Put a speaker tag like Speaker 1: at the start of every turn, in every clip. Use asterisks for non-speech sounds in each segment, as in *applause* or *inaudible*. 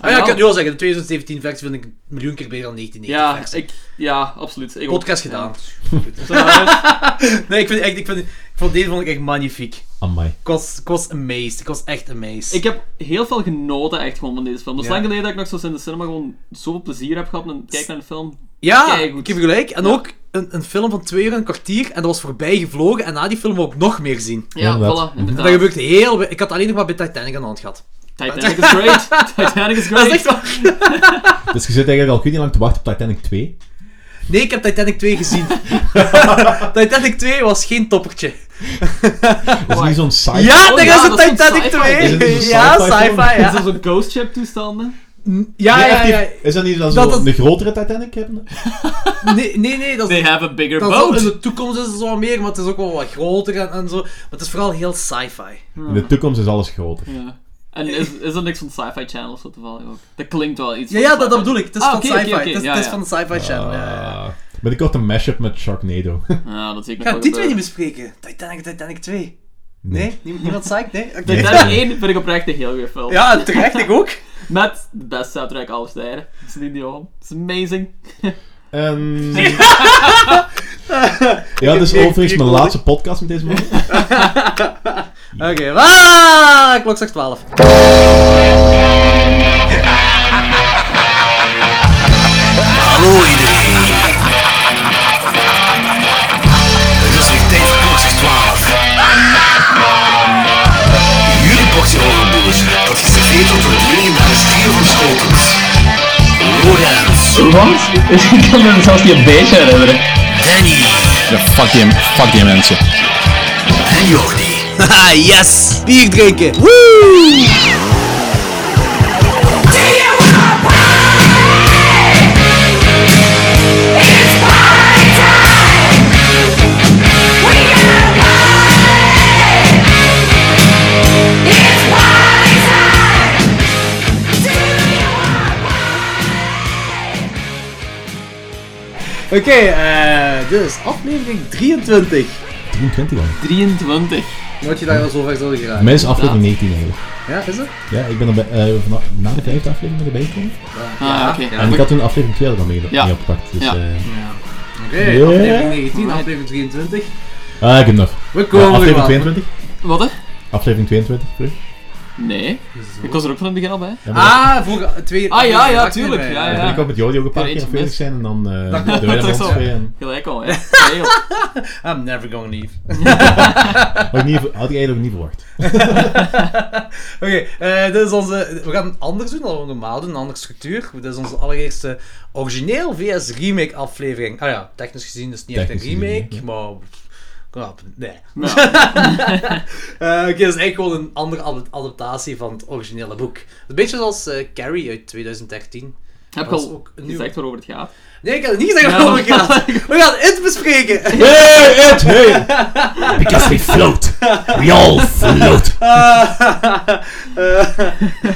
Speaker 1: Ah, ja, ik kan het nu al zeggen, de 2017 versie vind ik een miljoen keer beter dan de 1990
Speaker 2: Ja,
Speaker 1: versie.
Speaker 2: ik, ja absoluut. Ik ook. Dus, eh,
Speaker 1: Podcast gedaan.
Speaker 2: *laughs* Ja.
Speaker 1: Nee, ik, vind, echt, ik, vind, ik vond deze vond ik echt magnifiek.
Speaker 3: Amai.
Speaker 1: Ik was, ik was amazed. Ik was echt amazed.
Speaker 2: ik heb heel veel genoten echt gewoon van deze film. Dat is
Speaker 1: Ja.
Speaker 2: lang geleden dat ik nog zoals in de cinema gewoon zoveel plezier heb gehad met een kijk naar een film.
Speaker 1: ja,
Speaker 2: keigoed.
Speaker 1: ik heb gelijk. En
Speaker 2: Ja.
Speaker 1: ook een, een film van twee uur en een kwartier. En dat was voorbij gevlogen. En na die film wou ik nog meer zien.
Speaker 2: Ja,
Speaker 3: inderdaad.
Speaker 2: voilà,
Speaker 1: En
Speaker 2: inderdaad.
Speaker 1: dat gebeurt heel... we- Ik had alleen nog maar bij Titanic aan de hand gehad.
Speaker 2: Titanic is
Speaker 1: *laughs*
Speaker 2: great. Titanic is
Speaker 1: Dat
Speaker 2: great.
Speaker 1: is echt waar.
Speaker 3: Dus je zit eigenlijk al goed niet lang te wachten op Titanic 2.
Speaker 1: Nee, ik heb Titanic 2
Speaker 2: *laughs*
Speaker 1: gezien. Titanic 2 was geen toppertje.
Speaker 3: Dat is niet zo'n saai...
Speaker 1: Ja,
Speaker 2: Oh
Speaker 1: dat
Speaker 2: ja,
Speaker 1: is een
Speaker 2: dat is een
Speaker 1: Titanic
Speaker 2: sci-fi.
Speaker 3: Ah, Is het
Speaker 1: 2.
Speaker 3: een sci-fi
Speaker 1: ja,
Speaker 3: film?
Speaker 1: sci-fi,
Speaker 2: Is
Speaker 1: ja.
Speaker 2: dat zo'n ghost ship toestanden?
Speaker 1: Ja,
Speaker 3: Nee,
Speaker 1: ja,
Speaker 3: echt
Speaker 1: ja.
Speaker 3: niet. Is dat niet dan
Speaker 1: Dat
Speaker 3: zo
Speaker 1: het-
Speaker 3: de grotere Titanic hebben?
Speaker 1: Nee, nee, nee, dat is...
Speaker 2: They have a bigger
Speaker 1: dat is wel-
Speaker 2: boat.
Speaker 1: in de toekomst is het zo meer, maar het is ook wel wat groter en, en zo. Maar het is vooral heel sci-fi.
Speaker 3: In de toekomst is alles groter.
Speaker 2: Ja. En is, is er niks van Sci-Fi Channel of zo toevallig ook? Dat klinkt wel iets
Speaker 1: Ja,
Speaker 2: van
Speaker 1: ja dat, dat
Speaker 2: Sci-Fi.
Speaker 1: bedoel ik. Het is
Speaker 2: Ah,
Speaker 1: van
Speaker 2: oké, oké,
Speaker 1: sci-fi.
Speaker 2: oké.
Speaker 1: Het is,
Speaker 2: Ja,
Speaker 1: het is
Speaker 2: ja.
Speaker 1: van de sci-fi channel. ja, ja, ja.
Speaker 3: Ah, Met een korte mashup met Sharknado. *laughs*
Speaker 2: Ja, dat zie
Speaker 1: Ik
Speaker 2: ik nog
Speaker 1: ga
Speaker 2: wel
Speaker 1: die twee
Speaker 2: gebeuren.
Speaker 1: niet bespreken. Titanic, Titanic 2. Nee? Niemand, niemand zei ik? Nee? Oké.
Speaker 3: Nee.
Speaker 2: Titanic 1 vind ik oprecht een heel goede film.
Speaker 1: Ja, terecht, ik
Speaker 3: *laughs*
Speaker 1: ook.
Speaker 2: Met de beste soundtrack aller tijden. Celine Dion. It's amazing.
Speaker 1: *laughs*
Speaker 3: Ehm. ja, dit is
Speaker 1: Ik- ik-
Speaker 3: overigens
Speaker 1: ik-
Speaker 3: mijn
Speaker 1: ik-
Speaker 3: laatste podcast met deze man.
Speaker 1: Oké, ah, klok straks 12.
Speaker 4: Hallo iedereen. Het is weer tijd voor klokjes 12. Jullie portie horrorboers, dat is verzekerd door het dringen naar de stier van Schotens. Lorenz,
Speaker 5: Wat? Ik kan me zelfs niet een beetje herinneren.
Speaker 4: Danny
Speaker 5: fuck die, fuck die mensen.
Speaker 4: en Jordi. *laughs*
Speaker 1: Haha, yes! Bier drinken! Woe! Oké, eh, dit is aflevering 23.
Speaker 3: 23 al.
Speaker 2: 23.
Speaker 1: Wat je daar al zo ver zouden geraken.
Speaker 3: Mijn is aflevering 19 eigenlijk.
Speaker 1: Ja, is het?
Speaker 3: Ja, ik ben er bij, eh, vanaf- na de vijfde aflevering ben ik erbij gekomen.
Speaker 2: Ah, ja, oké.
Speaker 3: En ik had toen aflevering 2 er dan mee,
Speaker 2: Ja.
Speaker 3: mee opgepakt. Dus,
Speaker 2: Ja.
Speaker 3: eh,
Speaker 1: Oké,
Speaker 3: Ja.
Speaker 1: aflevering 19, aflevering 23.
Speaker 3: ah, ik heb nog.
Speaker 1: We
Speaker 3: Ja,
Speaker 1: komen er
Speaker 3: aflevering
Speaker 1: wel.
Speaker 3: 22?
Speaker 2: Wat hè?
Speaker 3: Aflevering 22, terug.
Speaker 2: Nee. Ik was er ook van in het begin al bij.
Speaker 3: Ja, maar
Speaker 1: Ah, vroeger twee.
Speaker 2: Ah, ja, ja,
Speaker 1: acht
Speaker 2: tuurlijk,
Speaker 1: erbij,
Speaker 2: ja,
Speaker 3: dan ben ik ook met Jordi ook een paar
Speaker 2: Ja,
Speaker 3: keer
Speaker 2: iets
Speaker 3: afwezig
Speaker 2: mis.
Speaker 3: zijn en dan eh
Speaker 1: Dat-
Speaker 3: de
Speaker 2: dat
Speaker 3: wijde
Speaker 2: is
Speaker 3: man
Speaker 2: zo.
Speaker 3: twee. En,
Speaker 1: *laughs*
Speaker 2: Gelijk al, hè. Heel.
Speaker 1: I'm never gonna leave. *laughs*
Speaker 3: had, ik niet, had ik eigenlijk ook niet verwacht.
Speaker 1: Oké, eh, dit is onze. We gaan het anders doen dan we normaal doen, een andere structuur. Dit is onze allereerste origineel VS remake aflevering. Ah ja, technisch gezien is het niet echt een
Speaker 3: Technisch gezien,
Speaker 1: remake,
Speaker 3: ja.
Speaker 1: maar. knap, nee.
Speaker 2: *laughs* Nou,
Speaker 1: Eh, Oké, dat is eigenlijk gewoon een andere ad- adaptatie van het originele boek. Een beetje zoals eh, Carrie uit 2013.
Speaker 2: heb ik
Speaker 1: Dat is
Speaker 2: al
Speaker 1: ook een nieuw-
Speaker 2: gezegd waarover het gaat?
Speaker 1: Nee, ik had het niet gezegd
Speaker 2: Ja,
Speaker 1: waarover het
Speaker 2: maar-
Speaker 1: gaat.
Speaker 2: *laughs*
Speaker 1: We gaan het bespreken.
Speaker 3: Hey, Ed, hey! Because we float. We all float.
Speaker 1: Eh, eh,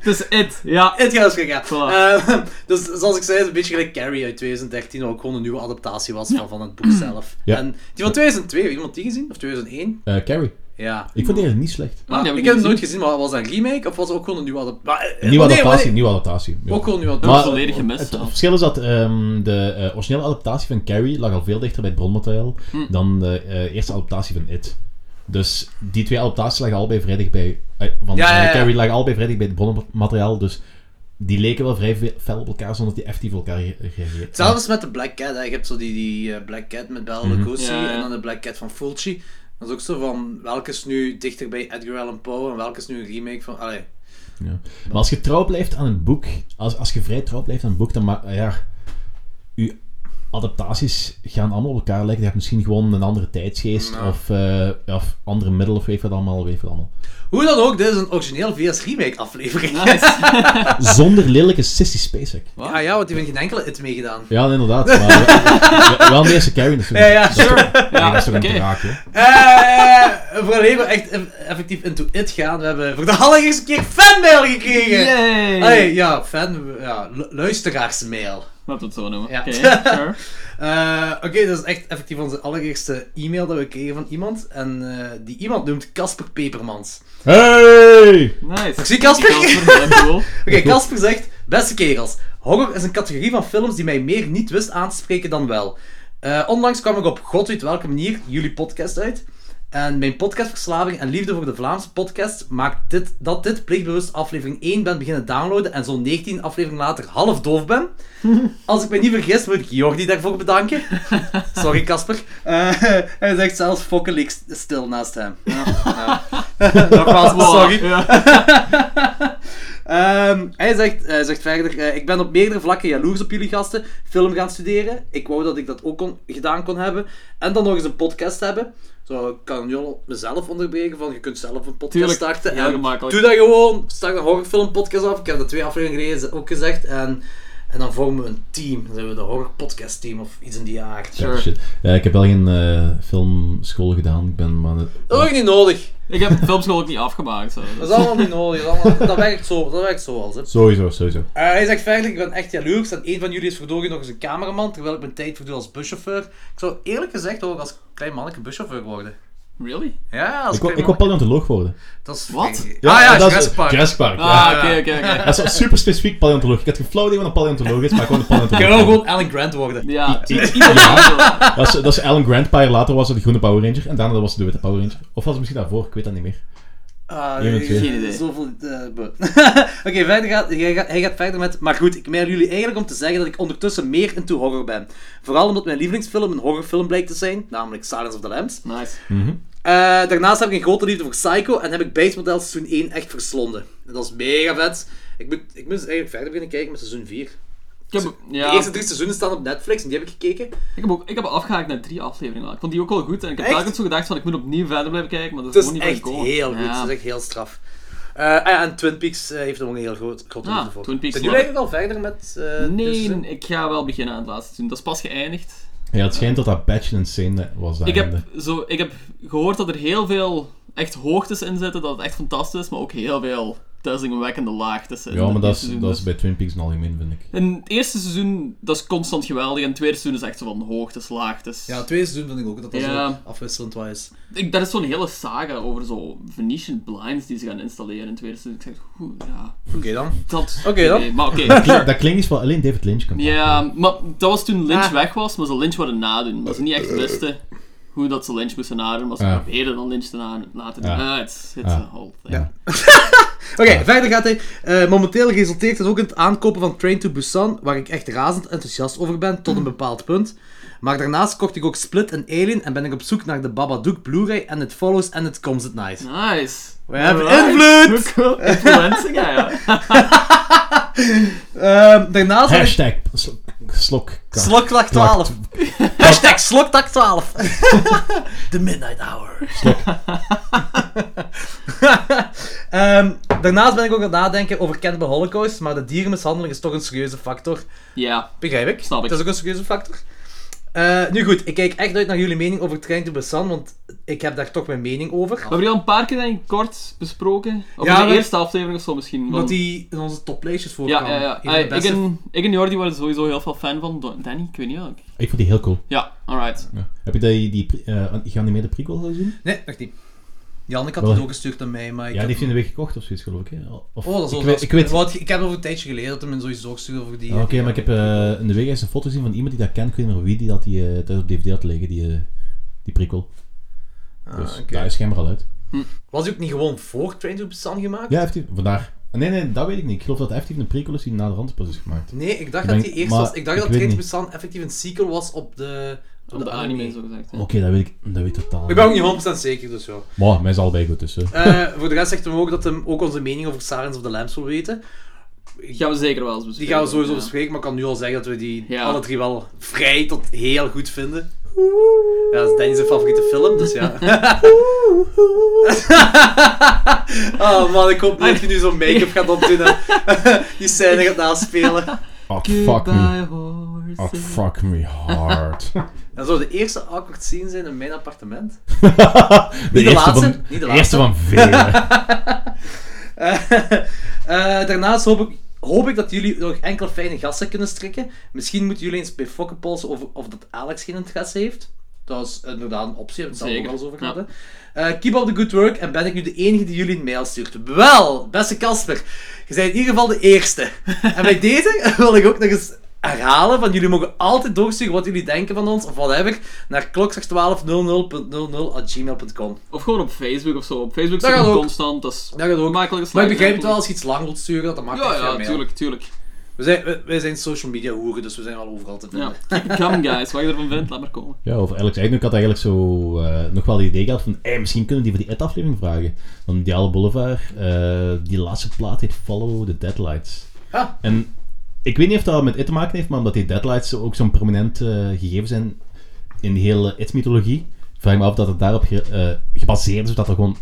Speaker 2: Het is it. Ja.
Speaker 1: Het gaat dus gaan.
Speaker 2: Voilà.
Speaker 1: Eh, *laughs* dus zoals ik zei, het is een beetje gelijk Carrie uit 2013, wat ook gewoon een nieuwe adaptatie was van, van het boek zelf.
Speaker 3: Ja.
Speaker 1: En die van 2002, heeft iemand die gezien? Of 2001?
Speaker 3: Eh, Carrie,
Speaker 1: Ja.
Speaker 3: ik vond die eigenlijk niet slecht.
Speaker 1: Maar
Speaker 2: die heb
Speaker 1: ik
Speaker 2: ik
Speaker 1: heb
Speaker 2: niet
Speaker 1: het nooit gezien, maar was dat een remake of was het ook gewoon een nieuwe eh, adaptatie?
Speaker 3: Nieuwe adaptatie, nieuwe adaptatie. Ja.
Speaker 1: Ook gewoon een nieuwe
Speaker 2: Maar-
Speaker 1: adaptatie.
Speaker 2: volledig gemist,
Speaker 3: Het,
Speaker 2: ja.
Speaker 3: verschil is dat ehm, de eh, originele adaptatie van Carrie lag al veel dichter bij het bronmateriaal
Speaker 1: Hm.
Speaker 3: dan de eh, eerste adaptatie van It. Dus die twee adaptaties lagen allebei vrij dicht bij. eh, want
Speaker 1: Ja, ja,
Speaker 3: eh,
Speaker 1: ja.
Speaker 3: Carrie lag allebei vrij dicht bij het bronmateriaal. Dus die leken wel vrij ve- fel op elkaar zonder dat die effectief op elkaar ge- gereageerd hebben.
Speaker 1: Zelfs met de Black Cat, hè. je hebt zo die, die eh, Black Cat met Bela Lugosi
Speaker 2: Mhm. Ja, ja.
Speaker 1: en dan de Black Cat van Fulci. Dat is ook zo van, welke is nu dichter bij Edgar Allan Poe en welke is nu een remake van... Allee,
Speaker 3: Ja. Maar als je trouw blijft aan het boek, als, als je vrij trouw blijft aan het boek, dan ma- ja, je adaptaties gaan allemaal op elkaar lijken. Je hebt misschien gewoon een andere tijdsgeest of, eh, of andere middelen of weet wat allemaal, weet wat allemaal. *laughs*
Speaker 1: Hoe dan ook, dit is een origineel VS remake aflevering. *laughs*
Speaker 2: Nice.
Speaker 3: Zonder lelijke sissy Spacek.
Speaker 1: Ah ja, want die heeft geen enkele het meegedaan.
Speaker 3: Ja, inderdaad. Maar we- we- wel de eerste Carrie. Dus
Speaker 1: Ja, ja,
Speaker 3: dat is toch-
Speaker 2: Ja,
Speaker 3: dat is toch een
Speaker 2: oké.
Speaker 3: draak, hè?
Speaker 1: Eh, voor alleen maar echt eh, effectief into it gaan, we hebben voor de allereerste keer fanmail gekregen!
Speaker 2: Yay!
Speaker 1: Hey, ja, fan, ja, lu- luisteraarsmail.
Speaker 2: Laten we het zo noemen.
Speaker 1: Ja. *laughs*
Speaker 2: Oké, sure.
Speaker 1: Eh, Oké, dat is echt effectief onze allereerste e-mail dat we kregen van iemand. En eh, die iemand noemt Casper Pepermans.
Speaker 3: Hey!
Speaker 2: Nice.
Speaker 1: Merci, Casper.
Speaker 2: Casper,
Speaker 1: *laughs*
Speaker 2: heel cool.
Speaker 1: Oké, Casper zegt: Beste kerels, horror is een categorie van films die mij meer niet wist aan te spreken dan wel. Eh, onlangs kwam ik op god weet welke manier jullie podcast uit. En mijn podcastverslaving en liefde voor de Vlaamse podcast maakt dit, dat dit plichtbewust aflevering 1 ben beginnen downloaden en zo'n 19 aflevering later half doof ben. Als ik me niet vergis, moet ik Jordi daarvoor bedanken. Sorry, Casper. Eh, *laughs* hij zegt zelfs fokkelijk stil naast hem. Ja, ja. Nogmaals, sorry.
Speaker 2: Ja.
Speaker 1: Ehm, hij, zegt, hij zegt verder, eh, ik ben op meerdere vlakken jaloers op jullie gasten. Film gaan studeren. Ik wou dat ik dat ook kon, gedaan kon hebben. En dan nog eens een podcast hebben. Zo ik kan Jon mezelf onderbreken van, je kunt zelf een podcast
Speaker 2: Tuurlijk,
Speaker 1: starten.
Speaker 2: heel
Speaker 1: en
Speaker 2: gemakkelijk.
Speaker 1: Doe dat gewoon. Start een horrorfilm podcast af. Ik heb dat twee afleveringen geleden ook gezegd. En, en dan vormen we een team. Dan zijn we de horror podcast team of iets in die aard.
Speaker 2: Sure.
Speaker 3: Shit. Ja, ik heb wel geen eh, filmschool gedaan. Ik ben maar...
Speaker 1: Dat is ook niet nodig.
Speaker 2: Ik heb filmschool ook niet afgemaakt. Zo.
Speaker 1: Dat is allemaal niet nodig. Dat, is allemaal- dat werkt zo. Dat werkt zo als, hè.
Speaker 3: Sowieso, sowieso.
Speaker 1: Eh, hij zegt verder, ik ben echt jaloers en één van jullie is verdorie nog eens een cameraman, terwijl ik mijn tijd verdoe als buschauffeur. Ik zou eerlijk gezegd ook als klein manneke buschauffeur worden.
Speaker 2: Really?
Speaker 1: Ja, als
Speaker 3: Ik
Speaker 1: klein
Speaker 3: wil, ik wil
Speaker 1: manneke.
Speaker 3: paleontoloog worden.
Speaker 1: Dat is...
Speaker 2: Wat?
Speaker 1: Ah ja, Jurassic Park.
Speaker 3: Jurassic Park, ja.
Speaker 2: Ah, oké, oké, oké.
Speaker 3: Dat is super specifiek paleontoloog. Ik had geen flauw idee wat een paleontoloog is, maar gewoon een
Speaker 1: Ik
Speaker 3: paleontoloog.
Speaker 1: wil gewoon Alan Grant worden.
Speaker 2: Ja,
Speaker 3: Die-
Speaker 2: i- iemand anders.
Speaker 3: Dat is, dat is Alan Grant, een paar jaar later was het de groene Power Ranger en daarna was het de witte Power Ranger. Of was het misschien daarvoor, ik weet dat niet meer.
Speaker 1: Ah,
Speaker 3: Geen idee.
Speaker 1: eh, Zoveel... eh, bo- *laughs* Oké, verder gaat, hij, gaat, hij gaat verder met... Maar goed, ik mail jullie eigenlijk om te zeggen dat ik ondertussen meer into horror ben. Vooral omdat mijn lievelingsfilm een horrorfilm blijkt te zijn, namelijk Silence of the Lambs.
Speaker 2: Nice.
Speaker 1: Eh, daarnaast heb ik een grote liefde voor Psycho en heb ik Bates Motel seizoen 1 echt verslonden. En dat is mega vet. Ik moet, ik moet eens eigenlijk verder beginnen kijken met seizoen 4.
Speaker 2: Ik heb, ja,
Speaker 1: De eerste drie seizoenen staan op Netflix en die heb ik gekeken.
Speaker 2: ik heb, ook, ik heb afgehaakt naar drie afleveringen. lang. Ik vond die ook wel goed en ik heb
Speaker 1: Echt?
Speaker 2: telkens zo gedacht van ik moet opnieuw verder blijven kijken, maar dat is
Speaker 1: Het is
Speaker 2: gewoon niet
Speaker 1: echt
Speaker 2: gekomen.
Speaker 1: heel goed.
Speaker 2: Ja.
Speaker 1: Het is echt heel straf. Eh, ah ja, en Twin Peaks eh, heeft er ook een heel groot, grote
Speaker 2: Ah,
Speaker 1: liefde voor.
Speaker 2: Twin Peaks
Speaker 1: Zijn jullie
Speaker 2: wel.
Speaker 1: eigenlijk al verder met... eh, dit
Speaker 2: Nee,
Speaker 1: seizoen?
Speaker 2: Dus, ik ga wel beginnen aan het laatste seizoen. Dat is pas geëindigd.
Speaker 3: Ja, het schijnt dat dat Batch Insane was daar.
Speaker 2: Ik heb, zo, ik heb gehoord dat er heel veel echt hoogtes in zitten, dat het echt fantastisch is, maar ook heel veel duizelingwekkende laagtes in
Speaker 3: Ja, maar
Speaker 2: het
Speaker 3: dat
Speaker 2: eerste
Speaker 3: is,
Speaker 2: seizoen.
Speaker 3: dat
Speaker 2: Dus-
Speaker 3: is bij Twin Peaks een algemeen, vind ik.
Speaker 2: In het eerste seizoen, dat is constant geweldig. En het tweede seizoen is echt zo van hoogtes, laagtes.
Speaker 1: Ja, het tweede seizoen vind ik ook dat dat
Speaker 2: Ja.
Speaker 1: zo afwisselend was. is.
Speaker 2: Ik, daar is zo'n hele saga over zo Venetian blinds die ze gaan installeren in het tweede seizoen. Ik zeg, hoe, ja,
Speaker 1: Oké dan.
Speaker 2: dat...
Speaker 1: Oké dan.
Speaker 2: Nee, maar oké.
Speaker 3: *laughs* Klinkt- Dat klinkt iets wat alleen David Lynch kan
Speaker 2: ja, maar dat was toen Lynch
Speaker 1: Ah.
Speaker 2: weg was, maar ze Lynch wilden nadoen. Maar ze niet echt wisten hoe dat ze Lynch moesten nadoen, maar ze
Speaker 3: Ja.
Speaker 2: probeerden dan Lynch te na- laten doen.
Speaker 3: Ja.
Speaker 2: Ah, it's, it's
Speaker 3: Ja.
Speaker 2: a whole thing.
Speaker 3: Ja.
Speaker 1: Oké, verder gaat hij. eh, momenteel resulteert het ook in het aankopen van Train to Busan, waar ik echt razend enthousiast over ben, tot een bepaald punt. Maar daarnaast kocht ik ook Split en Alien en ben ik op zoek naar de Babadook Blu-ray en het Follows en het Comes at Night.
Speaker 2: Nice.
Speaker 1: We hebben
Speaker 2: Alright.
Speaker 1: invloed!
Speaker 2: Hoe cool. Influencer, ja, ja.
Speaker 1: Ehm, daarnaast heb ik...
Speaker 3: Hashtag sl- slok.
Speaker 1: Sloktak 12. Hashtag Sloktak 12. The Midnight Hour. *laughs* Ehm, daarnaast ben ik ook aan het nadenken over Cannibal Holocaust, maar de dierenmishandeling is toch een serieuze factor.
Speaker 2: Ja,
Speaker 1: Begrijp ik.
Speaker 2: Snap ik.
Speaker 1: Dat is ook een serieuze factor. Eh, nu goed, ik kijk echt uit naar jullie mening over Train to Busan, want ik heb daar toch mijn mening over.
Speaker 2: we hebben die al een paar keer denk ik, kort besproken. Of
Speaker 1: Ja,
Speaker 2: in de
Speaker 1: we-
Speaker 2: eerste aflevering of zo misschien.
Speaker 1: Omdat
Speaker 2: want-
Speaker 1: die in onze toplijstjes
Speaker 2: Ja,
Speaker 1: voorkwamen.
Speaker 2: ja, ja.
Speaker 1: Een van de
Speaker 2: Ah, Ik
Speaker 1: beste-
Speaker 2: en, ik en Jordi waren sowieso heel veel fan van Do- Danny, ik weet niet welk.
Speaker 3: Ik vond die heel cool.
Speaker 2: Ja, alright.
Speaker 3: Ja. Heb je die, die pre- eh, geanimeerde prequel al gezien?
Speaker 1: Nee, nog niet. Janneke had
Speaker 3: Wel.
Speaker 1: het ook gestuurd aan mij, maar ik
Speaker 3: Ja, die
Speaker 1: heb...
Speaker 3: heeft hij in de week gekocht of zoiets, geloof ik. hè? Of,
Speaker 1: Oh, dat is
Speaker 3: ik,
Speaker 1: ook
Speaker 3: weet,
Speaker 1: wel-
Speaker 3: ik weet.
Speaker 1: Wat- Ik heb over een tijdje geleden dat hij me sowieso doorgestuurd over die...
Speaker 3: Ah, Oké, maar ik heb eh, in de week eens een foto gezien van iemand die dat kent. Ik weet niet meer wie die dat die, eh, thuis op DVD had liggen, die, eh, die prequel.
Speaker 1: Ah,
Speaker 3: Dus
Speaker 1: oké.
Speaker 3: daar is schijnbaar al uit.
Speaker 1: Was die ook niet gewoon voor Train to Busan gemaakt?
Speaker 3: Ja, heeft hij. Vandaar. Ah, Nee, nee, dat weet ik niet. Ik geloof dat hij effectief een prequel is die na de rand pas is gemaakt.
Speaker 1: Nee, ik dacht
Speaker 3: Ik ben-
Speaker 1: dat die eerst
Speaker 3: maar
Speaker 1: was... Ik dacht
Speaker 3: ik
Speaker 1: dat
Speaker 3: weet
Speaker 1: Train to
Speaker 3: niet.
Speaker 1: Busan effectief een sequel was op de... Oh.
Speaker 2: Op de anime, zo gezegd. ja.
Speaker 3: Oké, dat weet ik, dat weet ik totaal
Speaker 1: Ik ben ook niet 100% zeker, dus ja.
Speaker 3: Maar mij is allebei goed, dus. hè.
Speaker 1: Eh, voor de rest zegt hem ook dat hem ook onze mening over Silence of the Lambs wil weten.
Speaker 2: Die gaan we zeker wel eens
Speaker 1: Die
Speaker 2: bespreken.
Speaker 1: gaan we sowieso
Speaker 2: ja.
Speaker 1: bespreken, maar ik kan nu al zeggen dat we die
Speaker 2: Ja.
Speaker 1: alle drie wel vrij tot heel goed vinden. Ja, dat is Danny's favoriete film, dus
Speaker 2: *laughs*
Speaker 1: ja. oh man, ik hoop niet dat je nu
Speaker 2: *laughs*
Speaker 1: zo'n make-up gaat opdoen en die scène gaat naspelen.
Speaker 3: Oh, fuck me.
Speaker 2: Goodbye, horse.
Speaker 3: Oh, fuck me
Speaker 1: *laughs*
Speaker 3: hard.
Speaker 1: Dat zou de eerste awkward scene zijn in mijn appartement.
Speaker 3: de
Speaker 1: Niet de
Speaker 3: eerste
Speaker 1: laatste,
Speaker 3: van,
Speaker 1: niet de laatste.
Speaker 3: eerste van velen.
Speaker 1: Eh, eh, daarnaast hoop ik, hoop ik dat jullie nog enkele fijne gasten kunnen strikken. Misschien moeten jullie eens bij Fokke polsen of, of dat Alex geen interesse heeft. Dat is inderdaad een optie, daar hebben we het
Speaker 2: Zeker,
Speaker 1: zelf ook al eens over
Speaker 2: ja.
Speaker 1: gehad. hè. Eh, keep up the good work en ben ik nu de enige die jullie een mail stuurt. Wel, beste Casper, je bent in ieder geval de
Speaker 2: *laughs*
Speaker 1: eerste. en bij deze wil ik ook nog eens herhalen van jullie mogen altijd doorsturen wat jullie denken van ons of whatever naar klokslag1200.00@gmail.com.
Speaker 2: Of gewoon op Facebook of zo. Op Facebook
Speaker 1: Dat
Speaker 2: zit
Speaker 1: gaat
Speaker 2: het
Speaker 1: ook.
Speaker 2: constant, dat is
Speaker 1: Dat gaat ook.
Speaker 2: makkelijk.
Speaker 1: Maar ik
Speaker 2: slijt-
Speaker 1: begrijp het wel als je iets lang wilt sturen, dat dat makkelijk
Speaker 2: Ja,
Speaker 1: is via
Speaker 2: ja,
Speaker 1: mail.
Speaker 2: tuurlijk, tuurlijk.
Speaker 1: We zijn, we- wij zijn social media hoeren, dus we zijn wel overal te
Speaker 2: Ja.
Speaker 1: vinden.
Speaker 2: Come guys, wat je ervan vindt, laat maar komen.
Speaker 3: Ja, over Alex Eidnoek had eigenlijk zo eh, nog wel het idee gehad van, hey, misschien kunnen die voor die IT-aflevering vragen. Van Diale Boulevard, eh, die laatste plaat heet Follow the Deadlights.
Speaker 1: Ah.
Speaker 3: En ik weet niet of dat met IT te maken heeft, maar omdat die Deadlights ook zo'n prominent eh, gegeven zijn in de hele IT-mythologie, vraag ik me af dat het daarop ge- eh, gebaseerd is of dat er gewoon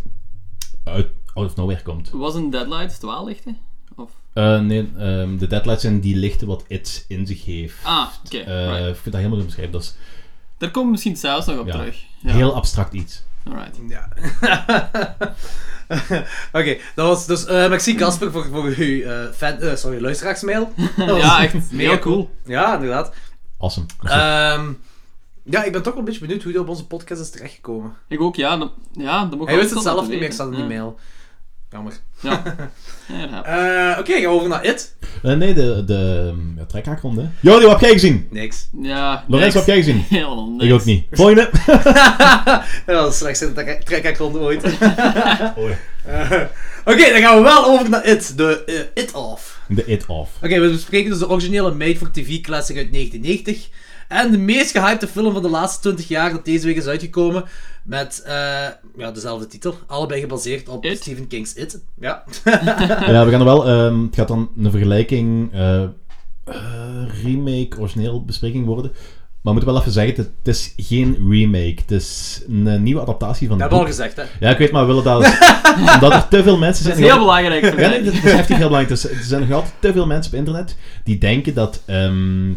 Speaker 3: uit out of nowhere komt.
Speaker 2: Was een deadlight, dwaallichten? Of...
Speaker 3: Eh, nee, ehm, de Deadlights zijn die lichten wat IT in zich heeft.
Speaker 2: Ah, oké.
Speaker 3: Eh,
Speaker 2: right.
Speaker 3: Ik vind dat helemaal niet beschrijven. Dat is
Speaker 2: Daar komen we misschien zelfs nog op
Speaker 3: Ja.
Speaker 2: terug. Ja.
Speaker 3: heel abstract iets.
Speaker 2: Alright.
Speaker 1: Ja. *laughs* Oké, dat was dus... eh merci Casper voor, voor uw eh, fan, eh, sorry,
Speaker 2: *laughs*
Speaker 1: luisteraarsmail. Dat was
Speaker 2: Ja, echt.
Speaker 1: mega
Speaker 2: Heel cool.
Speaker 1: *laughs* Ja, inderdaad.
Speaker 3: Awesome.
Speaker 2: Eh,
Speaker 1: Ehm, ja, ik ben toch wel een beetje benieuwd hoe dat op onze podcast is terechtgekomen.
Speaker 2: Ik ook, ja. Dan, ja, dan mogen
Speaker 1: Hij
Speaker 2: we
Speaker 1: wist het
Speaker 2: dat
Speaker 1: zelf
Speaker 2: laten
Speaker 1: niet meer, ik
Speaker 2: weten.
Speaker 1: zat in die mail. Jammer.
Speaker 2: Ja. Ja. Ja, dat happens.
Speaker 1: Eh, Oké, gaan we over naar It?
Speaker 3: Eh, nee, de, de ehm, ja, trekhaakronde. hè. Jordi, wat heb jij gezien?
Speaker 1: Niks. *laughs*
Speaker 2: ja
Speaker 3: Lorenz,
Speaker 2: niks.
Speaker 3: wat heb jij
Speaker 2: *laughs*
Speaker 3: gezien?
Speaker 2: Helemaal niks.
Speaker 3: Ik ook niet. Volgende.
Speaker 1: dat was slechts een trek- trekhaakronde
Speaker 2: *laughs*
Speaker 1: ooit.
Speaker 3: Oh ja.
Speaker 1: Eh, Oké, dan gaan we wel over naar It. De eh, It-off.
Speaker 3: De It Off.
Speaker 1: Oké, we bespreken dus de originele made for TV classic uit 1990. En de meest gehypte film van de laatste 20 jaar dat deze week is uitgekomen. Met eh, ja, dezelfde titel. Allebei gebaseerd op
Speaker 2: It.
Speaker 1: Stephen King's It. Ja. *laughs*
Speaker 3: Ja, we gaan er wel... ehm, het gaat dan een vergelijking... eh, eh, remake, origineel bespreking worden. Maar we moeten wel even zeggen, het, het is geen remake. Het is een eh, nieuwe adaptatie van
Speaker 1: Dat
Speaker 3: het
Speaker 1: hebben we al
Speaker 3: boek.
Speaker 1: gezegd, hè.
Speaker 3: Ja, ik weet, maar we willen dat... als- omdat er te veel mensen zijn...
Speaker 2: Dat is heel
Speaker 1: *laughs*
Speaker 2: belangrijk voor mij.
Speaker 3: Ja, nee, dat dat is heftig heel belangrijk. Dus er zijn nog altijd te veel mensen op internet die denken dat, ehm,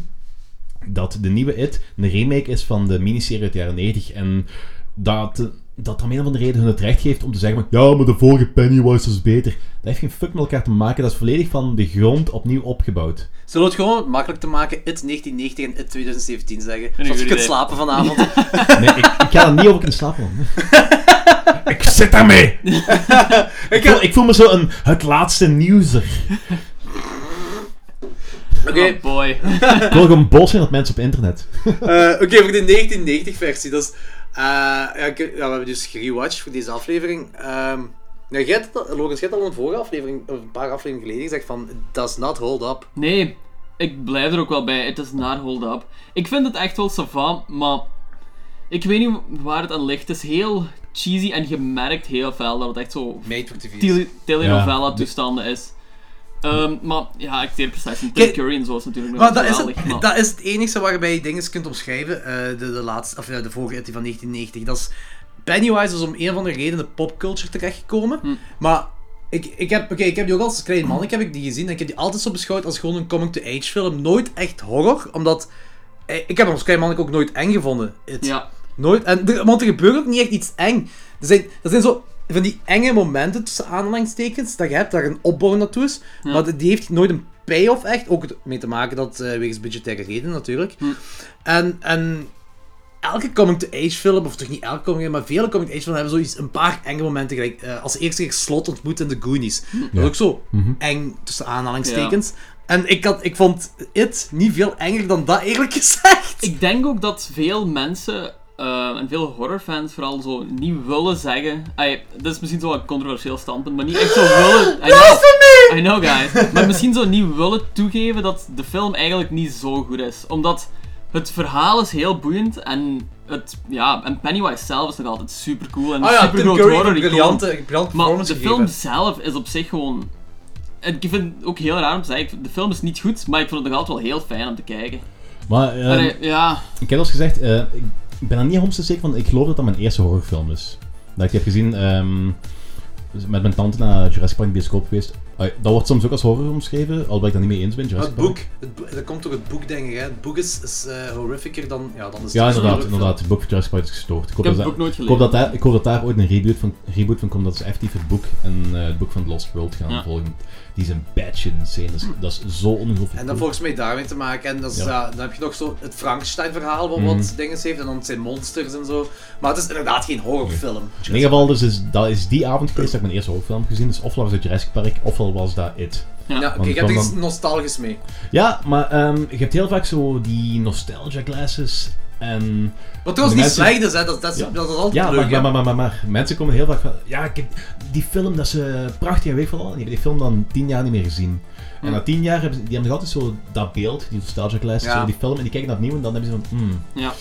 Speaker 3: dat de nieuwe It een remake is van de miniserie uit de jaren 90. En dat dat om een of andere reden hun het recht geeft om te zeggen van, ja, maar de vorige Pennywise was beter. Dat heeft geen fuck met elkaar te maken. Dat is volledig van de grond opnieuw opgebouwd.
Speaker 1: Zullen we het gewoon makkelijk te maken It 1990 en It 2017 zeggen?
Speaker 2: een
Speaker 1: Zodat je
Speaker 2: goed
Speaker 1: kunt
Speaker 2: idee.
Speaker 1: slapen *laughs* vanavond.
Speaker 3: Nee, ik, ik ga er niet over kunnen slapen. man.
Speaker 5: Ik zit daarmee.
Speaker 1: Ik
Speaker 3: Ik voel,
Speaker 1: heb-
Speaker 3: ik voel me zo een het laatste nieuwser.
Speaker 1: Oké,
Speaker 2: Oh boy.
Speaker 3: Ik wil gewoon boos zijn op mensen op internet.
Speaker 1: Eh, Oké, voor de 1990-versie. Dat is, eh, ja, ik- ja, we hebben dus gerewatcht voor deze aflevering. Ehm ja, jij had het al- Lorenz, jij had al in een vorige aflevering, of een paar afleveringen geleden, gezegd van... "It Does not hold up.
Speaker 2: Nee, ik blijf er ook wel bij. Het is naar Hold Up. Ik vind het echt wel savant, maar ik weet niet waar het aan ligt. Het is heel cheesy en je merkt heel fel dat het echt zo
Speaker 1: Made for TV.
Speaker 2: tele- telenovela
Speaker 3: Ja.
Speaker 2: toestanden is. Ehm, maar ja, acteerprestaties van Tim
Speaker 1: Kijk,
Speaker 2: Curry en zo is natuurlijk nog
Speaker 1: Maar dat is,
Speaker 2: geweldig, maar-
Speaker 1: het, dat is het enige waarbij je dingen kunt omschrijven. eh, de, de, laatste, of, ja, de vorige editie van 1990. Dat is, Pennywise is om een of andere reden in de popculture terechtgekomen. Maar ik, ik, heb, oké, ik heb die ook als klein man heb ik die gezien. En ik heb die altijd zo beschouwd als gewoon een coming-to-age film. Nooit echt horror, omdat... eh, Ik heb hem als klein manneke ook nooit eng gevonden. It.
Speaker 2: Ja,
Speaker 1: Nooit. En er, want er gebeurt ook niet echt iets eng. Er zijn, er zijn zo van die enge momenten tussen aanhalingstekens dat je hebt, daar een opbouw naartoe is. Maar die- die heeft nooit een payoff echt. Ook het- mee te maken dat eh, wegens budgettaire redenen natuurlijk. En, en elke coming-to-age film, of toch niet elke coming maar vele coming-to-age films hebben zoiets, een paar enge momenten. Gelijk, eh, als eerste keer Slot ontmoet in The Goonies. Dat is ook zo eng tussen aanhalingstekens. En ik, had, ik vond It niet veel enger dan dat eigenlijk *laughs* gezegd.
Speaker 2: ik denk ook dat veel mensen eh, en veel horrorfans vooral zo niet willen zeggen. Ai, dit is misschien zo een controversieel standpunt, maar niet echt zo willen. I know, I know guys. Maar misschien zo niet willen toegeven dat de film eigenlijk niet zo goed is. Omdat het verhaal is heel boeiend en, het, ja, en Pennywise zelf is nog altijd super cool en
Speaker 1: Ah ja,
Speaker 2: super
Speaker 1: Tim
Speaker 2: goed
Speaker 1: Curry heeft
Speaker 2: horror.
Speaker 1: een briljante, briljante
Speaker 2: Maar
Speaker 1: performance
Speaker 2: de
Speaker 1: gegeven.
Speaker 2: film zelf is op zich gewoon. en Ik vind het ook heel raar om te zeggen, ik vind- de film is niet goed, maar ik vond het nog altijd wel heel fijn om te kijken.
Speaker 3: Maar ehm,
Speaker 2: Allee, ja,
Speaker 3: Ik heb al eens gezegd, eh, ik ben er niet 100% zeker van. Ik geloof dat dat mijn eerste horrorfilm is. Dat ik heb gezien ehm, dus met mijn tante naar Jurassic Park in de bioscoop geweest. Ah, Dat wordt soms ook als horror omschreven, al ben ik dat niet mee eens ben. Jurassic
Speaker 1: Het
Speaker 3: Park.
Speaker 1: boek. Het boek- dat komt door het boek, denk ik. Hè. Het boek is, is eh, horrificer dan... Ja, dan is het
Speaker 3: Ja,
Speaker 1: een
Speaker 3: inderdaad,
Speaker 1: horrorfilm.
Speaker 3: inderdaad. Het boek van Jurassic Park is gestoord. Ik hoop,
Speaker 2: heb
Speaker 3: dat,
Speaker 2: het boek nooit
Speaker 3: ik, hoop
Speaker 2: gelezen.
Speaker 3: dat daar, ik hoop dat daar ooit een reboot van, reboot van komt, dat ze effectief het boek en eh, het boek van The Lost World gaan
Speaker 2: Ja.
Speaker 3: volgen. Die zijn batshit insane, dat is, dat is zo ongelooflijk
Speaker 1: En dan
Speaker 3: cool.
Speaker 1: volgens mij daarmee te maken. En dat is,
Speaker 3: Ja. Mhm.
Speaker 1: ja, dan heb je nog zo het Frankenstein-verhaal, wat wat dingen heeft. En dan zijn monsters en zo. Maar het is inderdaad geen horrorfilm.
Speaker 3: In ieder geval, dus is, dat is die avond geweest dat ik mijn eerste horrorfilm heb gezien. Dus ofwel was het Jurassic Park, ofwel was dat It.
Speaker 1: Ja, oké,
Speaker 3: Want
Speaker 1: ik heb er
Speaker 3: dan-
Speaker 1: iets nostalgisch mee.
Speaker 3: Ja, maar ehm, je hebt heel vaak zo die nostalgia glasses en...
Speaker 1: Wat trouwens
Speaker 3: De
Speaker 1: niet
Speaker 3: mensen-
Speaker 1: slecht is, hè. Dat, dat, is-
Speaker 3: Ja.
Speaker 1: dat is altijd
Speaker 3: Ja,
Speaker 1: leuk,
Speaker 3: maar,
Speaker 1: hè.
Speaker 3: maar, maar, maar, maar, maar mensen komen heel vaak van... Ja, ik heb die film, dat is eh, prachtig en weet ik veel wat. En die hebben die film dan tien jaar niet meer gezien. En na tien jaar hebben ze, die hebben nog altijd zo dat beeld, die nostalgia class,
Speaker 1: Ja.
Speaker 3: zo die film. En die kijken naar opnieuw en dan hebben ze van... hmm,
Speaker 2: Ja.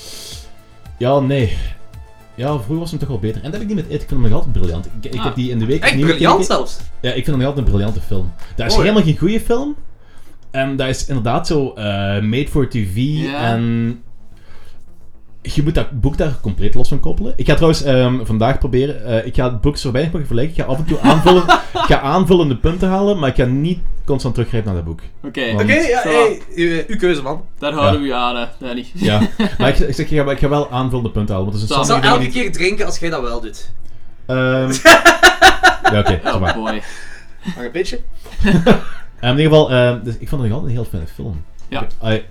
Speaker 3: ja, nee. Ja, vroeger was hem toch wel beter. En dat heb ik niet met It. Ik vind hem nog altijd briljant. Ik, ik
Speaker 2: Ah.
Speaker 3: heb die in de week
Speaker 1: Echt
Speaker 3: opnieuw
Speaker 1: briljant
Speaker 3: gekeken.
Speaker 1: zelfs.
Speaker 3: Ja, ik vind hem altijd een briljante film. Dat is
Speaker 1: Mooi.
Speaker 3: helemaal geen goede film. En dat is inderdaad zo eh, made for TV.
Speaker 2: Ja.
Speaker 3: En je moet dat boek daar compleet los van koppelen. Ik ga trouwens ehm, vandaag proberen. eh, ik ga het boek zo weinig mogelijk vergelijken. Ik ga af en toe
Speaker 2: *laughs*
Speaker 3: aanvullen, ik ga aanvullende punten halen. Maar ik ga niet constant teruggrijpen naar dat boek.
Speaker 2: Oké,
Speaker 3: Want-
Speaker 1: Oké, ja,
Speaker 2: Zo.
Speaker 1: hey, uw, uw keuze, man.
Speaker 2: daar houden we u aan, hè, Danny. *laughs*
Speaker 3: Ja. maar ik, ik zeg, ik ga, ik ga wel aanvullende punten halen. Want er zijn
Speaker 1: Ik
Speaker 2: Zo.
Speaker 1: zal
Speaker 3: sommige
Speaker 1: elke
Speaker 3: dingen die-
Speaker 1: keer drinken als jij dat wel doet.
Speaker 3: Ehm, *laughs* ja, oké. zeg
Speaker 2: *laughs*
Speaker 3: maar.
Speaker 2: Oh boy.
Speaker 1: Maar een beetje.
Speaker 3: Ehm, in ieder geval, ehm, dus ik vond het nog altijd een heel fijne film.
Speaker 2: Ja.
Speaker 3: Ik- ah,
Speaker 2: Ik,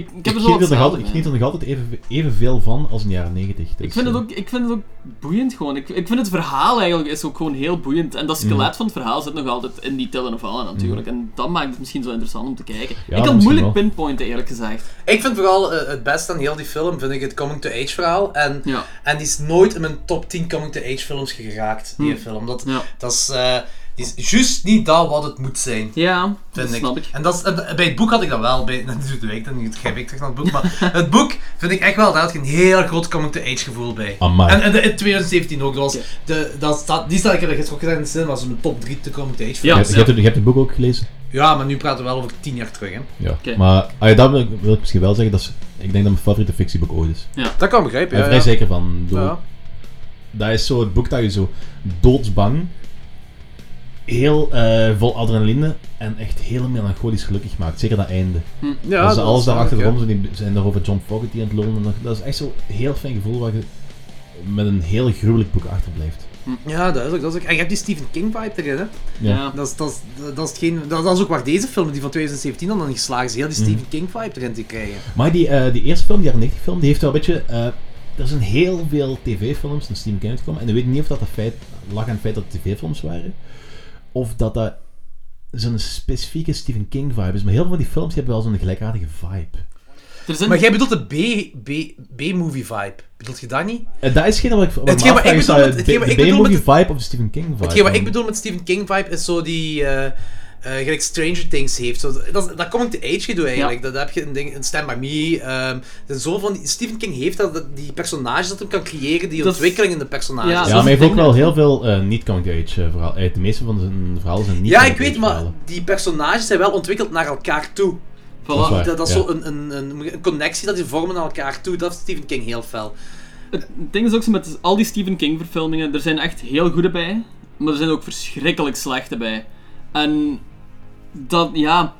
Speaker 2: ik
Speaker 3: Ik,
Speaker 2: heb er zo wat
Speaker 3: geniet er nog
Speaker 2: staan,
Speaker 3: altijd, ik
Speaker 2: hè.
Speaker 3: geniet er nog altijd even, evenveel van als in de jaren 90. Dus,
Speaker 2: Ik vind, het
Speaker 3: eh,
Speaker 2: ook, ik vind het ook boeiend gewoon. Ik, ik vind het verhaal eigenlijk is ook gewoon heel boeiend. En dat
Speaker 3: Mm.
Speaker 2: skelet van het verhaal zit nog altijd in die tellen of allen natuurlijk. En dat maakt het misschien zo interessant om te kijken. ik kan
Speaker 3: misschien
Speaker 2: het moeilijk
Speaker 3: wel.
Speaker 2: pinpointen eerlijk gezegd.
Speaker 1: Ik vind vooral eh, het beste aan heel die film, vind ik het coming-to-age verhaal. En,
Speaker 2: Ja.
Speaker 1: en die is nooit in mijn top 10 coming-to-age films geraakt,
Speaker 3: Hm.
Speaker 1: die film. Dat,
Speaker 2: Ja.
Speaker 1: dat is, eh, die is juist niet dat wat het moet zijn,
Speaker 2: Ja,
Speaker 1: vind
Speaker 2: dat snap ik.
Speaker 1: En dat is, en bij het boek had ik dat wel. Bij, *laughs* dat is de week, dan niet geen week terug naar het boek. Maar
Speaker 3: *laughs*
Speaker 1: het boek vind ik echt wel, daar had ik een heel groot coming-to-age gevoel bij.
Speaker 3: Amai.
Speaker 1: En, en de, in 2017 ook, dat was,
Speaker 2: Ja.
Speaker 1: de, dat staat, die staat ik heb er gisteren ook gezegd in de cinema, was mijn top 3 te coming-to-age
Speaker 3: je,
Speaker 1: film.
Speaker 3: hebt- je, hebt, het- je hebt het boek ook gelezen?
Speaker 1: Ja, maar nu praten we wel over 10 jaar terug, hè.
Speaker 3: Ja.
Speaker 2: Oké.
Speaker 3: Maar ah, ja, dat wil ik, wil ik misschien wel zeggen. Dat is, ik denk dat mijn favoriete fictieboek ooit is.
Speaker 1: Dat kan begrijpen,
Speaker 3: Ik ben
Speaker 1: ja.
Speaker 3: vrij zeker van. Ik bedoel,
Speaker 1: ja.
Speaker 3: Dat is zo het boek dat je zo doodsbang, heel eh, vol adrenaline en echt heel melancholisch gelukkig maakt. Zeker dat einde.
Speaker 1: Ja,
Speaker 3: dat is
Speaker 1: dat
Speaker 3: alles
Speaker 1: is
Speaker 3: daar
Speaker 1: duidelijk, ja.
Speaker 3: achterom zijn, die zijn daar over John Fogerty aan het lonen. en dat- Dat is echt zo'n heel fijn gevoel waar je met een heel gruwelijk boek achterblijft.
Speaker 1: Ja, dat is ook. Dat is ook. En je hebt die Stephen King vibe erin, hè.
Speaker 2: Ja.
Speaker 1: Dat is, dat is, dat is, hetgeen, dat, dat is ook waar deze film, die van 2017 dan, dan geslaagd is, heel die Stephen King vibe erin te krijgen.
Speaker 3: Maar die, eh, die eerste film, die jaren 90 film, die heeft wel een beetje... eh, er zijn heel veel tv-films en Steam King uitgekomen. En ik weet niet of dat, dat feit, lag aan het feit dat het tv-films waren. Of dat dat zo'n specifieke Stephen King vibe is. Maar heel veel van die films die hebben wel zo'n gelijkaardige vibe.
Speaker 2: Er zijn,
Speaker 1: Maar jij bedoelt de B- B- B-movie vibe. Bedoelt je dat niet?
Speaker 3: En Eh, dat is geen wat ik wat
Speaker 1: Hetgeen
Speaker 3: me
Speaker 1: wat ik
Speaker 3: afvraag, is
Speaker 1: bedoel
Speaker 3: dat
Speaker 1: met-
Speaker 3: de-
Speaker 1: hetgeen wat
Speaker 3: de
Speaker 1: ik bedoel
Speaker 3: B-movie
Speaker 1: met
Speaker 3: vibe of de Stephen King vibe.
Speaker 1: Hetgeen wat ik
Speaker 3: Dan-
Speaker 1: bedoel met Stephen King vibe is zo die... eh, eh, gelijk Stranger Things heeft. Zo, dat, dat komt te age gedoe eigenlijk. Dat heb je in, ding, in Stand By Me. ehm, er zijn zoveel van die, Stephen King heeft dat, dat- die personages dat hem kan creëren, die
Speaker 2: Dat-
Speaker 1: ontwikkeling in de personages.
Speaker 2: Ja,
Speaker 1: Ja,
Speaker 3: Ja,
Speaker 2: dat
Speaker 3: maar
Speaker 2: is
Speaker 3: hij heeft
Speaker 2: het
Speaker 3: ook
Speaker 2: ding,
Speaker 3: wel heel veel eh, niet coming-to-age eh, verhalen. Eh, de meeste van zijn verhalen zijn niet
Speaker 1: ik
Speaker 3: coming-of-age
Speaker 1: weet, maar
Speaker 3: verhalen.
Speaker 1: die personages zijn wel ontwikkeld naar elkaar toe.
Speaker 2: voilà.
Speaker 3: is waar.
Speaker 1: Dat, dat is
Speaker 3: ja.
Speaker 1: zo een, een, een, een connectie dat die vormen naar elkaar toe. Dat is Stephen King heel fel.
Speaker 2: Het ding is ook zo met al die Stephen King verfilmingen, er zijn echt heel goede bij, maar er zijn ook verschrikkelijk slechte bij. En dat, ja,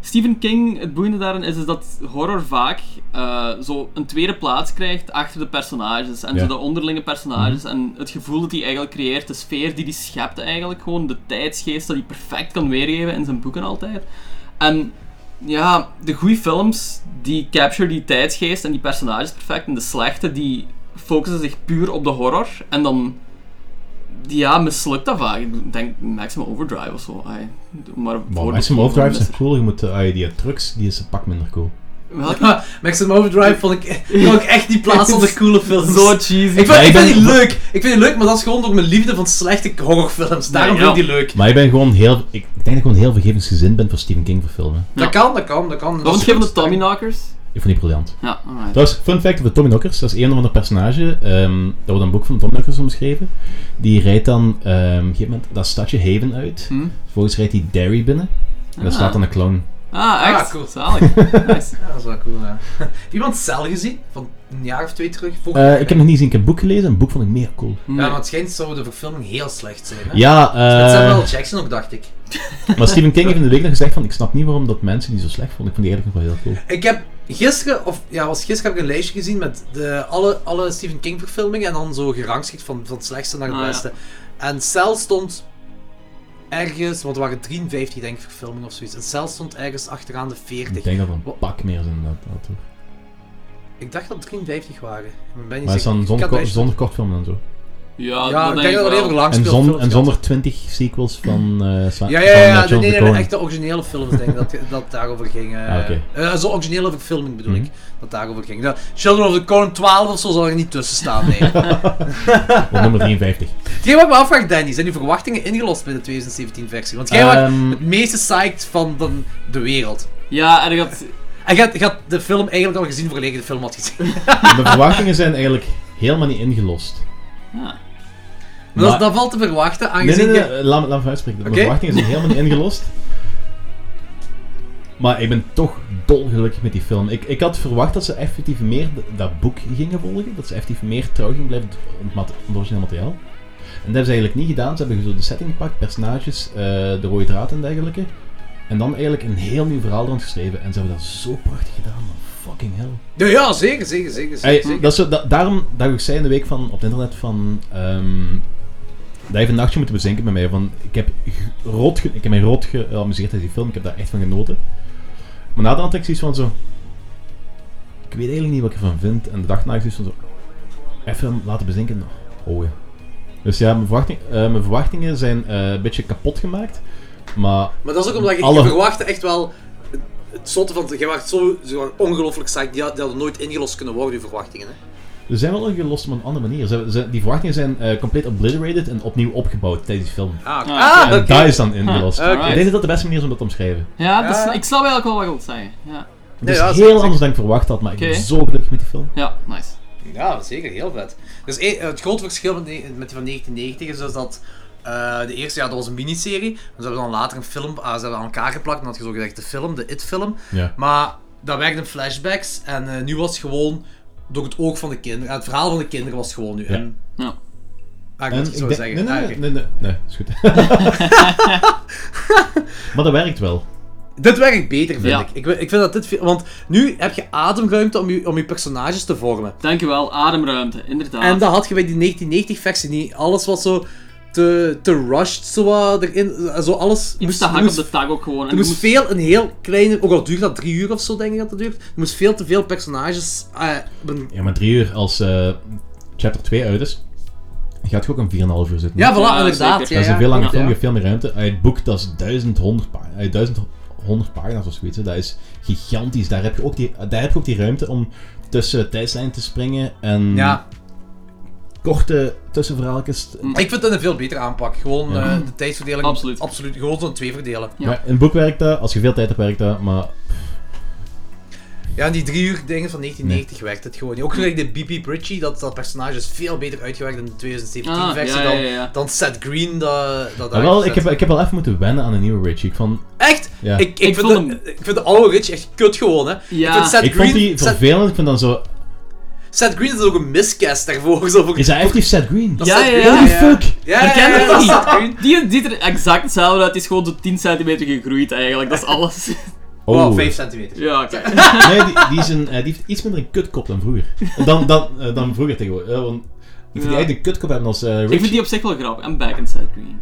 Speaker 2: Stephen King, het boeiende daarin is, is dat horror vaak eh, zo een tweede plaats krijgt achter de personages en
Speaker 3: Ja.
Speaker 2: zo de onderlinge personages en het gevoel dat hij eigenlijk creëert, de sfeer die hij schept eigenlijk, gewoon de tijdsgeest dat hij perfect kan weergeven in zijn boeken altijd. En ja, de goede films die capture die tijdsgeest en die personages perfect. En de slechte die focussen zich puur op de horror. En dan ja, mislukt dat vaak. Ik denk Maximum Overdrive of zo. ai, maar
Speaker 3: Maar
Speaker 2: voor-
Speaker 3: Maximum Overdrive is cool. Je moet, eh, die trucks, die is een pak minder cool.
Speaker 1: *laughs*
Speaker 2: Welke?
Speaker 1: Ha, *laughs* Maximum Overdrive vond ik, kon ik echt niet plaatsen
Speaker 2: *laughs*
Speaker 1: onder coole films.
Speaker 2: Zo cheesy.
Speaker 1: ik vind,
Speaker 3: Ja,
Speaker 1: ik
Speaker 3: ik
Speaker 1: vind
Speaker 3: ben-
Speaker 1: die leuk. Ik vind die leuk, maar dat is gewoon door mijn liefde van slechte horrorfilms. Daarom
Speaker 2: Ja,
Speaker 1: vind ik die leuk.
Speaker 3: Maar ik ben gewoon heel... Ik, ik denk dat ik gewoon heel vergevensgezind ben voor Stephen King voor filmen.
Speaker 2: Ja.
Speaker 1: Dat kan, dat kan, dat kan.
Speaker 2: Wat
Speaker 1: Dat
Speaker 2: vond
Speaker 1: is
Speaker 2: je van de
Speaker 1: goed.
Speaker 2: Tommyknockers?
Speaker 3: Ik vond die briljant.
Speaker 2: Ja, alright.
Speaker 3: Trouwens, fun fact over Tommy Knockers. Dat is een of ander personage. ehm, dat wordt in een boek van Tommy Knockers omschreven. Die rijdt dan ehm, op een gegeven moment dat stadje Haven uit.
Speaker 2: Hm?
Speaker 3: Vervolgens rijdt hij Derry binnen. En daar
Speaker 2: Ah.
Speaker 3: staat dan een clown.
Speaker 2: Ah, echt?
Speaker 1: Ah, cool. *laughs*
Speaker 2: Zalig. Nice.
Speaker 1: Ja, dat is wel cool, ja. *laughs* Heb je iemand Cell gezien? Van een jaar of twee terug? Volgend
Speaker 3: Eh,
Speaker 1: jaar.
Speaker 3: ik heb nog niet gezien. Ik heb een boek gelezen. Een boek vond ik mega cool.
Speaker 1: Ja,
Speaker 2: Nee.
Speaker 1: maar het schijnt zou de verfilming heel slecht zijn. Hè?
Speaker 3: Ja,
Speaker 1: Met
Speaker 3: eh...
Speaker 1: Samuel L. Jackson ook, dacht ik.
Speaker 3: Maar Stephen King heeft in de week nog gezegd van, ik snap niet waarom dat mensen die zo slecht vonden. Ik vond die eigenlijk nog wel heel cool.
Speaker 1: Ik heb gisteren, of ja, was gisteren heb ik een lijstje gezien met de, alle, alle Stephen King verfilmingen en dan zo gerangschikt van, van het slechtste naar het
Speaker 2: Ah, ja.
Speaker 1: beste. En Cell stond ergens, want er waren 53 denk ik verfilmingen of zoiets. En Cell stond ergens achteraan de 40.
Speaker 3: Ik denk dat er een
Speaker 1: Wat-
Speaker 3: pak meer zijn inderdaad. dat er-
Speaker 1: Ik dacht dat het 53 waren. Maar ben je
Speaker 3: Maar het is dan zonder, ko- zonder kortfilmen en zo.
Speaker 2: Ja,
Speaker 1: Ja,
Speaker 2: dat
Speaker 1: ik denk dat er
Speaker 2: wel.
Speaker 1: even lang
Speaker 3: En,
Speaker 1: speelt.
Speaker 3: zon, en zonder 20 sequels van, eh Sla-
Speaker 1: Ja,
Speaker 3: van
Speaker 1: ja,
Speaker 3: eh,
Speaker 1: ja,
Speaker 3: John
Speaker 1: nee, nee,
Speaker 3: de
Speaker 1: nee,
Speaker 3: Coen.
Speaker 1: de echte originele films denk ik dat, dat het daarover ging. eh.
Speaker 3: Ah, oké.
Speaker 1: Eh, zo originele verfilming bedoel
Speaker 3: Mhm.
Speaker 1: ik, dat daarover ging. Nou, Children of the Corn 12 of zo zal er niet tussen staan, nee.
Speaker 3: Op nummer
Speaker 1: *laughs*
Speaker 3: 53.
Speaker 1: Hetgeen wat ik me afvraag, Danny, zijn uw verwachtingen ingelost bij de 2017-versie? Want jij was
Speaker 3: Ehm,
Speaker 1: het meeste psyched van de, de wereld.
Speaker 2: Ja, en ik had...
Speaker 1: En je had, je had de film eigenlijk al gezien voordat je de film had gezien. *laughs*
Speaker 3: Mijn verwachtingen zijn eigenlijk helemaal niet ingelost.
Speaker 2: Ja.
Speaker 1: Maar dat,
Speaker 3: Maar-
Speaker 1: dat valt te verwachten,
Speaker 3: Nee, nee,
Speaker 1: aangezien
Speaker 3: nee, eh, laat, me- laat me uitspreken.
Speaker 1: Oké.
Speaker 3: Mijn verwachtingen zijn helemaal niet ingelost. Maar ik ben toch dolgelukkig met die film. Ik, ik had verwacht dat ze effectief meer d- dat boek gingen volgen. Dat ze effectief meer trouw gingen blijven aan het mat- aan het origineel materiaal. En dat hebben ze eigenlijk niet gedaan. Ze hebben zo de setting gepakt, personages, eh, de rode draad en dergelijke. En dan eigenlijk een heel nieuw verhaal rond geschreven. En ze hebben dat zo prachtig gedaan, man. Fucking hell.
Speaker 1: je... Ja, ja, zeker, zeker, zeker. zeker,
Speaker 3: Ey,
Speaker 1: zeker.
Speaker 3: dat is zo, da- daarom dat ik ook zei in de week van, op het internet van... ehm, dat heeft een nachtje moeten bezinken bij mij. Van, ik heb g- rot ge- ik heb mij rot geamuseerd uit die film. Ik heb daar echt van genoten. Maar na de had ik zoiets van zo... Ik weet eigenlijk niet wat ik ervan vind. En de dag na had ik zoiets van zo... Even laten bezinken. nou, Oh ja. Dus ja, mijn, verwachting, eh, mijn verwachtingen zijn eh, een beetje kapot gemaakt. Maar
Speaker 1: Maar dat is ook omdat ik,
Speaker 3: Alle-
Speaker 1: ik verwachtte echt wel... het- Het zotte van... Jij was zo, zo ongelooflijk psyched, die, had- die hadden nooit ingelost kunnen worden, uw verwachtingen. Hè?
Speaker 3: Ze zijn wel ingelost op een andere manier. Ze, ze- die verwachtingen zijn eh, compleet obliterated en opnieuw opgebouwd tijdens die film.
Speaker 1: Ah, oké.
Speaker 2: Ah,
Speaker 1: Ah,
Speaker 3: En
Speaker 1: oké.
Speaker 3: daar is dan ingelost.
Speaker 1: Ah, oké.
Speaker 3: Ik denk dat dat de beste manier is om dat te omschrijven.
Speaker 2: Ja, dat is-
Speaker 1: Ja.
Speaker 2: ik snap eigenlijk wel wat je wilt zeggen. Ja,
Speaker 3: Het
Speaker 1: Nee,
Speaker 3: is
Speaker 1: ja,
Speaker 3: heel
Speaker 1: zeker,
Speaker 3: anders dan ik verwacht had, maar ik
Speaker 2: Oké.
Speaker 3: ben zo gelukkig met die film.
Speaker 2: ja nice.
Speaker 1: Ja, zeker, heel vet. Dus eh, het grote verschil met, die- met die van 1990 is dus dat eh, de eerste, ja, dat was een miniserie. Dus ze hebben dan later een film, ah, ze hebben aan elkaar geplakt, en dan had je zogezegd de film, de It-film.
Speaker 3: Ja.
Speaker 1: Maar dat werkte in flashbacks en eh, nu was het gewoon door het oog van de kinderen. En het verhaal van de kinderen was het gewoon nu.
Speaker 3: Ja.
Speaker 1: En,
Speaker 2: Ja.
Speaker 1: Ah, ik
Speaker 3: En
Speaker 1: moet het
Speaker 3: ik
Speaker 1: zo
Speaker 3: denk-
Speaker 1: zeggen.
Speaker 3: nee,
Speaker 1: Ah,
Speaker 3: nee,
Speaker 1: oké.
Speaker 3: nee, nee, nee, nee, is goed.
Speaker 1: *laughs*
Speaker 3: maar dat werkt wel.
Speaker 1: Dit werkt beter, vind
Speaker 2: Ja.
Speaker 1: ik. ik. Ik vind dat dit... veel- Want nu heb je ademruimte om je, om je personages te vormen.
Speaker 2: Dankjewel, ademruimte, inderdaad.
Speaker 1: En dat had je bij die 1990-versie niet. Alles was zo te, te rushed, zo wat erin. Zo alles
Speaker 2: je moest de hak op de tak ook gewoon. En
Speaker 1: er
Speaker 2: je
Speaker 1: moest
Speaker 2: moest-
Speaker 1: veel, een heel kleine, ook al duurt dat drie uur of zo, denk ik dat het duurt. Er moest veel te veel personages. eh, op een-
Speaker 3: Ja, maar drie uur als eh, chapter 2 uit is, gaat je ook een 4,5 uur zitten.
Speaker 1: ja, voilà,
Speaker 2: Ja,
Speaker 1: inderdaad.
Speaker 2: zeker.
Speaker 1: Ja,
Speaker 3: dat is
Speaker 1: ja,
Speaker 3: een veel langer
Speaker 1: klopt, ja.
Speaker 3: film, je hebt veel meer ruimte. Uit het boek, dat is 1100, pa- eh, 1100 pagina's of zoiets. hè. Dat is gigantisch. Daar heb je ook die, daar heb je ook die ruimte om tussen tijdslijnen te springen en
Speaker 1: Ja,
Speaker 3: korte tussenverhaaltjes. te-
Speaker 2: Mm.
Speaker 1: ik vind het een veel betere aanpak. Gewoon
Speaker 3: Ja.
Speaker 1: eh, de tijdsverdeling.
Speaker 2: Absoluut.
Speaker 1: Absoluut. Gewoon zo'n twee verdelen.
Speaker 2: Ja.
Speaker 3: Maar in het boek werkt dat, als je veel tijd hebt werkt dat, maar
Speaker 1: Ja, en die drie uur dingen van 1990 werkt het gewoon niet. Ook gelijk de B.P. Pritchie, dat, dat personage is veel beter uitgewerkt in de 2017-versie
Speaker 2: Ah, ja, ja, ja, ja.
Speaker 1: dan, dan Seth Green. Dat, dat
Speaker 3: Maar Ah, wel,
Speaker 1: daar
Speaker 3: ik heb, ik heb wel even moeten wennen aan een nieuwe Richie. Ik, vond,
Speaker 1: Echt?
Speaker 3: Ja.
Speaker 1: Ik, ik,
Speaker 2: Ik
Speaker 1: vind
Speaker 2: vond
Speaker 1: de,
Speaker 2: hem-
Speaker 1: ik vind de oude Rich echt kut gewoon, hè.
Speaker 2: Ja.
Speaker 1: Ik vind Seth
Speaker 3: ik
Speaker 1: Green...
Speaker 3: vond die
Speaker 1: Seth,
Speaker 3: vervelend. Ik vind dan zo...
Speaker 1: Seth Green is ook een miscast daarvoor. *laughs* Zo voor,
Speaker 3: Is hij effectief Seth Green?
Speaker 1: dat
Speaker 2: Ja,
Speaker 1: Seth
Speaker 2: ja,
Speaker 1: Green-
Speaker 2: ja,
Speaker 3: Holy fuck!
Speaker 1: Ja, ja,
Speaker 2: Herken
Speaker 1: ja, dat
Speaker 2: je dat
Speaker 1: is
Speaker 2: niet?
Speaker 1: Seth Green.
Speaker 2: Die ziet er exact hetzelfde uit, die is gewoon tot 10 centimeter gegroeid eigenlijk, dat is alles.
Speaker 3: Oh.
Speaker 1: Wow, 5 centimeter.
Speaker 2: *laughs* ja, oké.
Speaker 3: Nee, die, die, is een, eh, die heeft iets minder een kutkop dan vroeger. Dan, dan, eh, dan vroeger tegenwoordig. eh, want ik vind
Speaker 2: Ja.
Speaker 3: die eigenlijk een kutkop hebben als eh Richie.
Speaker 2: Ik vind die op zich wel grappig. En back in Seth Green.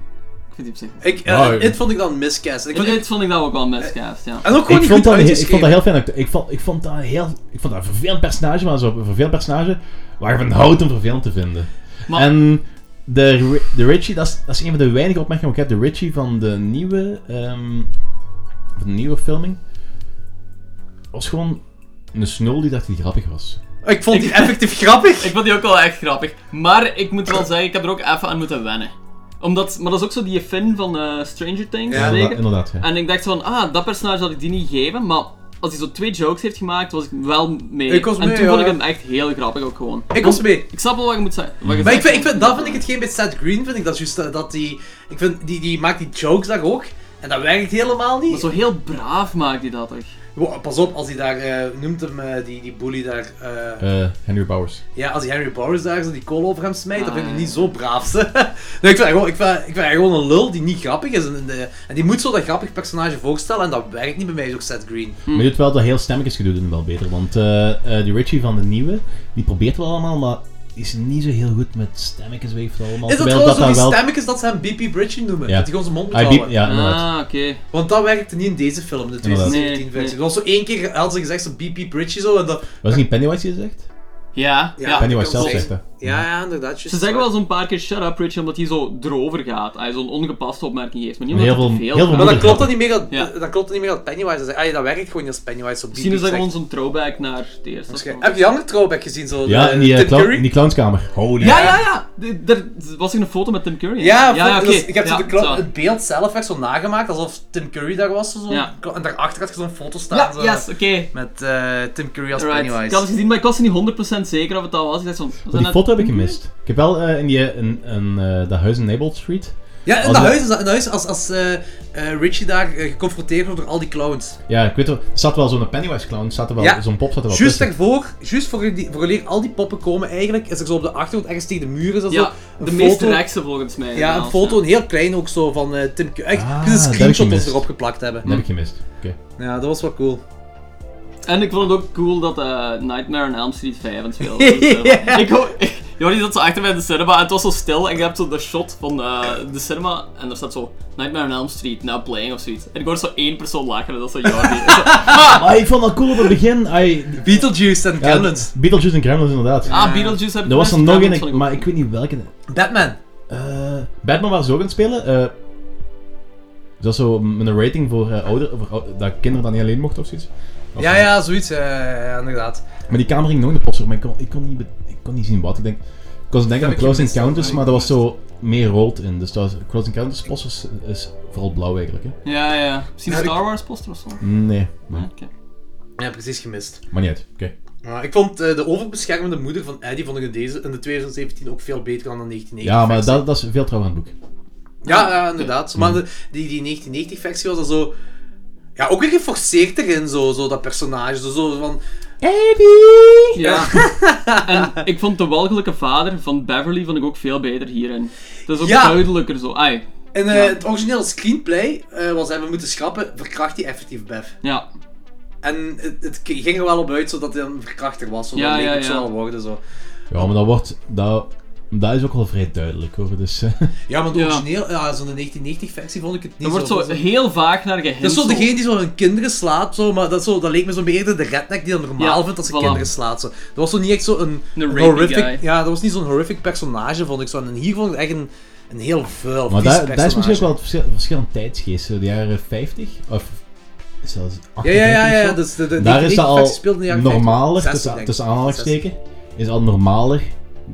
Speaker 2: Ik vind die op zich wel
Speaker 1: Ik, eh,
Speaker 3: Nou,
Speaker 1: dit vond ik dan een miscast. Ik
Speaker 2: En
Speaker 1: vond die-
Speaker 2: dit vond ik dat ook wel een miscast, ja.
Speaker 1: en ook gewoon
Speaker 3: Ik
Speaker 1: niet
Speaker 3: vond,
Speaker 1: goed
Speaker 3: dat, heel- ik vond
Speaker 1: uitgeschreven.
Speaker 3: dat heel fijn. acte- Ik vond, ik vond dat heel... Ik vond dat een vervelend personage, maar zo'n vervelend personage waar je van houdt om vervelend te vinden.
Speaker 2: Maar-
Speaker 3: En de, Ri- de Richie, dat is, dat is een van de weinige opmerkingen die ik heb. De Richie van de nieuwe... ehm, van de nieuwe filming was gewoon een snul die dacht dat hij grappig was.
Speaker 1: Ik vond die effectief grappig.
Speaker 2: Ik vond die ook wel echt grappig. Maar ik moet wel zeggen, ik heb er ook even aan moeten wennen. Omdat, maar dat is ook zo die Finn van eh, Stranger Things,
Speaker 1: Ja,
Speaker 3: Inderdaad,
Speaker 2: zeker?
Speaker 3: inderdaad ja.
Speaker 2: En ik dacht zo van, ah, dat personage had ik die niet geven, maar als hij zo twee jokes heeft gemaakt, was ik wel mee.
Speaker 1: Ik was
Speaker 2: en
Speaker 1: mee,
Speaker 2: toen
Speaker 1: ja,
Speaker 2: vond ik
Speaker 1: ja.
Speaker 2: hem echt heel grappig ook gewoon.
Speaker 1: Ik was mee.
Speaker 2: Ik snap wel wat je moet zeggen. wat je
Speaker 1: Maar ik
Speaker 2: zegt.
Speaker 1: vind, ik vind, dat vind ik hetgeen bij Seth Green, vind ik dat juist, eh, dat die, ik vind, die, die maakt die jokes daar ook. En dat werkt helemaal
Speaker 2: Maar
Speaker 1: niet.
Speaker 2: zo heel braaf maakt hij dat toch?
Speaker 1: Wow, pas op, als hij daar, eh, noemt hem eh, die, die bully daar, eh,
Speaker 3: Eh, Henry Bowers.
Speaker 1: Ja, als die Henry Bowers daar zo die kool over hem smijt, dat
Speaker 2: Ah,
Speaker 1: vind ik
Speaker 2: ja.
Speaker 1: niet zo braaf. *laughs* nee, ik, vind haar gewoon, ik, vind, haar- ik vind haar gewoon een lul die niet grappig is. En, en, eh, en die moet zo dat grappig personage voorstellen en dat werkt niet bij mij, zo Seth Green.
Speaker 3: Maar je doet wel dat heel stemmig is gedoe wel beter. Want eh, eh, die Richie van de nieuwe, die probeert wel allemaal, maar is niet zo heel goed met stemmetjes weet allemaal.
Speaker 1: Is dat
Speaker 3: Terwijl
Speaker 1: trouwens zo die
Speaker 3: daar
Speaker 1: stemmetjes dat ze hem BP Bridge noemen?
Speaker 3: Ja.
Speaker 1: Dat hij gewoon zijn mond moet
Speaker 3: Hij
Speaker 1: houden.
Speaker 3: beep- ja, inderdaad.
Speaker 2: ah, oké.
Speaker 1: Want dat werkte niet in deze film, de
Speaker 3: Inderdaad.
Speaker 1: 2017
Speaker 2: Nee,
Speaker 1: versie. Er was zo één keer, had ze gezegd, zo BP Bridge zo en dat...
Speaker 3: Was het niet Pennywise die het zegt?
Speaker 1: Ah,
Speaker 2: Ja, ja.
Speaker 1: Ja.
Speaker 3: Pennywise zelf
Speaker 1: klopt.
Speaker 3: zegt dat.
Speaker 1: Ja, ja, inderdaad.
Speaker 2: Ze zeggen wel zo'n paar keer shut up, Richie, omdat hij zo erover gaat. Hij zo'n ongepaste opmerking heeft, maar niet
Speaker 3: Heel
Speaker 2: omdat hij te veel
Speaker 3: veel- heel
Speaker 2: praat.
Speaker 3: veel
Speaker 1: Maar dan
Speaker 3: moeder
Speaker 1: klopt dat niet meer dat,
Speaker 2: Ja.
Speaker 1: dan klopt dat niet meer dat Pennywise dat zegt. Ah, ja, dat werkt gewoon niet als Pennywise op BP
Speaker 2: Misschien is dat
Speaker 1: zegt.
Speaker 2: gewoon zo'n throwback naar de eerste film.
Speaker 1: Waarschijnlijk. Heb je die andere throwback gezien? Zo,
Speaker 3: Ja,
Speaker 1: eh,
Speaker 3: in die, eh,
Speaker 1: Tim
Speaker 3: clown-
Speaker 1: Curry?
Speaker 3: in die clownskamer. Holy
Speaker 2: Ja, ja, ja! D- Er was hier een foto met Tim Curry.
Speaker 1: Ja, vond-
Speaker 2: oké.
Speaker 1: dus ik heb zo
Speaker 2: Ja,
Speaker 1: de kla-
Speaker 2: zo.
Speaker 1: het beeld zelf echt zo nagemaakt, alsof Tim Curry daar was. Zo,
Speaker 2: Ja.
Speaker 1: En daarachter had je zo'n foto staan.
Speaker 2: Ja,
Speaker 1: zo,
Speaker 2: yes, oké.
Speaker 1: Met eh, Tim Curry als
Speaker 2: Alright. Ik
Speaker 1: Pennywise.
Speaker 2: had het gezien, maar ik was er niet 100% zeker of het dat was. Ik dacht zo'n... was
Speaker 3: Maar
Speaker 2: dat
Speaker 3: die foto heb ik
Speaker 2: Tim Curry?
Speaker 3: gemist. Ik heb wel eh, in, die, in, in eh, dat huis in Nabald Street.
Speaker 1: Ja, in
Speaker 3: Als
Speaker 1: dat
Speaker 3: je-
Speaker 1: huis, in dat huis als, als eh, eh, Richie daar eh, geconfronteerd wordt door al die clowns.
Speaker 3: Ja, ik weet wel, er zat wel zo'n Pennywise clown, zat er wel,
Speaker 1: Ja.
Speaker 3: zo'n pop zat er wel
Speaker 1: Juist
Speaker 3: tussen.
Speaker 1: daarvoor, juist voor, die, voor leer al die poppen komen eigenlijk, is er zo op de achtergrond ergens tegen de muur is dat
Speaker 2: Ja,
Speaker 1: zo
Speaker 2: de
Speaker 1: een
Speaker 2: meest
Speaker 1: foto-
Speaker 2: rechtse volgens mij.
Speaker 1: Ja, een
Speaker 2: inderdaad,
Speaker 1: foto, een heel klein ook zo van eh, Tim Curry. Echt,
Speaker 3: Ah,
Speaker 1: het
Speaker 3: dat
Speaker 1: is een
Speaker 3: heb ik
Speaker 1: screenshot dat
Speaker 3: gemist.
Speaker 1: ze erop geplakt hebben.
Speaker 3: Dat heb ik gemist. Oké.
Speaker 1: Ja, dat was wel cool.
Speaker 2: En ik vond het ook cool dat eh, Nightmare on Elm Street 5 aan het spelen was in de cinema.
Speaker 1: Ja.
Speaker 2: Ik hoor... Jordi zat zo achter mij in de cinema en het was zo stil en ik heb zo de shot van eh, de cinema en er staat zo Nightmare on Elm Street now playing of zoiets. En ik hoorde zo één persoon lachen en dat is zo Jordi. Ik zo, "Ah,
Speaker 1: Ah.
Speaker 3: Maar Ah, ik vond dat cool op het begin. I,
Speaker 1: Beetlejuice en
Speaker 3: ja,
Speaker 1: Gremlins.
Speaker 3: Beetlejuice en Gremlins, inderdaad.
Speaker 2: ah, Beetlejuice heb ik
Speaker 3: er was er
Speaker 2: gemist,
Speaker 3: nog
Speaker 2: Gremlins vond
Speaker 3: een, maar ik weet niet welke.
Speaker 1: Batman.
Speaker 3: Eh, Batman waren ze ook aan het spelen. eh, is dat zo met een rating voor, eh, ouder, voor ou- dat kinderen dan niet alleen mochten of zoiets? Of-
Speaker 1: Ja, ja, zoiets. eh, ja, inderdaad.
Speaker 3: Maar die camera ging nooit op poster, maar ik kon, ik kon, niet, be- ik kon niet zien wat. Ik, denk, ik was denken aan
Speaker 1: heb ik
Speaker 3: Close
Speaker 1: gemist,
Speaker 3: Encounters,
Speaker 1: dat
Speaker 3: maar
Speaker 1: heb
Speaker 3: dat
Speaker 1: ik
Speaker 3: was zo meer rood in. Dus dat was, Close Encounters posters is vooral blauw eigenlijk. Hè?
Speaker 2: Ja, ja. Misschien
Speaker 1: Ja,
Speaker 2: een
Speaker 1: ik-
Speaker 2: Star Wars poster of zo.
Speaker 3: Nee,
Speaker 2: Ja,
Speaker 3: maar,
Speaker 2: oké.
Speaker 1: Ja, precies gemist.
Speaker 3: maar niet uit. Oké.
Speaker 1: Maar ik vond eh, de overbeschermende moeder van Eddie vond ik in, deze, in de 2017 ook veel beter dan de 1990
Speaker 3: Ja, maar
Speaker 1: versie.
Speaker 3: dat, dat is veel trouw aan het boek.
Speaker 1: Ja, ja, inderdaad. Maar de- die, die 1990 versie was dat zo... Ja, ook weer geforceerd erin, zo, zo dat personage. Zo, zo van...
Speaker 2: Ja. en ik vond de walgelijke vader van Beverly vond ik ook veel beter hierin. Dat is ook
Speaker 1: Ja.
Speaker 2: duidelijker zo. Ai,
Speaker 1: In eh,
Speaker 2: Ja.
Speaker 1: het originele screenplay eh, was hij, we moeten schrappen, verkracht hij effectief Bev.
Speaker 2: ja.
Speaker 1: En het, het ging er wel op uit, zodat hij een verkrachter was. Zo,
Speaker 2: Ja,
Speaker 1: dat leek
Speaker 2: ja,
Speaker 1: ook
Speaker 2: ja.
Speaker 1: zo wel worden, zo.
Speaker 3: Ja, maar dat wordt. Dat, dat is ook wel vrij duidelijk hoor. Dus, eh,
Speaker 1: Ja, maar het
Speaker 2: Ja.
Speaker 1: origineel, ja, zo'n 1990 versie vond ik het niet
Speaker 2: Er wordt
Speaker 1: zo...
Speaker 2: zo heel vaak naar gehint.
Speaker 1: Dat is zo degene die zo hun kinderen slaat, zo, maar dat, zo, dat leek me zo meer eerder de redneck die dat normaal
Speaker 2: Ja,
Speaker 1: vindt als ze
Speaker 2: voilà.
Speaker 1: kinderen slaat. Zo. Dat was zo niet echt zo'n
Speaker 2: Een rapey
Speaker 1: horrific...
Speaker 2: guy.
Speaker 1: Ja, dat was niet zo'n horrific personage, vond ik zo. En hier vond ik het echt een, een heel vuil,
Speaker 3: maar
Speaker 1: vies
Speaker 3: dat, dat is
Speaker 1: personage.
Speaker 3: misschien ook wel het verschil, verschil aan tijdsgeest. zo De jaren 50 of zelfs 58.
Speaker 1: Ja, ja, ja, ja.
Speaker 3: of
Speaker 1: ja.
Speaker 3: zo.
Speaker 1: Dus de, de,
Speaker 3: Daar is dat al
Speaker 1: speelde in de jaren 50,
Speaker 3: normaler,
Speaker 1: 60,
Speaker 3: tussen,
Speaker 1: denk ik.
Speaker 3: tussen aanhalingstekens, is al normaler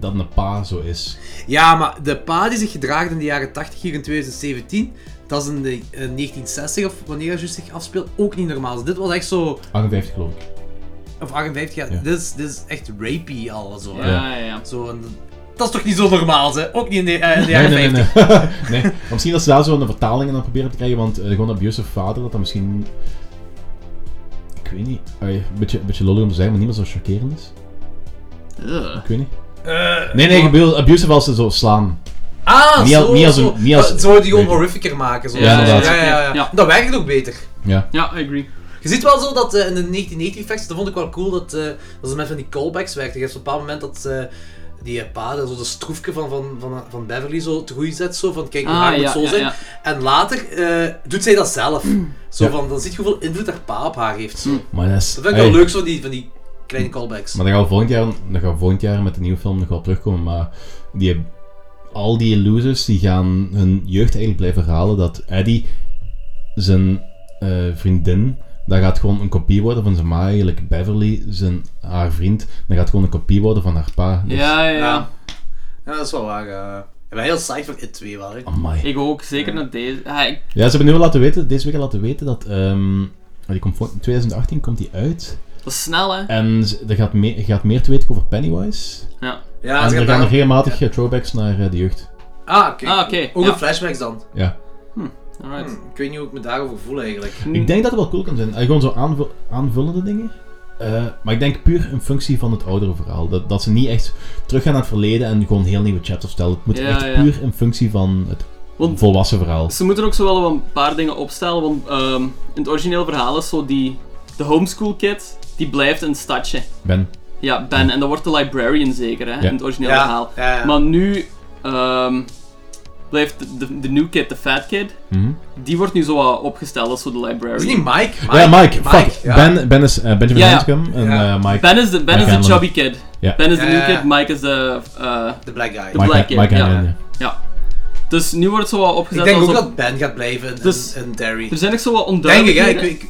Speaker 3: dat een pa zo is.
Speaker 1: Ja, maar de pa die zich gedraagt in de jaren 80 hier in 2017, dat is in de eh, 1960 of wanneer het juist zich afspeelt, ook niet normaal. Dus dit was echt zo...
Speaker 3: 58 geloof ik.
Speaker 1: Of 58 jaar,
Speaker 3: Ja.
Speaker 1: dit, is, dit is echt rapey al, zo. hè.
Speaker 2: Ja, ja, ja.
Speaker 1: Zo, en dat is toch niet zo normaal, hè? Ook niet in de, eh, in de
Speaker 3: Nee,
Speaker 1: jaren
Speaker 3: nee,
Speaker 1: 50.
Speaker 3: nee. nee. nee. *laughs* Maar misschien dat ze daar zo'n vertaling aan proberen te krijgen, want eh, gewoon abusive vader, dat dat misschien... Ik weet niet. Ai, Een beetje, een beetje lollig om te zeggen, maar niet meer zo chockerend is.
Speaker 2: Ugh.
Speaker 3: Ik weet niet.
Speaker 1: Eh,
Speaker 3: nee, nee, ik bedoel abusive als ze zo slaan.
Speaker 1: Ah,
Speaker 3: Niet
Speaker 1: zo,
Speaker 3: al- niet als
Speaker 1: zo.
Speaker 3: een- niet als-
Speaker 1: Ah, Ze worden die gewoon
Speaker 3: weet ik.
Speaker 1: horrificer maken. Zo.
Speaker 2: Ja,
Speaker 3: inderdaad.
Speaker 1: Ja, ja, ja,
Speaker 2: Ja.
Speaker 1: Dat werkt ook beter.
Speaker 3: Ja.
Speaker 2: Ja, I agree.
Speaker 1: Je ziet wel zo dat eh, in de 1990 versie, dat vond ik wel cool, dat, eh, dat ze met van die callbacks werkten. Je hebt op een bepaald moment dat eh, die eh, pa, dat zo de stroefje van, van, van, van Beverly zo te goeie zet, zo van kijk, hoe
Speaker 2: Ah,
Speaker 1: haar moet
Speaker 2: ja,
Speaker 1: zo
Speaker 2: ja,
Speaker 1: zijn.
Speaker 2: ja.
Speaker 1: En later eh, doet zij dat zelf. Zo
Speaker 3: Ja.
Speaker 1: van, dan ziet je hoeveel invloed haar pa op haar heeft. Zo.
Speaker 3: Maar dat is...
Speaker 1: Dat vind ik
Speaker 3: ai.
Speaker 1: wel leuk, zo die, van die kleine callbacks.
Speaker 3: Maar dan gaan we volgend jaar, dan gaan we volgend jaar met de nieuwe film nog wel terugkomen. Maar die, al die losers die gaan hun jeugd eigenlijk blijven herhalen. Dat Eddie, zijn eh, vriendin, dat gaat gewoon een kopie worden van zijn ma eigenlijk. Beverly, zijn, haar vriend, dat gaat gewoon een kopie worden van haar pa. Dus,
Speaker 2: Ja, ja, ja.
Speaker 1: Ja. Ja, dat is wel waar. eh. Ik ben heel psyched voor it 2 wel, hè.
Speaker 3: Amai.
Speaker 2: Ik ook, zeker na deze. Ah, ik-
Speaker 3: Ja, ze hebben nu al laten weten, deze week al laten weten dat... ehm, die komt vol- 2018 komt die uit.
Speaker 2: Dat is snel, hè?
Speaker 3: En ze- er gaat, meer gaat meer te weten over Pennywise.
Speaker 2: Ja.
Speaker 1: Ja,
Speaker 3: en
Speaker 1: ze
Speaker 3: er
Speaker 1: gaan
Speaker 3: gaan
Speaker 1: daar-
Speaker 3: nog regelmatig eh, throwbacks naar eh, de jeugd.
Speaker 1: Ah, oké.
Speaker 2: Ah, oké,
Speaker 1: Ook
Speaker 2: ja.
Speaker 1: een flashbacks dan.
Speaker 3: Ja.
Speaker 2: Alright.
Speaker 1: Hm, Ik weet niet hoe ik me daarover voel eigenlijk.
Speaker 3: Ik denk dat het wel cool kan zijn. Eh, Gewoon zo aanvu- aanvullende dingen. Eh, maar ik denk puur een functie van het oudere verhaal. Dat, dat ze niet echt teruggaan naar het verleden en gewoon heel nieuwe chapters vertellen. Het moet
Speaker 2: Ja,
Speaker 3: echt
Speaker 2: ja.
Speaker 3: puur een functie van het
Speaker 2: Want-
Speaker 3: volwassen verhaal.
Speaker 2: Ze moeten ook zo wel een paar dingen opstellen, want ehm, in het origineel verhaal is zo die... De homeschool kid, die blijft een stadje.
Speaker 3: Ben.
Speaker 2: Ja, Ben, en dat wordt de librarian zeker, hè,
Speaker 3: Ja.
Speaker 2: in het origineel
Speaker 1: Ja,
Speaker 2: verhaal.
Speaker 1: ja, ja.
Speaker 2: Maar nu ehm, blijft de, de, de new kid, de fat kid,
Speaker 3: Mhm.
Speaker 2: die wordt nu zo wat opgesteld als zo de librarian.
Speaker 1: Is het niet Mike? Mike?
Speaker 3: ja, Mike.
Speaker 1: Mike,
Speaker 3: fuck.
Speaker 1: ja.
Speaker 3: Ben, ben is eh, Benjamin
Speaker 2: Ja, ja.
Speaker 3: Hanscom en
Speaker 1: Ja.
Speaker 3: eh, Mike.
Speaker 2: Ben is de, ben
Speaker 3: Mike
Speaker 2: is de
Speaker 3: Hanlon.
Speaker 2: chubby kid.
Speaker 3: Ja.
Speaker 2: Ben is de
Speaker 1: Ja,
Speaker 2: new
Speaker 1: ja, ja.
Speaker 2: kid, Mike is de... eh,
Speaker 1: De black guy.
Speaker 2: Mike. Black
Speaker 3: Mike,
Speaker 2: Kid,
Speaker 3: Mike
Speaker 2: ja.
Speaker 3: Hanlon, ja.
Speaker 2: ja. Dus nu wordt zo wat opgezet
Speaker 1: ik denk
Speaker 2: als
Speaker 1: ook
Speaker 2: op-
Speaker 1: dat Ben gaat blijven in,
Speaker 2: Dus-
Speaker 1: in, in Derry.
Speaker 2: Er zijn echt zo wat
Speaker 1: Denk ik, hè.
Speaker 2: onduidelijkheden.
Speaker 1: Ik, ik-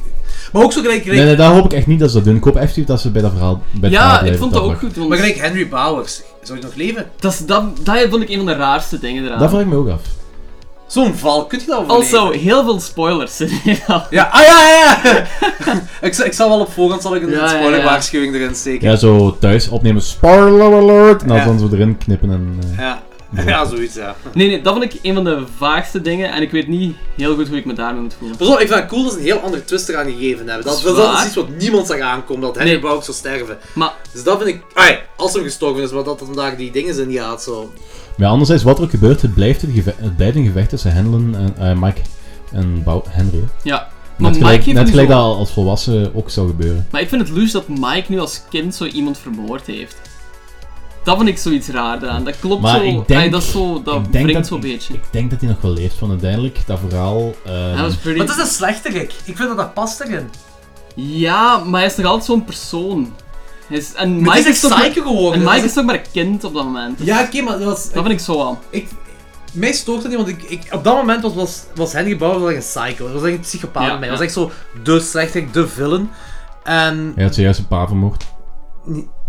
Speaker 1: maar ook zo gelijk... gelijk-
Speaker 3: Nee, nee, daar hoop ik echt niet dat ze dat doen. Ik hoop echt dat ze bij dat verhaal bij het verhaal
Speaker 2: Ja, ik
Speaker 3: blijven,
Speaker 2: vond dat
Speaker 3: dat
Speaker 2: ook
Speaker 3: mag.
Speaker 2: goed, want
Speaker 1: Maar gelijk Henry Bowers. Zou hij nog leven?
Speaker 2: dat, is- dat, dat vond ik een van de raarste dingen eraan.
Speaker 3: Dat vraag ik me ook af.
Speaker 1: Zo'n val, kun je dat overleven?
Speaker 2: Also, heel veel spoilers *laughs* in dit verhaal.
Speaker 1: Ja, ah ja, ja, ja. *laughs* ik, zal- ik zal wel op voorhand zal ik een
Speaker 2: Ja, ja,
Speaker 1: spoiler
Speaker 2: ja.
Speaker 1: spoilerwaarschuwing erin steken.
Speaker 3: Ja, zo thuis opnemen. Spoiler alert! En dan
Speaker 1: Ja.
Speaker 3: dan zo erin knippen en... eh,
Speaker 1: Ja. Ja. zoiets, ja.
Speaker 2: Nee, nee, dat vond ik een van de vaagste dingen en ik weet niet heel goed hoe ik me daarmee moet voelen.
Speaker 1: Pas op, ik vind het cool dat ze een heel andere twist eraan gegeven hebben. Dat, dat, dat
Speaker 2: Zwaar.
Speaker 1: is iets wat niemand zag aankomen, dat Henry
Speaker 2: Nee.
Speaker 1: Bowers zou sterven.
Speaker 2: Maar
Speaker 1: Dus dat vind ik... Ai, als hem gestorven is, maar dat hem daar die dingen in gaat, zo.
Speaker 3: Maar ja, anderzijds, wat er ook gebeurt, het blijft een gevecht, het blijft een gevecht tussen Hendlen en eh, Mike en Bou Henry. hè.
Speaker 2: ja, maar
Speaker 3: Net gelijk,
Speaker 2: Mike heeft
Speaker 3: net
Speaker 2: nu
Speaker 3: gelijk
Speaker 2: zo-
Speaker 3: dat als volwassen ook zou gebeuren.
Speaker 2: Maar ik vind het loes dat Mike nu als kind zo iemand vermoord heeft. Dat vond ik zoiets raar aan. Dat klopt
Speaker 3: Maar
Speaker 2: zo.
Speaker 3: ik denk-
Speaker 2: Ay, dat is zo, dat
Speaker 3: ik denk
Speaker 2: wringt
Speaker 3: dat-
Speaker 2: zo'n beetje.
Speaker 3: Ik denk dat hij nog wel leeft, want uiteindelijk dat verhaal... eh,
Speaker 2: Hij was pretty...
Speaker 1: Maar het is een slechterik. Ik vind dat dat past erin.
Speaker 2: Ja, maar hij is nog altijd zo'n persoon. Hij is... En
Speaker 1: Maar
Speaker 2: Mike
Speaker 1: het is
Speaker 2: toch
Speaker 1: echt
Speaker 2: maar-
Speaker 1: psycho
Speaker 2: En
Speaker 1: geworden.
Speaker 2: Mike
Speaker 1: Dat
Speaker 2: is toch maar een kind op dat moment.
Speaker 1: Ja, oké, maar dat was...
Speaker 2: Dat vind ik zo aan.
Speaker 1: Ik, mij stoort het niet, want ik, ik, op dat moment was, was, was Henry Bowers wel echt een psycho. Dat was echt een psychopaat
Speaker 2: Ja,
Speaker 1: bij mij.
Speaker 2: ja.
Speaker 1: Dat was echt zo de slechterik, de villain. En
Speaker 3: Hij had zojuist een paar vermoord.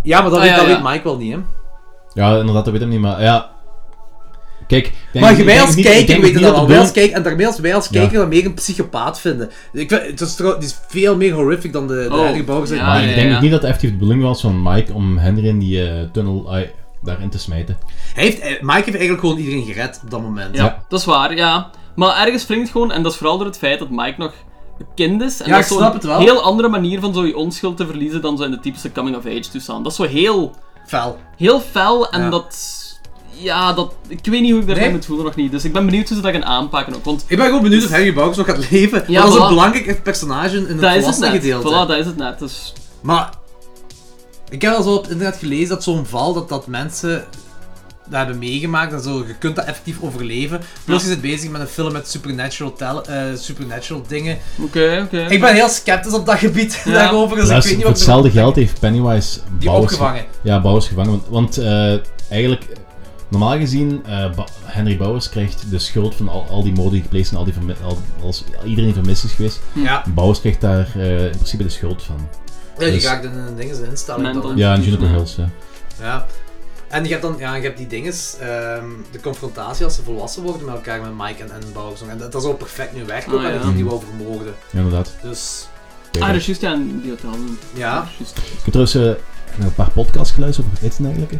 Speaker 1: ja, maar dat,
Speaker 2: Ah,
Speaker 1: weet,
Speaker 2: ja,
Speaker 1: dat
Speaker 2: ja.
Speaker 1: weet Mike wel niet, hè.
Speaker 3: Ja, inderdaad, dat weet ik niet, maar ja... Kijk... ik denk-
Speaker 1: Maar
Speaker 3: ik
Speaker 1: je wij
Speaker 3: denk
Speaker 1: als
Speaker 3: niet- ik
Speaker 1: kijker
Speaker 3: denk
Speaker 1: weten
Speaker 3: niet
Speaker 1: dat
Speaker 3: de
Speaker 1: wel. Wij
Speaker 3: Bill-
Speaker 1: als kijker, en daarmee als wij als
Speaker 3: Ja.
Speaker 1: kijker dat meer een psychopaat vinden. Ik vind, het, is trouw- het is veel meer horrific dan de, de
Speaker 2: Oh,
Speaker 1: Henry Bowers.
Speaker 2: ja.
Speaker 3: Maar
Speaker 1: Maar
Speaker 3: ik denk ook niet dat het effectief de bedoeling was van Mike om Henry in die eh, tunnel ai, daarin te smijten.
Speaker 1: hij heeft, eh, Mike heeft eigenlijk gewoon iedereen gered op dat moment.
Speaker 2: Ja,
Speaker 3: Ja.
Speaker 2: dat is waar, ja. Maar ergens wringt het gewoon, en dat is vooral door het feit dat Mike nog een kind is. En
Speaker 1: Ja,
Speaker 2: dat
Speaker 1: ik
Speaker 2: is zo'n
Speaker 1: snap het wel.
Speaker 2: heel andere manier van zo je onschuld te verliezen dan zo in de typische coming-of-age toestand. Dat is zo heel,
Speaker 1: Fel.
Speaker 2: heel fel en
Speaker 1: Ja.
Speaker 2: dat... Ja, dat, ik weet niet hoe ik daarmee
Speaker 1: Nee?
Speaker 2: moet voelen nog niet. Dus ik ben benieuwd hoe ze dat gaan aanpakken ook. Want
Speaker 1: Ik ben gewoon benieuwd of Henry Bowers nog gaat leven.
Speaker 2: Ja,
Speaker 1: want dat is
Speaker 2: voilà.
Speaker 1: een belangrijk personage in het
Speaker 2: dat is het
Speaker 1: volwassene
Speaker 2: net.
Speaker 1: gedeelte.
Speaker 2: Voilà, dat is het net. Dus,
Speaker 1: Maar ik heb al zo op het internet gelezen dat zo'n val, dat, dat mensen dat hebben meegemaakt en zo, je kunt dat effectief overleven. Plus
Speaker 2: Ja.
Speaker 1: je zit bezig met een film met supernatural, tel- eh, supernatural dingen.
Speaker 2: oké, oké.
Speaker 1: Ik ben heel sceptisch op dat gebied *laughs*
Speaker 2: Ja.
Speaker 1: daarover, dus
Speaker 3: Luister,
Speaker 1: ik
Speaker 3: voor
Speaker 1: weet niet wat
Speaker 3: hetzelfde geld heeft Pennywise
Speaker 1: die
Speaker 3: Bowers-
Speaker 1: opgevangen.
Speaker 3: Ja, Bowers gevangen. Want, want eh, eigenlijk, eh, normaal gezien, eh, Ba- Henry Bowers krijgt de schuld van al, al die moorden die gepleegd zijn, al die vermi- al, als iedereen vermist is geweest.
Speaker 1: Ja,
Speaker 3: Bowers krijgt daar eh, in principe de schuld van.
Speaker 1: ja die
Speaker 3: Dus-
Speaker 1: ga ik dan in een ding in een instelling
Speaker 2: Mental.
Speaker 1: dan. hè.
Speaker 3: Ja, en Juniper Hills, ja.
Speaker 1: Ja. En je hebt dan, ja, je hebt die dinges, ehm, de confrontatie als ze volwassen worden met elkaar, met Mike en, en Bowers. En dat, dat zou perfect nu werken, ook
Speaker 2: Ah,
Speaker 1: en
Speaker 2: ja.
Speaker 1: dat die niet wou vermoorden.
Speaker 3: Ja, inderdaad.
Speaker 1: Dus,
Speaker 2: Ah, dat is juist ja, in die hotel.
Speaker 1: ja.
Speaker 2: Dat is juist.
Speaker 3: Ik heb trouwens eh, naar een paar podcasts geluisterd over Eten eigenlijk. hè.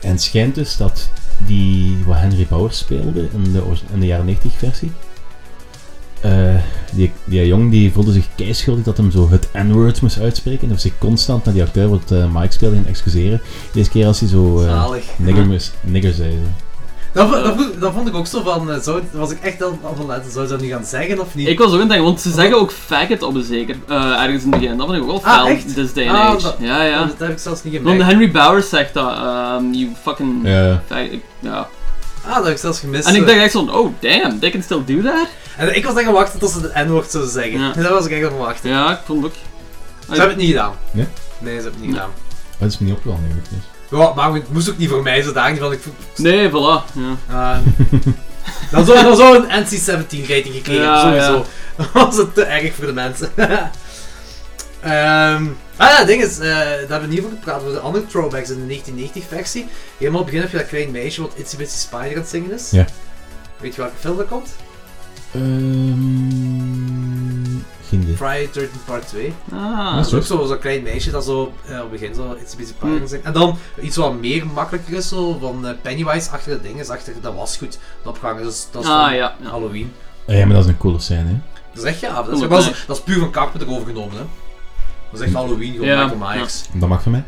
Speaker 3: En het schijnt dus dat die, wat Henry Bowers speelde in de, oors- in de jaren 90 versie, eh, die, die jong die voelde zich keischuldig dat hem zo het N-word moest uitspreken. En dat zich constant naar die acteur wat eh, Mike speelde en excuseren. Deze keer als hij zo eh,
Speaker 1: Zalig.
Speaker 3: nigger, moest- nigger zei. zo.
Speaker 1: Dat, vo- dat, vo- dat vond ik ook zo van, eh, zou, was ik echt aan aan van letten, zou ze dat nu gaan zeggen of niet?
Speaker 2: Ik was ook aan het denken, want ze zeggen ook faggot op een zeker, eh, ergens in het begin. Dat vond ik ook wel fel,
Speaker 1: Ah, echt?
Speaker 2: this day
Speaker 1: Ah,
Speaker 2: and age.
Speaker 1: dat-
Speaker 2: ja, ja.
Speaker 1: Dat heb ik zelfs niet
Speaker 2: Want
Speaker 1: gemerkt.
Speaker 2: Henry Bowers zegt dat, ehm, you fucking...
Speaker 3: Ja.
Speaker 2: fag- ik- ja.
Speaker 1: Ah, dat heb ik zelfs gemist.
Speaker 2: En
Speaker 1: zo.
Speaker 2: ik dacht echt zo, oh damn, they can still do that?
Speaker 1: En ik was echt aan het wachten tot ze het N-woord zouden zeggen.
Speaker 2: Ja.
Speaker 1: *laughs* Dat was ik echt aan het wachten.
Speaker 2: Ja, ik vond het ook...
Speaker 1: Ze hebben het niet gedaan.
Speaker 3: Nee?
Speaker 1: Nee, ze hebben het
Speaker 2: Nee.
Speaker 1: niet gedaan.
Speaker 3: dat is me niet opgevallen eigenlijk. Dus.
Speaker 1: Ja, maar het moest ook niet voor mij zodanig, want ik... voel-
Speaker 2: Nee, voilà. Ja. *laughs*
Speaker 1: Ah. dan zou dan zou een NC-17 rating gekregen
Speaker 2: Ja,
Speaker 1: sowieso.
Speaker 2: ja.
Speaker 1: Dan *laughs* was het te erg voor de mensen. *laughs* Ehm, ah ja, het ding is, eh, daar hebben we niet over gepraat, over de andere throwbacks in de 1990-versie. Helemaal op het begin heb je dat klein meisje wat Itsy Bitsy Spider aan het zingen is.
Speaker 3: Ja.
Speaker 1: Weet je welke film dat komt?
Speaker 3: Ehm, geen idee.
Speaker 1: Friday 13 Part 2.
Speaker 2: Ah.
Speaker 3: Dat
Speaker 1: Dat
Speaker 3: is Hmm.
Speaker 1: is ook
Speaker 3: goed.
Speaker 1: zo, zo'n klein meisje dat zo eh, op het begin zo Itsy Bitsy Spider
Speaker 2: Hm.
Speaker 1: zingt. En dan iets wat meer makkelijker is, zo, van eh, Pennywise achter de ding is, achter dat was goed. De opgang is, dat is
Speaker 2: Ah,
Speaker 1: van
Speaker 2: ja, ja.
Speaker 1: Halloween.
Speaker 3: Eh, Ja, maar dat is een coole scène, hè.
Speaker 1: Dat is echt gaaf. Dat is, maar
Speaker 2: Cool,
Speaker 1: dat,
Speaker 2: nee.
Speaker 1: is, dat is puur van Carpenter overgenomen, hè. Dat is echt Halloween, gewoon
Speaker 2: Ja,
Speaker 1: Michael Myers.
Speaker 3: Dat mag van mij.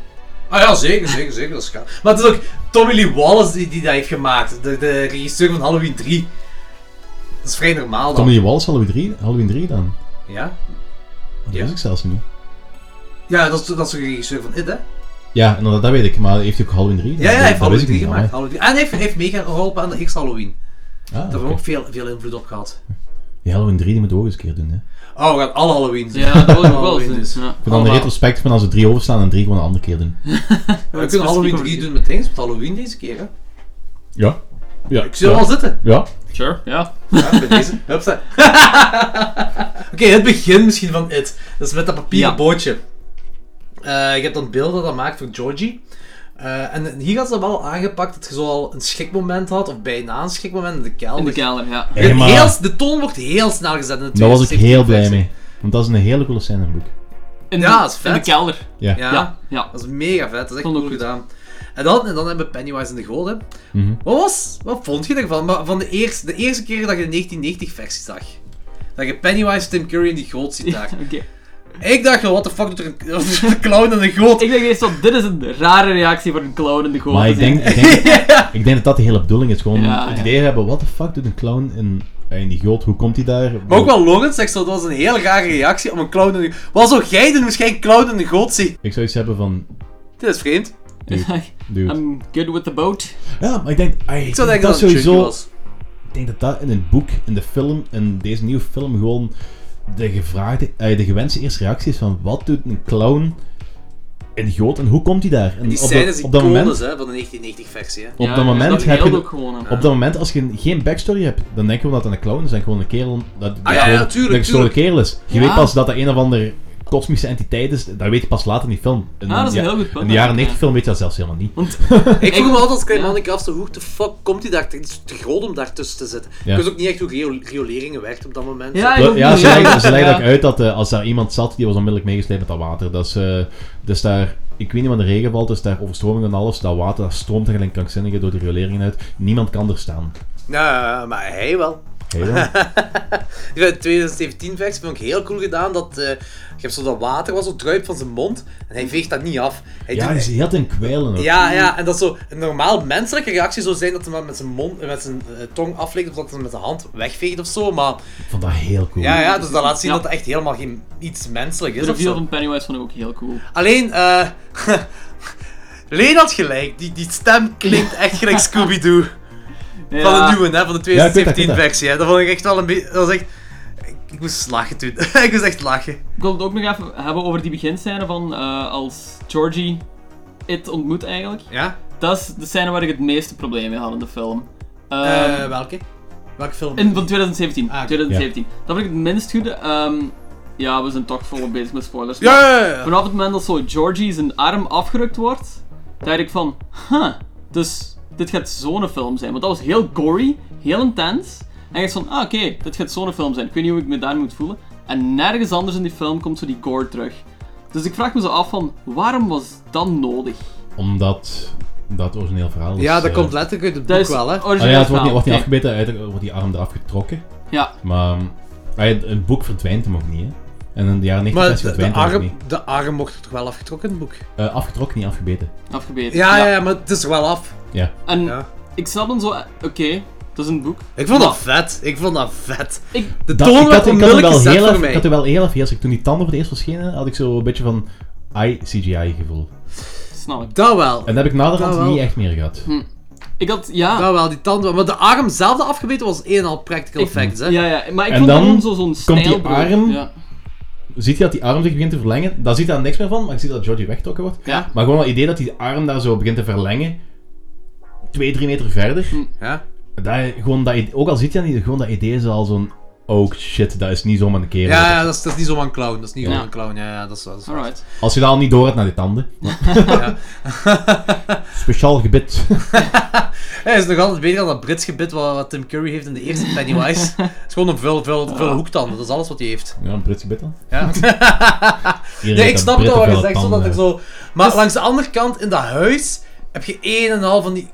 Speaker 1: Ah ja, zeker, zeker, zeker. Dat is gaaf. Maar het is ook Tommy Lee Wallace die, die dat heeft gemaakt. De, de regisseur van Halloween 3. Dat is vrij normaal dan.
Speaker 3: Tommy Lee Wallace, Halloween 3, Halloween 3 dan.
Speaker 1: Ja?
Speaker 3: Dat
Speaker 1: Ja.
Speaker 3: wist ik zelfs niet.
Speaker 1: Ja, dat is, dat is de regisseur van It, hè?
Speaker 3: Ja, en dat, dat weet ik, maar heeft hij ook Halloween 3?
Speaker 1: Ja, ja, hij heeft Halloween 3
Speaker 3: maar. Ah,
Speaker 1: gemaakt. Halloween. En hij heeft, hij heeft mega geholpen aan de eerste Halloween. Daar hebben we ook veel, veel invloed op gehad.
Speaker 3: Die Halloween 3 die moeten we ook eens een keer doen, hè. Ik
Speaker 1: Oh, we gaan alle Halloween zien.
Speaker 2: Ja, dat wil ik
Speaker 1: Alle
Speaker 2: wel
Speaker 1: Halloween dus.
Speaker 2: zien. Ja.
Speaker 3: vind dan de
Speaker 1: Allemaal.
Speaker 3: retrospect van als we 3 overslaan en 3 gewoon een andere keer doen.
Speaker 1: we kunnen Halloween 3 doen met eens, met Halloween deze keer, hè?
Speaker 3: Ja. Ja.
Speaker 1: Ik zie er wel zitten.
Speaker 3: Ja.
Speaker 2: Sure, ja.
Speaker 1: Ja, bij *laughs* deze. Hupsa. Oké, het begin misschien van It. Dat is met dat papieren
Speaker 2: Ja.
Speaker 1: bootje. Eh, je hebt dan beelden dat dat maakt voor Georgie. Eh, en hier had ze dat wel aangepakt dat je zo al een schrikmoment had, of bijna een schrikmoment in de kelder.
Speaker 2: In de kelder, ja.
Speaker 1: Je hebt
Speaker 3: Hey, maar-
Speaker 1: heel, de toon wordt heel snel gezet in de
Speaker 3: Daar
Speaker 1: tweede
Speaker 3: was ik
Speaker 1: safety
Speaker 3: heel blij
Speaker 1: reflex.
Speaker 3: mee. Want dat is een hele coole scène in het boek.
Speaker 2: In
Speaker 1: Ja,
Speaker 2: de-
Speaker 1: dat is vet.
Speaker 2: In de kelder.
Speaker 3: Ja.
Speaker 1: Ja,
Speaker 2: Ja, ja.
Speaker 1: dat is mega vet. Dat is echt
Speaker 2: Vond
Speaker 1: cool
Speaker 2: ik goed.
Speaker 1: gedaan. En dan, en dan hebben we Pennywise in de Golem.
Speaker 3: Mhm.
Speaker 1: Wat, was, wat vond je ervan? Maar van de eerste, de eerste keer dat je de 1990-versie zag. Dat je Pennywise, Tim Curry en die goot ziet daar.
Speaker 2: Oké.
Speaker 1: Ik dacht, wat de fuck doet er een, *laughs* een clown en een goot?
Speaker 2: Ik denk eerst wel, dit is een rare reactie voor een clown in de goot.
Speaker 3: Maar ik
Speaker 2: te
Speaker 3: denk,
Speaker 2: zien.
Speaker 3: ik, denk,
Speaker 1: *laughs*
Speaker 3: ik denk dat dat de hele bedoeling is. Gewoon
Speaker 2: Ja,
Speaker 3: het
Speaker 2: ja.
Speaker 3: idee hebben, what the fuck doet een clown in, in die goot? Hoe komt hij daar?
Speaker 1: Maar ook wel Logan zegt zo, dat was een heel rare reactie om een clown en een... Wat zou jij doen als jij een clown en een goot ziet?
Speaker 3: Ik zou iets hebben van,
Speaker 1: Dit is vreemd.
Speaker 2: *laughs*
Speaker 3: dude.
Speaker 2: I'm good with the boat.
Speaker 3: Ja, maar ik denk, ai,
Speaker 1: Ik zou denken dat,
Speaker 3: dat
Speaker 1: het sowieso...
Speaker 3: sowieso...
Speaker 1: was.
Speaker 3: Ik denk dat dat in het boek, in de film, in deze nieuwe film gewoon de gevraagde, eh, de gewenste eerste reactie is van wat doet een clown in de goot en hoe komt hij daar? En
Speaker 1: Die
Speaker 3: op,
Speaker 1: scène
Speaker 3: dat-
Speaker 1: is
Speaker 3: op dat
Speaker 1: iconisch,
Speaker 3: moment,
Speaker 1: hè, van de 1990-versie, hè.
Speaker 3: op dat moment heb je,
Speaker 2: ook gewoon. hè.
Speaker 3: op dat moment als je geen backstory hebt, dan denken we dat het een clown is en gewoon een kerel dat dat
Speaker 1: ja, Ah, ja,
Speaker 3: gewoon
Speaker 1: tuurlijk,
Speaker 3: een gestolen
Speaker 1: tuurlijk.
Speaker 3: kerel is. Je
Speaker 2: Ja.
Speaker 3: weet pas dat dat een of andere kosmische entiteit is, dat weet je pas later in die film. In,
Speaker 2: Ah, dat is een
Speaker 3: ja,
Speaker 2: heel goed punt,
Speaker 3: in de jaren
Speaker 2: ja.
Speaker 3: 90 film weet je dat zelfs helemaal niet.
Speaker 2: Want,
Speaker 1: Ik vroeg
Speaker 2: Ik-
Speaker 1: me altijd als klein
Speaker 2: ja.
Speaker 1: mannetje af, zo, hoe de fuck komt hij daar? Het is te groot om daar tussen te zitten.
Speaker 3: Ja.
Speaker 1: Ik wist ook niet echt hoe riool- rioleringen werkt op dat moment.
Speaker 2: ja, ik ook
Speaker 3: Ja,
Speaker 2: niet.
Speaker 3: ze leggen, ze
Speaker 2: Ja.
Speaker 3: leggen ook uit dat eh, als daar iemand zat, die was onmiddellijk meegesleept met dat water. Dat is, eh, dus daar, ik weet niet wanneer de regen valt, dus daar overstroming en alles. Dat water, dat stroomt er gelijk krankzinnigen door de rioleringen uit. Niemand kan er staan.
Speaker 1: Nou, maar hij wel. *laughs*
Speaker 3: Heel.
Speaker 1: De 2017 versie vond ik heel cool gedaan. Dat, eh, je hebt zo dat water was zo druip van zijn mond. En hij veegt dat niet af. Hij
Speaker 3: Ja,
Speaker 1: doet-
Speaker 3: die is heel ten kwijlen ook.
Speaker 1: ja, ja, en dat zo een normaal menselijke reactie zou zijn dat hij maar met zijn mond, eh, met zijn eh, tong aflegt of dat hij met zijn hand wegveegt of zo. Maar
Speaker 3: Ik vond dat heel cool.
Speaker 1: ja, ja, dus dat laat zien
Speaker 2: Ja.
Speaker 1: dat het echt helemaal geen iets menselijk
Speaker 2: De
Speaker 1: is. of
Speaker 2: reveal
Speaker 1: zo.
Speaker 2: van Pennywise vond ik ook heel cool.
Speaker 1: Alleen, eh *laughs* Leen had gelijk. Die, die stem klinkt echt
Speaker 2: *laughs*
Speaker 1: gelijk Scooby-Doo.
Speaker 2: Ja.
Speaker 1: Van de nieuwe, hè, van de
Speaker 3: Ja, ik weet dat, ik weet
Speaker 1: 2017
Speaker 3: dat.
Speaker 1: versie. Hè. Dat vond ik echt wel een beetje. Dat was echt. Ik, ik moest lachen toen. *laughs* ik moest echt lachen.
Speaker 2: Ik wil het ook nog even hebben over die beginscène van eh, als Georgie It ontmoet eigenlijk.
Speaker 1: Ja?
Speaker 2: Dat is de scène waar ik het meeste probleem mee had in de film. Ehm,
Speaker 1: Eh, welke? Welke film?
Speaker 2: in, van 2017.
Speaker 1: Ah, oké.
Speaker 2: 2017. Dat vind ik het minst goede. Ehm, ja, we zijn toch volop bezig met spoilers.
Speaker 1: Ja,
Speaker 2: maar
Speaker 1: ja, ja, ja.
Speaker 2: Vanaf het moment dat zo Georgie zijn arm afgerukt wordt, dacht ik van, huh, dus dit gaat zo'n film zijn. Want dat was heel gory, heel intens. En ik dacht van, ah oké, dit gaat zo'n film zijn. Ik weet niet hoe ik me daar moet voelen. En nergens anders in die film komt zo die gore terug. Dus ik vraag me zo af van, waarom was dat nodig?
Speaker 3: Omdat dat origineel verhaal is.
Speaker 1: Ja, dat
Speaker 3: eh,
Speaker 1: komt letterlijk uit het
Speaker 2: Dat
Speaker 1: boek
Speaker 2: is
Speaker 1: wel, hè?
Speaker 2: origineel
Speaker 3: ah ja, het wordt
Speaker 2: verhaal.
Speaker 3: niet, wordt niet
Speaker 2: Oké.
Speaker 3: afgebeten, uiteindelijk wordt die arm eraf getrokken.
Speaker 2: Ja,
Speaker 3: Maar ehm, ah ja, het boek verdwijnt hem ook niet, hè. En in de jaren 90
Speaker 1: Maar
Speaker 3: versie
Speaker 1: de, de
Speaker 3: verdwijnt hem ook
Speaker 1: arm,
Speaker 3: niet.
Speaker 1: de arm mocht er toch wel afgetrokken in het boek?
Speaker 3: Eh, afgetrokken, niet afgebeten.
Speaker 2: afgebeten.
Speaker 1: Ja, ja, ja, maar het is er wel af.
Speaker 3: Ja.
Speaker 2: En
Speaker 1: Ja.
Speaker 2: ik snap dan zo, eh, oké, dat is een boek.
Speaker 1: Ik vond dat
Speaker 2: Maar-
Speaker 1: vet. Ik vond dat vet.
Speaker 2: Ik,
Speaker 1: De
Speaker 3: Dat-
Speaker 1: toon
Speaker 3: ik, had,
Speaker 1: werd
Speaker 3: ik, had er
Speaker 1: onmiddellijk
Speaker 3: wel
Speaker 1: gezet
Speaker 3: heel
Speaker 1: voor
Speaker 3: even, ik had er
Speaker 1: mij.
Speaker 3: wel heel even eerst, toen die tanden voor het eerst verschenen, had ik zo een beetje van ai CGI gevoel.
Speaker 2: snap ik.
Speaker 1: Dat wel.
Speaker 3: En dat heb ik naderhand
Speaker 1: Dat wel. Hm.
Speaker 3: niet echt meer gehad.
Speaker 2: Ik had, ja.
Speaker 1: Dat wel, die tanden. Maar de arm zelf dat afgebeten was een en al practical effects, hè?
Speaker 2: Ja, ja, maar ik
Speaker 3: En
Speaker 2: vond
Speaker 3: dan
Speaker 2: dan zo- zo'n
Speaker 3: komt die
Speaker 2: stijlbreuk.
Speaker 3: arm.
Speaker 2: Ja.
Speaker 3: Ziet je dat die arm zich begint te verlengen? Daar ziet hij niks meer van, maar je ziet dat Georgie weggetrokken wordt.
Speaker 2: Ja.
Speaker 3: Maar gewoon dat idee dat die arm daar zo begint te verlengen, twee, drie meter verder.
Speaker 1: Ja.
Speaker 3: Dat, je- gewoon dat, idee- ook al ziet je dat niet, gewoon dat idee is al zo'n, oh shit, dat is niet zomaar een kerel.
Speaker 1: Ja, ja, dat is, dat is niet zomaar een clown. Dat is niet
Speaker 2: Ja.
Speaker 1: zomaar een clown. Ja, ja, dat is, dat is waar.
Speaker 2: Alright.
Speaker 3: Als je dat al niet door hebt naar die tanden.
Speaker 1: *laughs* Ja.
Speaker 3: Speciaal gebit. *laughs*
Speaker 1: Hij is nog altijd beter dan dat Brits gebit wat, wat Tim Curry heeft in de
Speaker 3: *laughs*
Speaker 1: eerste Pennywise. Het is gewoon een veel, veel, veel hoektanden, dat is alles wat hij heeft.
Speaker 3: ja, een Brits gebit dan. *laughs*
Speaker 1: Ja.
Speaker 3: Iedereen
Speaker 1: Nee,
Speaker 3: heeft
Speaker 1: ik
Speaker 3: dat
Speaker 1: snap
Speaker 3: Britten
Speaker 1: dat wat je
Speaker 3: veel
Speaker 1: zegt,
Speaker 3: tanden
Speaker 1: zodat ik
Speaker 3: hebben.
Speaker 1: zo... Maar
Speaker 2: Dus-
Speaker 1: langs de andere kant, in dat huis, heb je een en al van die...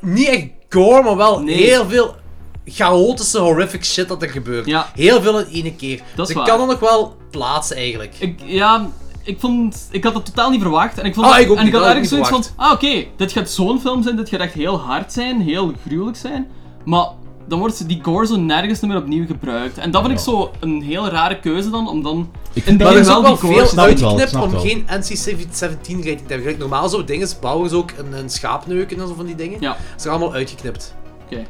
Speaker 1: Niet echt gore, maar wel
Speaker 2: Nee.
Speaker 1: heel veel chaotische, horrific shit dat er gebeurt.
Speaker 2: Ja.
Speaker 1: Heel veel in één keer.
Speaker 2: Dat is
Speaker 1: Ze
Speaker 2: waar.
Speaker 1: kan er nog wel plaatsen eigenlijk.
Speaker 2: Ik, ja, ik vond... Ik had dat totaal niet verwacht. En ik, vond
Speaker 1: Ah,
Speaker 2: dat-
Speaker 1: ik ook
Speaker 2: en
Speaker 1: niet,
Speaker 2: ik had
Speaker 1: dat had ik
Speaker 2: ergens zoiets
Speaker 1: niet
Speaker 2: van... Ah, oké. dit gaat zo'n film zijn. Dit gaat echt heel hard zijn. Heel gruwelijk zijn. Maar dan wordt ze- die gore zo nergens meer opnieuw gebruikt. En dat vind ik
Speaker 3: Ja.
Speaker 2: zo een heel rare keuze dan. Om dan...
Speaker 3: Ik vind
Speaker 1: Maar
Speaker 2: Maar
Speaker 3: dat
Speaker 1: er
Speaker 2: er
Speaker 1: is
Speaker 2: wel
Speaker 1: ook
Speaker 2: die
Speaker 1: wel
Speaker 2: gore-
Speaker 1: veel
Speaker 3: snap het wel,
Speaker 1: uitgeknipt
Speaker 3: snap
Speaker 1: om
Speaker 3: het wel.
Speaker 1: geen NC-17 rating te hebben. Gelijk, Normaal zo dingen bouwen ze ook een, een schaapneuken en zo van die dingen.
Speaker 2: Ja,
Speaker 1: Ze zijn allemaal uitgeknipt. *laughs*
Speaker 2: oké. Eh,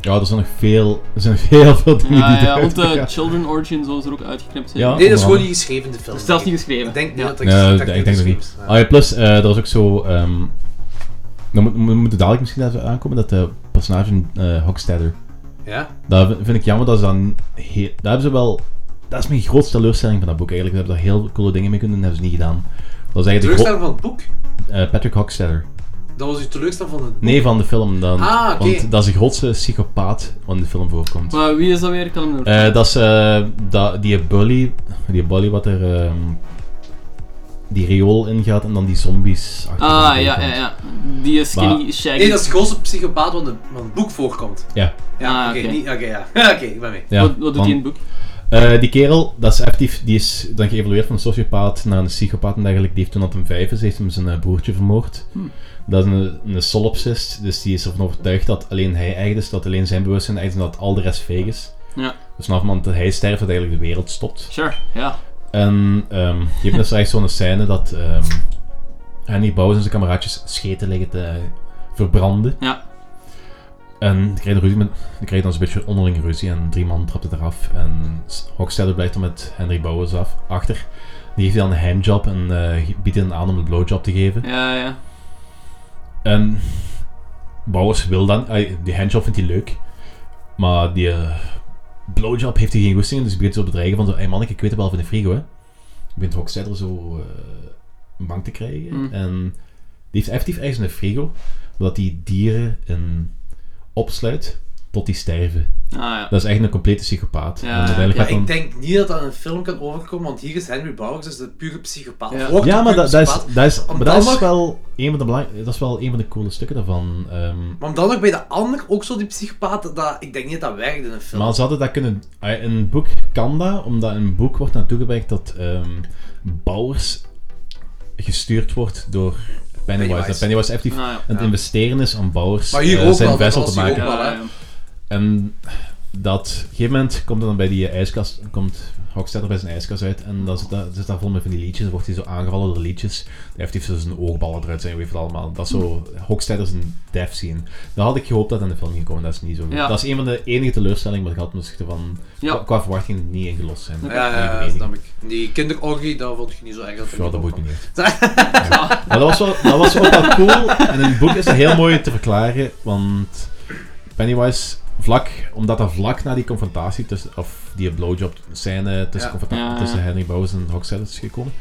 Speaker 3: Ja, er zijn nog veel, er zijn *laughs* nog heel veel dingen
Speaker 1: Ah,
Speaker 2: Ja,
Speaker 3: die
Speaker 2: ja,
Speaker 3: eruit
Speaker 1: eh,
Speaker 2: want de
Speaker 3: gaan.
Speaker 2: Children Origin zo is er ook uitgeknipt.
Speaker 3: Ja.
Speaker 1: Nee, dat is
Speaker 3: Ja.
Speaker 1: gewoon niet geschreven in de film.
Speaker 2: Dat is zelfs niet
Speaker 1: denk ik.
Speaker 2: geschreven.
Speaker 1: Ik denk niet
Speaker 2: Ja.
Speaker 1: dat
Speaker 3: Nee,
Speaker 1: dat dus
Speaker 3: ik denk dat
Speaker 1: geschreven is.
Speaker 3: niet.
Speaker 1: Ja.
Speaker 3: Ah ja, plus, eh er was ook zo... ehm dan moet- we moeten dadelijk misschien even aankomen dat de personage van eh, Hockstetter...
Speaker 1: Ja?
Speaker 3: Dat vind- vind ik jammer, dat is dan... Heel, dat hebben ze wel... Dat is mijn grootste teleurstelling van dat boek eigenlijk. Ze hebben daar heel coole dingen mee kunnen doen, dat hebben ze niet gedaan. Dat is eigenlijk de gro-
Speaker 1: Teleurstelling van het boek?
Speaker 3: eh, Patrick Hockstetter.
Speaker 1: Dat was uw teleurstelling van het boek?
Speaker 3: Nee, van de film dan.
Speaker 1: Ah, oké.
Speaker 3: Want dat is de grootste psychopaat wat in de film voorkomt.
Speaker 2: Maar wie is dat weer? Ik kan hem nog...
Speaker 3: Eh, dat is eh, dat, die bully, die bully wat er ehm, die riool ingaat en dan die zombies achter
Speaker 2: ah,
Speaker 3: hem
Speaker 2: ja, ja,
Speaker 3: aankomt.
Speaker 2: ja. Die is skinny shaggy.
Speaker 1: Nee, dat is de grootste psychopaat wat in van het boek voorkomt.
Speaker 3: Ja,
Speaker 1: Ja,
Speaker 2: Ah,
Speaker 1: oké,
Speaker 2: oké.
Speaker 1: niet- oké, ja. Ja, *laughs* Oké, ik ben mee.
Speaker 3: ja,
Speaker 2: wat, wat doet hij in het
Speaker 3: want,
Speaker 2: boek?
Speaker 3: eh, die kerel, dat is actief, die is dan geëvolueerd van een sociopaat naar een psychopaat en dergelijke. Die heeft toen dat hem vijf is, heeft hem zijn eh, broertje vermoord.
Speaker 2: Hm.
Speaker 3: Dat is een, een solipsist, dus die is ervan overtuigd dat alleen hij echt is, dat alleen zijn bewustzijn echt is en dat al de rest fake is.
Speaker 2: Ja,
Speaker 3: Dus vanaf het moment dat hij sterft, dat eigenlijk de wereld stopt.
Speaker 2: sure, ja.
Speaker 3: En ehm je hebt dus echt zo'n scène dat ehm Annie Bowes en zijn kameraadjes scheten liggen te verbranden.
Speaker 2: Ja,
Speaker 3: En die krijgen, ruzie met, die krijgen dan zo'n beetje onderling ruzie en drie man trapt het eraf. En Hockstetter blijft dan met Henry Bowers af, achter. Die geeft hij dan een handjob en eh, biedt hem aan om een blowjob te geven.
Speaker 2: ja, ja.
Speaker 3: En Bowers wil dan, eh, die handjob vindt hij leuk, maar die eh, blowjob heeft hij geen goesting in, dus hij begint zo te bedreigen van zo, hey manneke, ik weet het wel van de frigo, hè. Begint Rockstetter zo eh, bang te krijgen.
Speaker 2: Mm.
Speaker 3: En die heeft effectief ergens in de frigo, omdat hij dieren in opsluit tot die sterven.
Speaker 2: Ah, ja.
Speaker 3: Dat is echt een complete psychopaat.
Speaker 2: Ja,
Speaker 3: en uiteindelijk
Speaker 1: Ja,
Speaker 3: gaat dan-
Speaker 1: ik denk niet dat dat in een film kan overkomen, want hier is Henry Bowers dus de pure psychopaat.
Speaker 2: Ja.
Speaker 1: Wordt
Speaker 3: ja
Speaker 1: de
Speaker 3: maar
Speaker 1: pure
Speaker 3: dat, dat
Speaker 1: psychopaat.
Speaker 3: is, dat is, maar
Speaker 1: Om
Speaker 3: dat
Speaker 1: dan
Speaker 3: is
Speaker 1: nog-
Speaker 3: wel een van de belang- dat is wel een van de coole stukken daarvan. ehm,
Speaker 1: Maar om dan nog bij de ander ook zo die psychopaat, dat, ik denk niet dat dat werkt in een film.
Speaker 3: Maar ze hadden dat kunnen... ah, In een boek kan dat, omdat in een boek wordt naartoe gewerkt dat ehm, Bowers gestuurd wordt door Pennywise.
Speaker 1: Pennywise.
Speaker 3: Dat Pennywise effectief
Speaker 2: Ah, ja.
Speaker 3: aan het
Speaker 1: Ja.
Speaker 3: investeren is om Bowers
Speaker 1: Maar hier
Speaker 3: eh,
Speaker 1: ook
Speaker 3: zijn
Speaker 1: wel, dat
Speaker 3: vessel
Speaker 1: was
Speaker 3: te
Speaker 1: hier ook
Speaker 3: maken.
Speaker 1: wel.
Speaker 2: Ja,
Speaker 1: voilà.
Speaker 2: ja.
Speaker 3: En dat, op een gegeven moment komt dan bij die eh, ijskast, komt Hockstetter bij zijn ijskast uit en dan zit, daar- zit daar vol met van die liedjes, dan wordt hij zo aangevallen door liedjes. Hij heeft zo zijn oogballen eruit zijn, weet je wat allemaal. Dat is zo Hockstetter zijn death scene. Daar had ik gehoopt dat in de film ging komen, dat is niet zo.
Speaker 2: Ja.
Speaker 3: Dat is een van de enige teleurstellingen wat ik had, omdat ik ervan
Speaker 2: Ja.
Speaker 3: qua, qua verwachting niet ingelost zijn.
Speaker 1: Ja, ja, ja,
Speaker 3: Nee, nee,
Speaker 1: snap ik. Die kinderorgie, dat vond ik niet zo erg. Dat,
Speaker 3: nee. Ja, dat boeit me niet.
Speaker 1: niet.
Speaker 3: Maar dat was, wel, dat was ook wel cool. En in het boek is dat heel mooi te verklaren, want Pennywise, vlak, omdat dat vlak na die confrontatie, tussen, of die blowjob-scène tussen,
Speaker 1: Ja.
Speaker 3: confronta-
Speaker 2: Ja, ja.
Speaker 3: tussen Henry Bowers en Hockstead is gekomen,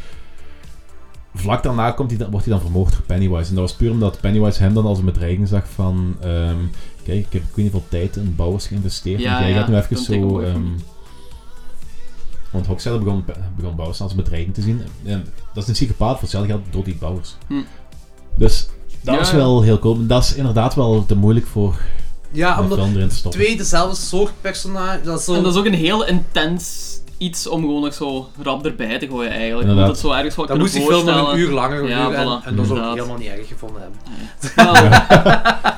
Speaker 3: vlak daarna komt hij, dan- wordt hij dan vermoord door Pennywise. En dat was puur omdat Pennywise hem dan als een bedreiging zag van, ehm, kijk, ik heb ik weet niet veel tijd in Bowers geïnvesteerd,
Speaker 2: Ja,
Speaker 3: en jij
Speaker 2: ja,
Speaker 3: gaat nu even
Speaker 2: dat denk ik
Speaker 3: zo...
Speaker 2: ook wel.
Speaker 3: ehm, want Hockstead begon, begon Bowers als een bedreiging te zien. En dat is een psychopaat, voor hetzelfde geld door die Bowers. Dus dat
Speaker 2: Hm. Ja,
Speaker 3: is
Speaker 2: ja.
Speaker 3: wel heel cool. Maar Dat is inderdaad wel te moeilijk voor
Speaker 1: Ja,
Speaker 3: een
Speaker 1: omdat
Speaker 3: film erin te stoppen.
Speaker 1: twee dezelfde soort personage, dat is zo...
Speaker 2: En dat is ook een heel intens iets om gewoon nog zo rap erbij te gooien eigenlijk. Je Moet
Speaker 3: Inderdaad.
Speaker 2: dat zo ergens wat
Speaker 1: dat
Speaker 2: kunnen
Speaker 1: moest die film
Speaker 2: voorstellen.
Speaker 1: nog een uur langer
Speaker 2: Ja,
Speaker 1: duren en,
Speaker 2: voilà,
Speaker 1: en dat zou ik
Speaker 2: inderdaad.
Speaker 1: helemaal niet erg gevonden hebben. *laughs*
Speaker 2: Ja,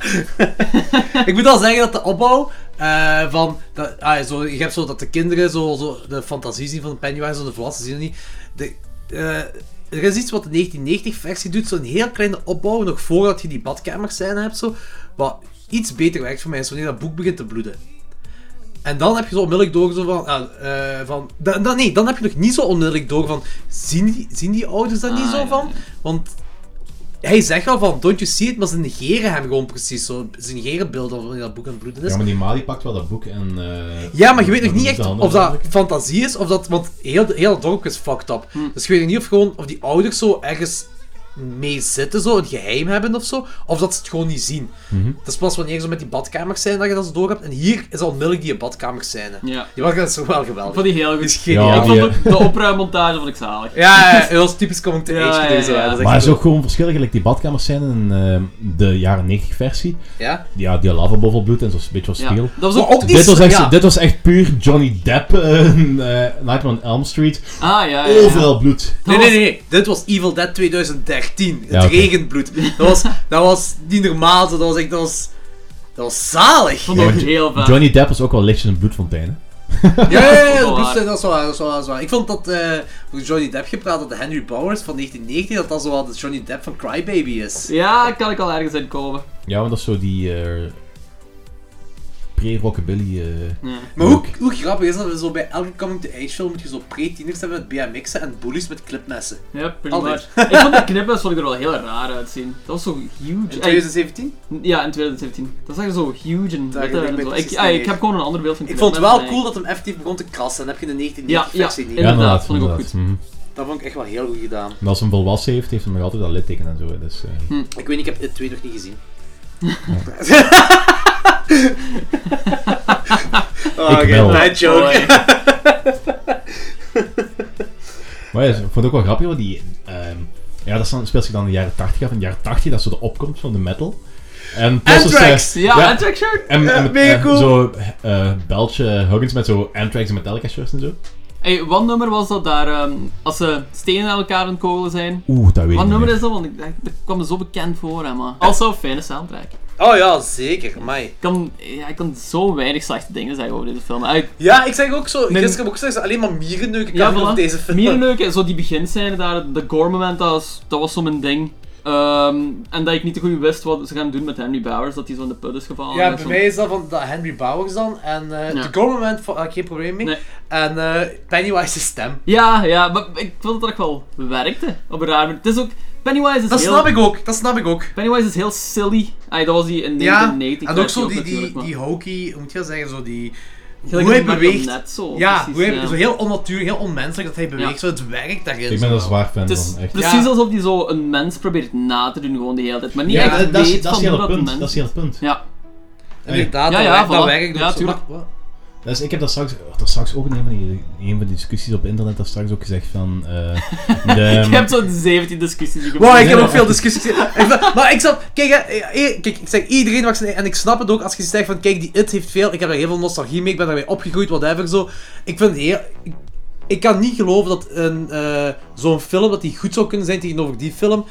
Speaker 1: Ik moet al zeggen dat de opbouw eh, van... Dat, ah, zo, je hebt zo dat de kinderen zo, zo de fantasie zien van Pennywise, zo de volwassenen zien het niet. De, eh, er is iets wat de 1990-versie doet, zo'n heel kleine opbouw, nog voordat je die badkamerscène hebt. Zo, wat iets beter werkt voor mij, is wanneer dat boek begint te bloeden. En dan heb je zo onmiddellijk door zo van... ah, eh, van dan, dan- nee, dan heb je nog niet zo onmiddellijk door van... Zien die, zien die ouders daar niet
Speaker 2: Ah,
Speaker 1: zo
Speaker 2: ja,
Speaker 1: van?
Speaker 2: ja.
Speaker 1: Want hij zegt al van, don't you see it, maar ze negeren hem gewoon precies zo. Ze negeren beelden van dat boek aan het bloeden is.
Speaker 3: Ja, maar die Mali pakt wel dat boek en... eh,
Speaker 1: Ja, maar je weet nog
Speaker 3: doet
Speaker 1: niet
Speaker 3: de
Speaker 1: echt
Speaker 3: handen
Speaker 1: of dat
Speaker 3: eigenlijk.
Speaker 1: fantasie
Speaker 2: Hm.
Speaker 1: is, of dat, want heel, heel het dorp is fucked up. Dus je weet nog niet of, gewoon, of die ouders zo ergens mee zitten, zo, een geheim hebben of zo. Of dat ze het gewoon niet zien.
Speaker 3: Mhm.
Speaker 1: Dat is pas wanneer ze met die badkamers zijn dat je dat ze door hebt. En hier is al onmiddellijk die badkamers zijn.
Speaker 2: Ja.
Speaker 1: Die waren zo wel
Speaker 2: Ik
Speaker 1: geweldig.
Speaker 2: vond die heel goed.
Speaker 1: is geniaal.
Speaker 3: Ja,
Speaker 2: ik
Speaker 3: die, eh,
Speaker 2: vond de, de opruimmontage vond ik zalig.
Speaker 1: Ja, ja, ja, dat is typisch coming to
Speaker 2: Ja,
Speaker 1: age gedoe,
Speaker 2: ja,
Speaker 1: zo, hè.
Speaker 2: ja.
Speaker 1: Dat is echt
Speaker 3: Maar er is
Speaker 1: zo-
Speaker 3: ook gewoon verschillen, gelijk die badkamers zijn in eh, de jaren 90 versie.
Speaker 1: Ja?
Speaker 3: Ja, die lava boven bloed en zo'n beetje wat
Speaker 2: Ja.
Speaker 3: spiegel.
Speaker 2: Dat was
Speaker 1: Maar
Speaker 2: ook...
Speaker 1: ook die
Speaker 3: Dit, was echt,
Speaker 1: ja.
Speaker 3: dit was echt puur Johnny Depp, eh, eh, Nightmare on Elm Street.
Speaker 2: Ah, ja, ja, ja.
Speaker 3: Overal bloed.
Speaker 1: Nee,
Speaker 2: was-
Speaker 1: nee, nee. Dit was Evil Dead 2013. Het
Speaker 3: Ja, oké.
Speaker 1: regenbloed. Dat
Speaker 2: *laughs*
Speaker 1: was, dat was niet normaal. zo. Dat was echt... Dat was, dat was zalig.
Speaker 2: Ik vond dat ook heel vet.
Speaker 3: Johnny Depp was ook wel lichtjes een bloedfontein. hè.
Speaker 1: Ja, ja, ja,
Speaker 2: dat is
Speaker 1: dat,
Speaker 2: wel waar.
Speaker 1: is, dat, is wel waar, dat is wel waar, dat is wel waar. Ik vond dat, eh voor Johnny Depp gepraat, dat de Henry Bowers van 1990, dat dat zo wel de Johnny Depp van Crybaby is.
Speaker 2: Ja, kan ik al ergens in komen.
Speaker 3: Ja, want dat is zo die eh, pre-rockabilly. eh,
Speaker 2: Ja.
Speaker 1: Maar
Speaker 3: ook.
Speaker 1: hoe, hoe grappig is dat, zo bij elke coming-to-age film moet je zo pre-tieners hebben met BMX'en en bullies met clipmessen.
Speaker 2: Ja, pretty
Speaker 1: Altijd.
Speaker 2: much. ik vond de knippen vond ik er wel heel raar uitzien. Dat was zo huge.
Speaker 1: In
Speaker 2: Ey,
Speaker 1: 2017?
Speaker 2: ja, in 2017. Dat zag er zo huge en
Speaker 1: Daar
Speaker 2: witte
Speaker 1: ben ik
Speaker 2: en
Speaker 1: mee
Speaker 2: zo. Ik,
Speaker 1: precies
Speaker 2: ey,
Speaker 1: mee.
Speaker 2: ik heb gewoon een ander beeld van
Speaker 1: Ik vond het wel
Speaker 2: knippen,
Speaker 1: cool
Speaker 2: ey.
Speaker 1: dat hem effectief begon te krassen. Dan heb je de
Speaker 2: Ja, ja,
Speaker 1: 1990-versie niet.
Speaker 2: inderdaad, vond ik ook goed.
Speaker 3: mhm.
Speaker 1: Dat vond ik echt wel heel goed gedaan.
Speaker 3: En als hij hem volwassen heeft, heeft hij nog altijd dat litteken en zo. hè, Dus, eh,
Speaker 1: Ik weet niet, ik heb dit twee nog niet *laughs* gezien. oh,
Speaker 3: Ik wel.
Speaker 1: bad joke.
Speaker 2: Mooi.
Speaker 3: Maar ja, ik vond het ook wel grappig, want die... ehm, ja, dat is dan- speelt zich dan in de jaren 80 af. In de jaren 80, dat is zo de opkomst van de metal. En plots is, eh,
Speaker 1: Anthrax!
Speaker 2: Ja,
Speaker 3: Ja.
Speaker 2: en track shirt.
Speaker 3: En, en,
Speaker 1: Ja, mega
Speaker 3: en
Speaker 1: cool.
Speaker 3: zo eh Beltje Huggins met zo Anthrax en Metallica shirts en zo.
Speaker 2: Ey, wat nummer was dat daar? ehm, als ze stenen aan elkaar aan het kogelen zijn.
Speaker 3: Oeh, dat weet
Speaker 2: Wat
Speaker 3: ik
Speaker 2: nummer
Speaker 3: niet.
Speaker 2: is dat? Want ik dacht, dat kwam me zo bekend voor, hè, man. Also, fijne soundtrack.
Speaker 1: Oh ja, zeker. Mij.
Speaker 2: Ik kan, ja, ik kan zo weinig slechte dingen zeggen over deze film. Ey,
Speaker 1: Ja, ik zeg ook zo.
Speaker 2: Mijn-
Speaker 1: Gisteren heb ik ook gezegd, alleen maar mierenneuken
Speaker 2: Ja,
Speaker 1: kan ja,
Speaker 2: voilà.
Speaker 1: op deze film.
Speaker 2: Mierenneuken, zo die beginscène daar, de gore moment, dat was, dat was zo mijn ding. Ehm, en dat ik niet te goed wist wat ze gaan doen met Henry Bowers, dat hij zo in de put is gevallen.
Speaker 1: Ja,
Speaker 2: en
Speaker 1: bij
Speaker 2: zo.
Speaker 1: mij is dat van dat Henry Bowers dan. En eh,
Speaker 2: Ja.
Speaker 1: de government, vo- eh, geen probleem mee.
Speaker 2: Nee.
Speaker 1: En eh, Pennywise's stem.
Speaker 2: Ja, ja, maar ik vond dat het wel werkte, op een raar manier. Het is ook, Pennywise is
Speaker 1: Dat
Speaker 2: heel...
Speaker 1: snap ik ook, dat snap ik ook.
Speaker 2: Pennywise is heel silly. Ay, dat was die in
Speaker 1: Ja,
Speaker 2: 1990.
Speaker 1: en ook zo die,
Speaker 2: natuurlijk,
Speaker 1: die,
Speaker 2: maar-
Speaker 1: die hokey, hoe moet je dat zeggen, zo die...
Speaker 2: Gelijk
Speaker 1: hoe hij
Speaker 2: een
Speaker 1: beweegt.
Speaker 2: marionet zo,
Speaker 1: ja,
Speaker 2: precies,
Speaker 1: hoe hij,
Speaker 2: ja.
Speaker 1: zo heel onnatuurlijk, heel onmenselijk dat hij beweegt.
Speaker 2: Ja.
Speaker 1: Zo, het werkt daarin.
Speaker 3: Ik
Speaker 1: zo
Speaker 3: ben er
Speaker 1: wel.
Speaker 3: zwaar fan
Speaker 2: Het is dus
Speaker 3: van, echt.
Speaker 2: precies
Speaker 1: Ja.
Speaker 2: alsof hij zo een mens probeert na te doen gewoon de hele tijd. Maar niet
Speaker 1: Ja,
Speaker 2: echt
Speaker 3: dat,
Speaker 2: weet
Speaker 3: dat is, dat is
Speaker 2: van
Speaker 3: heel
Speaker 2: hoe
Speaker 3: het
Speaker 2: dat
Speaker 3: punt.
Speaker 2: mens...
Speaker 3: Dat is heel het punt.
Speaker 2: Ja,
Speaker 1: Inderdaad,
Speaker 2: Ja,
Speaker 1: dat
Speaker 2: ja,
Speaker 1: werkt- dat
Speaker 2: voilà.
Speaker 1: werkt ook
Speaker 2: Ja,
Speaker 1: zo.
Speaker 2: tuurlijk.
Speaker 1: Wat-
Speaker 3: Dus ik heb dat straks, oh, dat straks ook in een van, die, een van die discussies op internet dat straks ook gezegd van...
Speaker 2: *laughs*
Speaker 3: eh de,
Speaker 2: je hebt zo'n 17 discussies die je
Speaker 1: Wow, ik
Speaker 2: moet-
Speaker 1: heb ook veel discussies. *laughs* Ik ben- maar ik snap, kijk, hè, eh, kijk, ik zeg iedereen mag zijn en ik snap het ook als je zegt van, kijk, die it heeft veel, ik heb daar heel veel nostalgie mee, ik ben daarmee opgegroeid, whatever zo. Ik vind het heel, ik, ik kan niet geloven dat een, eh, zo'n film dat die goed zou kunnen zijn tegenover die film.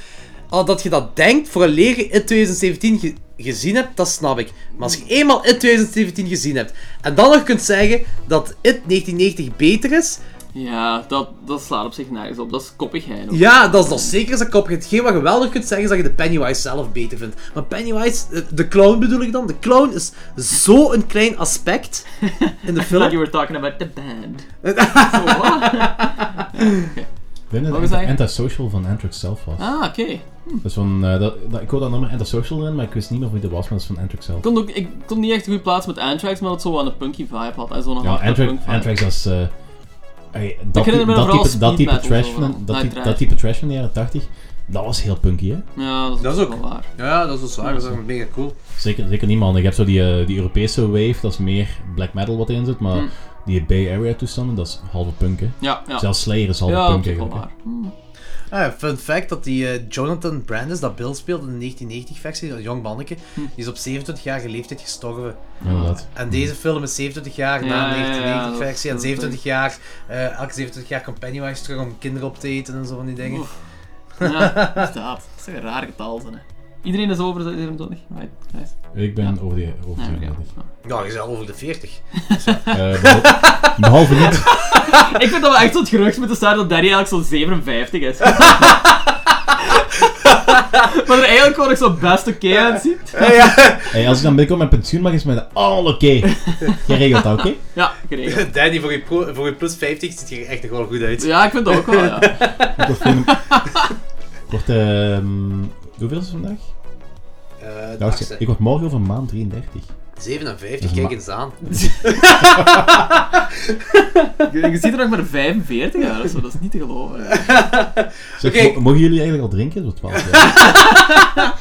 Speaker 1: Al dat je dat denkt voor een lege it 2017 ge- gezien hebt, dat snap ik. Maar als je eenmaal it 2017 gezien hebt en dan nog kunt zeggen dat it 1990 beter is,
Speaker 2: Ja, dat, dat slaat op zich nergens op. Dat is koppigheid. ook.
Speaker 1: ja, dat is nog zeker als een kopje. Hetgeen wat je wel nog kunt zeggen is dat je de Pennywise zelf beter vindt. Maar Pennywise, eh, de clown bedoel ik dan, de clown is zo'n klein aspect in *laughs* de
Speaker 2: Like you
Speaker 1: film.
Speaker 2: were talking about the
Speaker 1: *laughs*
Speaker 2: band. Zo, wat?
Speaker 3: Ik denk dat
Speaker 2: Wat was
Speaker 3: het
Speaker 2: hij?
Speaker 3: Antisocial van Anthrax zelf was.
Speaker 2: Ah, oké.
Speaker 3: Dus van, eh, dat, dat- ik hoor dat nummer Antisocial erin, maar ik wist niet meer wie dat was, maar dat is van Anthrax zelf.
Speaker 2: Ik kon ook- Ik kon niet echt goed plaatsen met Anthrax, maar dat het zo aan een punky vibe had. En zo'n
Speaker 3: Ja,
Speaker 2: hardcore punk
Speaker 3: Anthrax,
Speaker 2: vibe.
Speaker 3: Anthrax dat is... eh, ey, dat,
Speaker 2: herinner me vooral
Speaker 3: type- dat type, dat
Speaker 2: speed
Speaker 3: type
Speaker 2: metal
Speaker 3: trash
Speaker 2: zo
Speaker 3: van,
Speaker 2: wel.
Speaker 3: dat,
Speaker 2: Nee,
Speaker 3: type,
Speaker 2: trash.
Speaker 3: dat type trash van de jaren 80, dat was heel punky, hè?
Speaker 2: Ja, dat is,
Speaker 1: Dat is
Speaker 2: ook
Speaker 1: ook-
Speaker 2: wel waar.
Speaker 1: Ja, dat is wel zwaar, dat is ook mega cool.
Speaker 3: Zeker, zeker niet, man. Je hebt zo die, eh, die Europese wave, dat is meer black metal wat erin zit, maar
Speaker 2: Hm.
Speaker 3: die Bay Area toestanden, dat is halve punk, hè?
Speaker 2: Ja, ja.
Speaker 3: Zelfs Slayer is halve
Speaker 2: ja,
Speaker 3: punk,
Speaker 2: op zich wel
Speaker 3: eigenlijk. hè.
Speaker 2: waar. Hm.
Speaker 1: Ah, ja, fun fact dat die eh, Jonathan Brandis, dat Bill speelde in de 1990-versie, een jong manneke, die is op 27-jarige leeftijd gestorven.
Speaker 3: Inderdaad.
Speaker 1: En deze film is 27 jaar
Speaker 2: Ja,
Speaker 1: na
Speaker 2: ja,
Speaker 1: de
Speaker 2: ja, dat is-
Speaker 1: 1990-versie en
Speaker 2: dat is
Speaker 1: 27 jaar, eh, elke 27 jaar komt Pennywise terug om kinderen op te eten en zo van die dingen.
Speaker 2: Oef. Ja, inderdaad. Dat is een raar getal, zijn, hè. Iedereen is over de 27. Right, nice.
Speaker 3: Ik ben
Speaker 2: Ja.
Speaker 3: over de over
Speaker 2: Ja,
Speaker 3: de
Speaker 2: oké.
Speaker 3: 34.
Speaker 1: Ja, je bent al over de 40.
Speaker 3: Eh, behal- *laughs* Behalve niet.
Speaker 2: *laughs* Ik vind dat we echt zo'n gerucht moeten staan dat Danny eigenlijk zo'n 57 is. *laughs* maar er eigenlijk gewoon nog zo best oké uitziet.
Speaker 3: Hey, als ik dan binnenkort mijn pensioen mag, is mij dat al oké. Jij regelt dat, oké?
Speaker 2: Ja,
Speaker 1: *laughs*
Speaker 2: geregeld.
Speaker 1: Danny, voor je, pro- voor je plus 50 ziet je er echt nog wel goed uit.
Speaker 2: Ja, ik vind dat ook wel,
Speaker 1: *laughs*
Speaker 2: ja.
Speaker 3: Ik word gewoon- Ik word, ehm, hoeveel is het vandaag?
Speaker 1: Eh, de
Speaker 3: Nou,
Speaker 1: achtste.
Speaker 3: ik word morgen over een maand 33.
Speaker 1: 57, kijk eens aan.
Speaker 2: Je, je ziet er nog maar 45 uit, of zo. dat is niet te geloven.
Speaker 3: Zeg,
Speaker 1: Oké.
Speaker 3: mo- Mogen jullie eigenlijk al drinken? Zo
Speaker 1: *laughs*
Speaker 3: 12 jaar.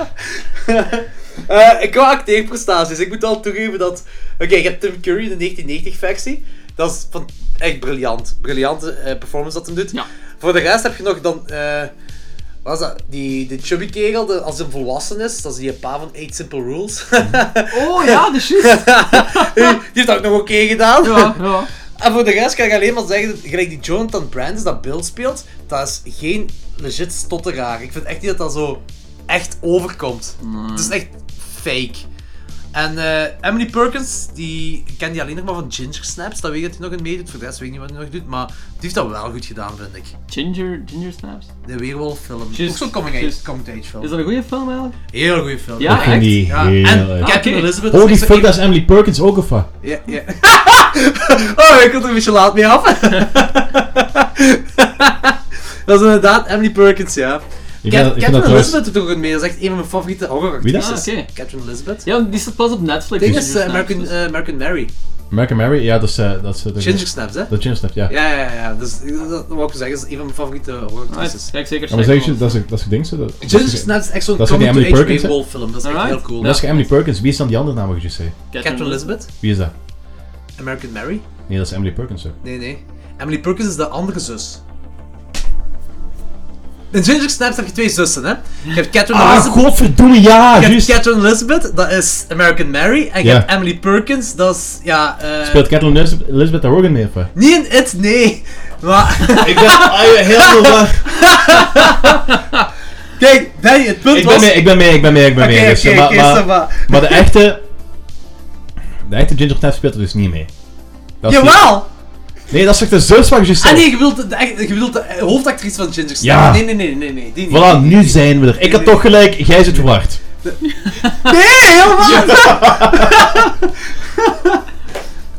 Speaker 1: Eh, ik wou acteerprestaties. Ik moet al toegeven dat... Oké, je hebt Tim Curry in de 1990-versie. Dat is van... echt briljant. Briljante eh, performance dat hem doet.
Speaker 2: Ja.
Speaker 1: Voor de rest heb je nog dan... eh, wat is dat? Die, die chubby kerel, de- als hij volwassen is, dat is die pa van 8 Simple Rules.
Speaker 2: Oh ja, dat is juist.
Speaker 1: *laughs* die heeft dat ook nog oké gedaan.
Speaker 2: *laughs* Ja,
Speaker 1: *laughs*
Speaker 2: ja.
Speaker 1: En voor de rest kan ik alleen maar zeggen, dat, gelijk die Jonathan Brandis dat Bill speelt, dat is geen legit stotteraar. Ik vind echt niet dat dat zo echt overkomt. Het is echt fake. En eh, Emily Perkins, die ik ken die alleen nog maar van Ginger Snaps, dat weet ik dat hij nog in meedoet. Voor de rest weet ik niet wat hij nog doet, maar die heeft dat wel goed gedaan, vind ik.
Speaker 2: Ginger, Ginger Snaps.
Speaker 1: De Weerwolffilm.
Speaker 2: Just-
Speaker 1: Ook zo'n coming-age
Speaker 2: just-
Speaker 1: coming film.
Speaker 2: Is dat een goede film eigenlijk?
Speaker 1: Heel goede film.
Speaker 2: Ja,
Speaker 3: Ging
Speaker 2: echt?
Speaker 3: die
Speaker 1: Ja,
Speaker 3: heel
Speaker 1: en
Speaker 3: uit.
Speaker 1: Captain
Speaker 2: Oké.
Speaker 1: Elizabeth
Speaker 3: Holy
Speaker 1: is echt zo
Speaker 3: fuck,
Speaker 1: een-
Speaker 3: dat is Emily Perkins ook of wat?
Speaker 1: Ja, ja. *laughs* oh, ik kom er een beetje laat mee af. *laughs* dat is inderdaad Emily Perkins, ja.
Speaker 3: Ik
Speaker 1: Cat-
Speaker 3: vind dat- ik vind dat
Speaker 1: Catherine
Speaker 3: trouwens-
Speaker 1: Elizabeth doet er ook goed mee. Dat is echt een van mijn favoriete horroractrices.
Speaker 2: dat? Ah,
Speaker 3: Wie
Speaker 2: oké.
Speaker 1: Catherine Elizabeth.
Speaker 2: Ja, want die staat pas op Netflix.
Speaker 1: Ding
Speaker 2: Ginger
Speaker 1: is eh,
Speaker 2: Snaps,
Speaker 1: American,
Speaker 2: dus-
Speaker 1: eh, American Mary.
Speaker 3: Mark and Mary? Ja, dat is... eh, dat is eh, de-
Speaker 1: Ginger Snaps, hè?
Speaker 3: Dat Ginger Snap, ja.
Speaker 1: Ja, ja, ja. Dus, dat dat wou ik zeggen. Dat is een van mijn favoriete horroractrices.
Speaker 2: Alright, Ah, Kijk zeker.
Speaker 3: Ah, Ja, maar zeg
Speaker 2: checken, man.
Speaker 3: je, dat is dat is het ding, zo, dat-
Speaker 1: Ginger
Speaker 3: dat is-
Speaker 1: Snaps is echt zo'n
Speaker 3: dat is ook die Emily Perkins, hè?
Speaker 1: coming-to-age film. Dat is echt
Speaker 2: Alright.
Speaker 1: heel cool.
Speaker 3: Dat is
Speaker 1: Ja.
Speaker 3: geen Emily Perkins. Wie is dan die andere naam, wat je zei?
Speaker 1: Catherine Elizabeth.
Speaker 3: Wie is dat?
Speaker 1: American Mary.
Speaker 3: Nee, dat is Emily Perkins, hè.
Speaker 1: Nee, nee. Emily Perkins is de andere zus. In Ginger Snaps heb je twee zussen, hè? Je hebt Catherine
Speaker 3: Ah,
Speaker 1: Elizabeth.
Speaker 3: godverdomme, ja!
Speaker 1: Je hebt
Speaker 3: Juist!
Speaker 1: Catherine Elizabeth, dat is American Mary. En je
Speaker 3: Ja.
Speaker 1: hebt Emily Perkins, dat is. Ja, eh,
Speaker 3: Speelt Catherine Elis- Elizabeth daar ook in mee, of wat?
Speaker 1: Niet in It, nee. Maar.
Speaker 3: *laughs*
Speaker 1: *laughs*
Speaker 3: Ik Ah, dacht, heel veel
Speaker 1: Kijk, Danny, het punt
Speaker 3: Ik ben
Speaker 1: was.
Speaker 3: mee, ik ben mee, ik ben mee, ik ben
Speaker 1: Oké,
Speaker 3: mee.
Speaker 1: oké,
Speaker 3: dus, eh, maar-
Speaker 1: oké,
Speaker 3: maar-
Speaker 1: ça va.
Speaker 3: Maar de echte... De echte Ginger Snaps speelt er dus niet mee. Dat is
Speaker 1: Jawel!
Speaker 3: die- Nee, dat is toch de zus van Giselle?
Speaker 1: Ah nee, je bedoelt de, de- je bedoelt de eh, hoofdactrice van Ginger Snaps.
Speaker 3: Oh. Ja.
Speaker 1: Nee, nee, nee, nee, nee. Die niet.
Speaker 3: Voilà, nu zijn we er. Ik had toch gelijk, jij zit verward.
Speaker 1: Nee, helemaal niet.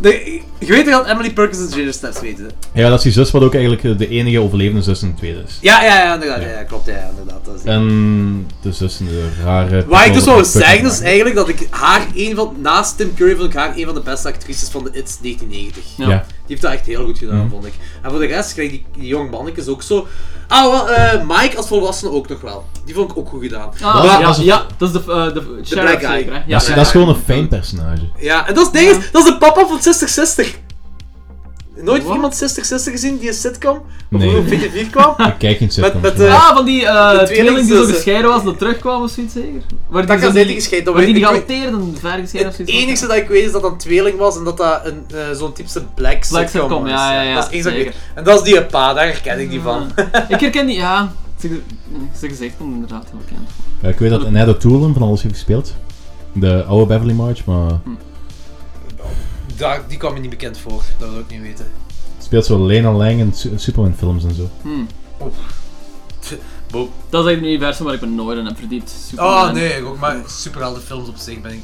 Speaker 1: Nee, je weet toch dat Emily Perkins en Ginger Snaps weten? hè?
Speaker 3: Ja, dat is die zus wat ook eigenlijk eh, de enige overlevende zus in het tweede is.
Speaker 1: Ja, ja, ja, inderdaad. Ja, ja, klopt. Ja, ja, inderdaad. Dat is die.
Speaker 3: En de zus in de rare...
Speaker 1: Waar ik dus
Speaker 3: wel
Speaker 1: wou zeggen is eigenlijk dat ik haar een van, naast Tim Curry, vond ik haar een van de beste actrices van de It's 1990.
Speaker 2: Ja.
Speaker 3: Ja.
Speaker 1: Die heeft dat echt heel goed gedaan, vond ik. En voor de rest krijg die, die jong mannetjes ook zo. Ah, wel, eh, Mike als volwassene ook nog wel. Die vond ik ook goed gedaan.
Speaker 2: Ah,
Speaker 3: Dat-
Speaker 2: ja,
Speaker 3: dat is-
Speaker 2: ja, dat is de, eh, de sheriff
Speaker 1: black guy.
Speaker 2: zeker, hè? Ja,
Speaker 3: Dat is,
Speaker 2: ja.
Speaker 3: dat is gewoon een fijn personage.
Speaker 1: Ja, en dat is het ding is, dat is de papa van 6060. Nooit
Speaker 2: Wat?
Speaker 1: iemand 6060 gezien die een sitcom? Of
Speaker 3: Nee.
Speaker 1: nee. op VT4 kwam?
Speaker 3: Ik kijk geen sitcoms.
Speaker 1: met,
Speaker 3: maar-
Speaker 1: eh,
Speaker 2: Ah, van die eh tweeling die zo
Speaker 1: tweelingzussen.
Speaker 2: gescheiden was, dat terugkwam of zoiets zeker? Waar
Speaker 1: Dat kan
Speaker 2: zo
Speaker 1: zijn
Speaker 2: niet-
Speaker 1: gescheiden, dat
Speaker 2: Waar die
Speaker 1: weet
Speaker 2: niet
Speaker 1: ik-
Speaker 2: geadopteerd en ver gescheiden of
Speaker 1: Het
Speaker 2: zoiets was.
Speaker 1: enige dat ik weet is dat dat een tweeling was en dat dat een, eh, zo'n typische black sitcom,
Speaker 2: Black sitcom,
Speaker 1: was.
Speaker 2: ja, ja, ja,
Speaker 1: dat is één dat ik
Speaker 2: zeker.
Speaker 1: weet. En dat is die pa, daar herken ik die van.
Speaker 2: *laughs* Ik herken die, ja. Ze ze gezicht komt inderdaad heel bekend.
Speaker 3: Ja, Eh, ik weet dat Ned O'Toole van alles heeft gespeeld. De oude Beverly March, maar
Speaker 1: Daar- die kwam me niet bekend voor, dat wil ik niet weten.
Speaker 3: speelt zo Lena Lang in, su- in Superman films en zo.
Speaker 1: Boop.
Speaker 2: Hmm. Dat is eigenlijk een universum waar ik me nooit in heb verdiept. Superman.
Speaker 1: Oh nee, ik ook, maar superheldenfilms op zich ben ik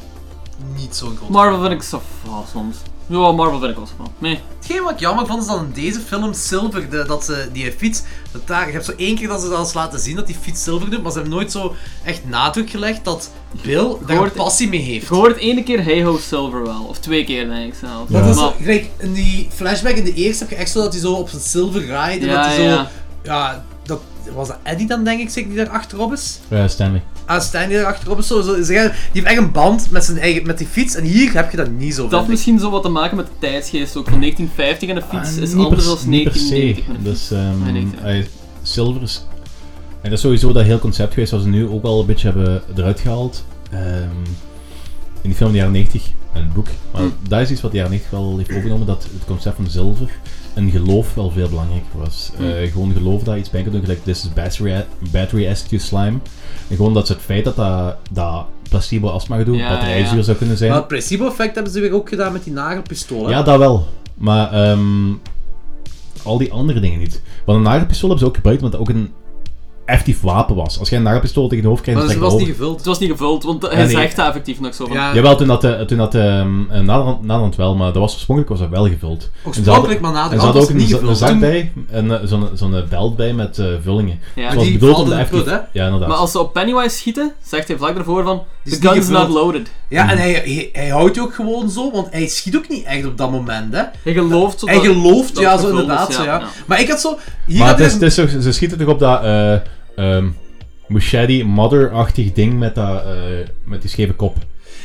Speaker 1: niet zo'n groot
Speaker 2: Marvel vind ik zo fa soms. Ja, Marvel vind ik wel van. Nee.
Speaker 1: Hetgeen wat ik jammer vond is dat in deze film Silver, de- dat ze die fiets, dat daar, je hebt zo één keer dat ze dat eens laten zien dat die fiets Silver doet, maar ze hebben nooit zo echt nadruk gelegd dat Bill daar
Speaker 2: hoort-
Speaker 1: passie mee heeft.
Speaker 2: Ik hoor het ene keer Hey Ho Silver wel. Of twee keer denk ik zelf.
Speaker 3: Ja.
Speaker 1: Dat is,
Speaker 2: Maar-
Speaker 1: gelijk, in die flashback in de eerste heb je echt zo dat hij zo op zijn Silver rijdt en
Speaker 2: Ja,
Speaker 1: dat hij zo...
Speaker 2: ja.
Speaker 1: Ja. dat, was dat Eddie dan denk ik zeker die daar achterop is?
Speaker 3: Eh Stanley.
Speaker 1: Ah, Stijn die daar achterop is. Zo, zo, ze zeggen- die heeft echt een band met, zijn eigen, met die fiets en hier heb je dat niet zo
Speaker 2: Dat
Speaker 1: vind
Speaker 2: heeft
Speaker 1: ik.
Speaker 2: misschien zo wat te maken met de tijdsgeest ook. Van 1950 en de fiets
Speaker 3: Ah,
Speaker 2: is
Speaker 3: niet
Speaker 2: anders
Speaker 3: per-
Speaker 2: dan
Speaker 3: niet per se.
Speaker 2: 1990. met een
Speaker 3: Dus, ehm,
Speaker 2: Ah, Nee, nee, nee.
Speaker 3: eh, Silver is... En dat is sowieso dat heel concept geweest, wat ze nu ook al een beetje hebben eruit gehaald. Ehm, in die film in de jaren 90, en het boek. Maar
Speaker 2: Hmm.
Speaker 3: dat is iets wat de jaren 90 wel heeft overgenomen, dat het concept van zilver en geloof wel veel belangrijker was.
Speaker 2: Mm.
Speaker 3: Eh, gewoon geloof dat iets bij kan doen, gelijk this is battery- battery-esque slime. En gewoon dat ze het feit dat dat, dat placebo astma gedoe,
Speaker 2: Ja,
Speaker 3: batterijzuur
Speaker 2: ja.
Speaker 3: zou kunnen zijn.
Speaker 1: Maar het placebo-effect hebben ze weer ook gedaan met die nagelpistolen.
Speaker 3: Ja, dat wel. Maar ehm, al die andere dingen niet. Want een nagelpistool hebben ze ook gebruikt, want ook in effectief wapen was. Als jij een nagelpistool tegen je hoofd krijgt,
Speaker 1: Maar
Speaker 3: dan
Speaker 1: ze
Speaker 3: trek je
Speaker 1: was niet
Speaker 3: over.
Speaker 1: gevuld.
Speaker 2: Het was niet gevuld, want hij
Speaker 3: Ja, Ah, nee.
Speaker 2: zegt daar effectief nog zo van.
Speaker 1: Ja,
Speaker 3: Jawel, toen dat, eh, toen dat ehm, eh, Nederland, Nederland wel, maar dat was oorspronkelijk was dat wel gevuld.
Speaker 1: Oorspronkelijk, maar na de
Speaker 3: En ze
Speaker 1: hand
Speaker 3: hadden
Speaker 1: was
Speaker 3: ook
Speaker 1: het
Speaker 3: een,
Speaker 1: niet
Speaker 3: za- een
Speaker 1: gevuld.
Speaker 3: zak
Speaker 1: Toen-
Speaker 3: bij, en eh, zo'n zo'n eh, belt bij met eh, vullingen.
Speaker 2: Ja.
Speaker 3: Het
Speaker 2: Maar
Speaker 3: was
Speaker 1: die
Speaker 3: bedoeld om
Speaker 1: valt
Speaker 3: de
Speaker 1: in het
Speaker 3: effectief...
Speaker 1: put,
Speaker 3: Ja, inderdaad.
Speaker 2: Maar als ze op Pennywise schieten, zegt hij vlak daarvoor van...
Speaker 1: is
Speaker 2: The
Speaker 1: niet
Speaker 2: gun's not
Speaker 1: gevuld."
Speaker 2: loaded.
Speaker 1: Ja, en hij, hij, hij houdt je ook gewoon zo, want hij schiet ook niet echt op dat moment, hè.
Speaker 2: Hij gelooft zo
Speaker 1: Hij
Speaker 2: dat-
Speaker 1: gelooft,
Speaker 2: dat
Speaker 1: ja,
Speaker 2: het
Speaker 1: zo
Speaker 2: gevuld is,
Speaker 1: inderdaad. zo, ja. Maar ik had zo... Hier
Speaker 3: Maar
Speaker 1: had
Speaker 3: het
Speaker 1: hij
Speaker 3: is,
Speaker 1: een-
Speaker 3: het is toch- ze schieten toch op dat eh ehm, machete mother-achtig ding met, dat, eh, met die scheve kop.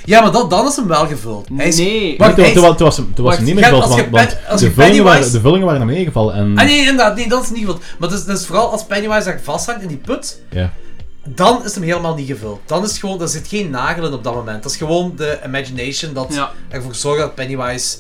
Speaker 1: Ja, maar dat, dan is hem wel gevuld. Hij is-
Speaker 2: Nee.
Speaker 1: Wacht,
Speaker 3: Toen,
Speaker 1: hij
Speaker 3: toen,
Speaker 1: is-
Speaker 3: was- toen was hem, toen was hem
Speaker 1: Wacht,
Speaker 3: niet meer
Speaker 1: Gert,
Speaker 3: gevalt,
Speaker 1: als je
Speaker 3: want,
Speaker 1: Pen-
Speaker 3: want
Speaker 1: als
Speaker 3: de,
Speaker 1: je
Speaker 3: vullingen waren,
Speaker 1: Pennywise-
Speaker 3: de vullingen waren naar beneden gevallen. En,
Speaker 1: Ah nee, inderdaad, nee, dat is niet gevuld. Maar het is, het is vooral als Pennywise daar vasthangt in die put,
Speaker 3: ja.
Speaker 1: dan is hem helemaal niet gevuld. Dan is gewoon, er zit geen nagelen op dat moment. Dat is gewoon de imagination dat
Speaker 2: Ja.
Speaker 1: ervoor zorgt dat Pennywise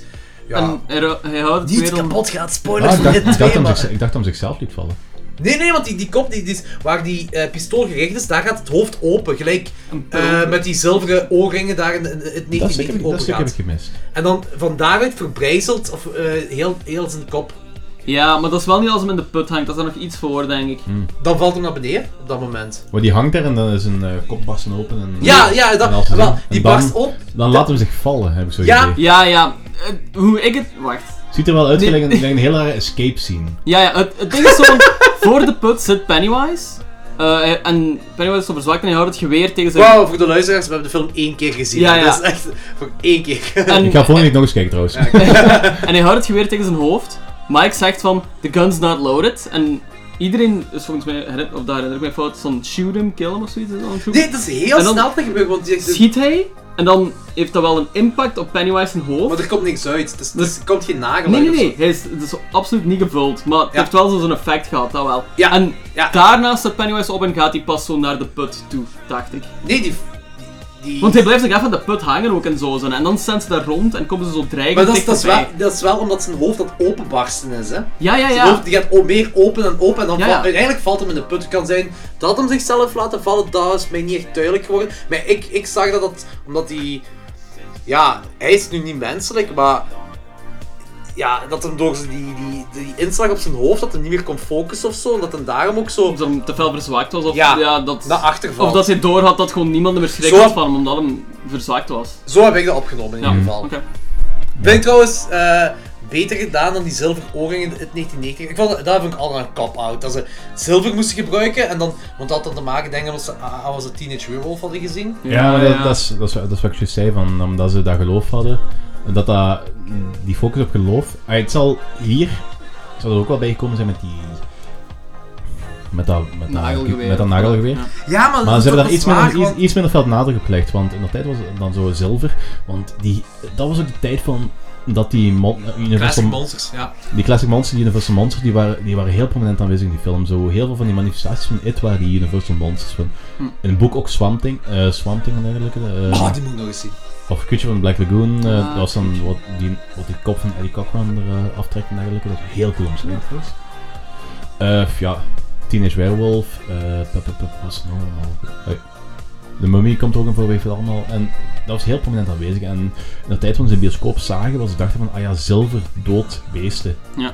Speaker 1: ja,
Speaker 2: En hij, ru- hij houdt het
Speaker 1: niet
Speaker 2: weer om...
Speaker 1: kapot gaat. Spoilers
Speaker 3: Ah,
Speaker 1: voor
Speaker 3: ik, dacht,
Speaker 1: dit
Speaker 3: ik, dacht
Speaker 1: twee,
Speaker 3: hem
Speaker 1: maar-
Speaker 3: zich- ik dacht hem zichzelf liet vallen.
Speaker 1: Nee, nee, want die, die kop die, die is, waar die eh, pistool gericht is, daar gaat het hoofd open. Gelijk eh, met die zilveren oorringen daar in, in- in het
Speaker 3: Dat
Speaker 1: 19
Speaker 3: stuk heb ik,
Speaker 1: meter
Speaker 3: dat
Speaker 1: open
Speaker 3: stuk heb
Speaker 1: gaat.
Speaker 3: ik gemist.
Speaker 1: En dan van daaruit verbrijzelt of, eh, heel, heel zijn kop.
Speaker 2: Ja, maar dat is wel niet als hem in de put hangt. Dat is daar nog iets voor, denk ik.
Speaker 1: Dan valt hem naar beneden op dat moment.
Speaker 3: Maar die hangt daar en dan is een eh, kop barsten open. En,
Speaker 1: Ja, ja, dat,
Speaker 3: en als ze
Speaker 1: wel,
Speaker 3: zijn-
Speaker 1: die
Speaker 3: en dan-
Speaker 1: barst op.
Speaker 3: Dan laat hem zich vallen, heb ik zo
Speaker 1: Ja.
Speaker 3: idee.
Speaker 2: Ja, ja. eh, hoe ik het... Wacht.
Speaker 3: Ziet er wel uit
Speaker 2: Nee.
Speaker 3: gelijk een, gelijk een heel rare escape scene.
Speaker 2: Ja, ja het, het ding is
Speaker 1: *laughs*
Speaker 2: zo, voor de put zit Pennywise. Eh, en Pennywise is zo verzwakt en hij houdt het geweer tegen zijn...
Speaker 1: Wauw, voor de luisteraars, we hebben de film één keer gezien.
Speaker 2: Ja, ja.
Speaker 1: Dat is echt voor één keer.
Speaker 2: En,
Speaker 3: Ik ga volgende week nog eens kijken trouwens.
Speaker 2: en hij houdt het geweer tegen zijn hoofd. Mike zegt van, the gun's not loaded. En iedereen is volgens mij, herinner- of daar herinner ik mij fout, zo'n shoot him, kill him of zoiets. is dat een groep?
Speaker 1: Nee, dat is heel
Speaker 2: En dan-
Speaker 1: snel te gebeuren, want die zegt, dus-
Speaker 2: Schiet hij, en dan heeft dat wel een impact op Pennywise zijn hoofd.
Speaker 1: maar er komt niks uit. Dus, dus er komt geen nagel
Speaker 2: Nee,
Speaker 1: uit
Speaker 2: nee,
Speaker 1: of zo.
Speaker 2: nee. Hij is, het is absoluut niet gevuld. Maar het
Speaker 1: Ja.
Speaker 2: heeft wel zo- zo'n effect gehad, dat wel.
Speaker 1: Ja,
Speaker 2: En
Speaker 1: ja.
Speaker 2: daarna staat Pennywise op en gaat hij pas zo naar de put toe, dacht ik.
Speaker 1: Nee, die... die...
Speaker 2: Want hij blijft zich even aan de put hangen ook en zo. zijn. En dan staan ze daar rond en komen ze zo dreigen.
Speaker 1: maar dat is, dat, is wel, dat is wel omdat zijn hoofd aan het openbarsten is, hè.
Speaker 2: Ja, ja,
Speaker 1: Zijn
Speaker 2: ja.
Speaker 1: hoofd die gaat o- meer open en open en dan
Speaker 2: Ja,
Speaker 1: valt-
Speaker 2: ja.
Speaker 1: uiteindelijk valt hem in de put. Het kan zijn dat hem zichzelf laten vallen, dat is mij niet echt duidelijk geworden. Maar ik, ik zag dat, dat omdat hij... Ja, hij is nu niet menselijk, maar... Ja, dat hem door die, die, die inslag op zijn hoofd, dat hij niet meer kon focussen of zo. En dat hem daarom ook zo
Speaker 2: Of hem te veel verzwakt was. Of,
Speaker 1: Ja,
Speaker 2: ja, dat,
Speaker 1: naar achter valt.
Speaker 2: of dat hij doorhad dat gewoon niemand er meer schrik
Speaker 1: Zo-
Speaker 2: had van hem, omdat hem verzwakt was.
Speaker 1: Zo heb ik dat opgenomen in
Speaker 2: Ja,
Speaker 1: ieder
Speaker 2: oké.
Speaker 1: geval. Vind ik trouwens eh, beter gedaan dan die zilveren oorringen in 1990. Ik vond, dat- dat vond ik allemaal een cop-out. Dat ze zilver moesten gebruiken en dan... Want dat had dan te maken, denk ik, omdat ze ah, als ze Teenage Werewolf hadden gezien.
Speaker 3: Ja, maar dat, dat is, dat, is, dat is wat ik juist zei, van, omdat ze dat geloof hadden. En dat, dat die focus op geloof... Ah, het zal hier... Het zal er ook wel bijgekomen zijn met die... Met dat, met dat,
Speaker 2: Nagelgeweer.
Speaker 3: met dat nagelgeweer.
Speaker 2: Ja.
Speaker 1: Ja, maar...
Speaker 3: Maar ze hebben daar iets minder,
Speaker 1: meer
Speaker 3: iets, iets minder veel nadruk op gelegd, want in dat tijd was het dan zo zilver. Want die, dat was ook de tijd van dat die mon, Universal,
Speaker 1: monsters, ja.
Speaker 3: die classic monsters, die Universal monsters, die waren, die waren heel prominent aanwezig in die film. Zo heel veel van die manifestaties van It waren die Universal monsters. Van.
Speaker 2: Hm.
Speaker 3: In het boek ook Swamp Thing, eh, Swamp Thing en dergelijke. eh,
Speaker 1: Oh, die moet ik nog eens zien.
Speaker 3: Of Kutje van Black Lagoon, eh,
Speaker 2: Ah,
Speaker 3: dat was dan wat die, wat die kop van Eddie Cochran er eh, aftrekt en dergelijke. Dat is heel cool om te zien. Eh, f- ja, Teenage Werewolf, eh, pa- pa- pa- wat is er nog allemaal? Eh, de Mummy komt er ook in voor, weet je wel allemaal. En dat was heel prominent aanwezig. En in de tijd van ze de bioscoop zagen, was de dachten van, ah ja, zilver, dood, beesten.
Speaker 2: Ja.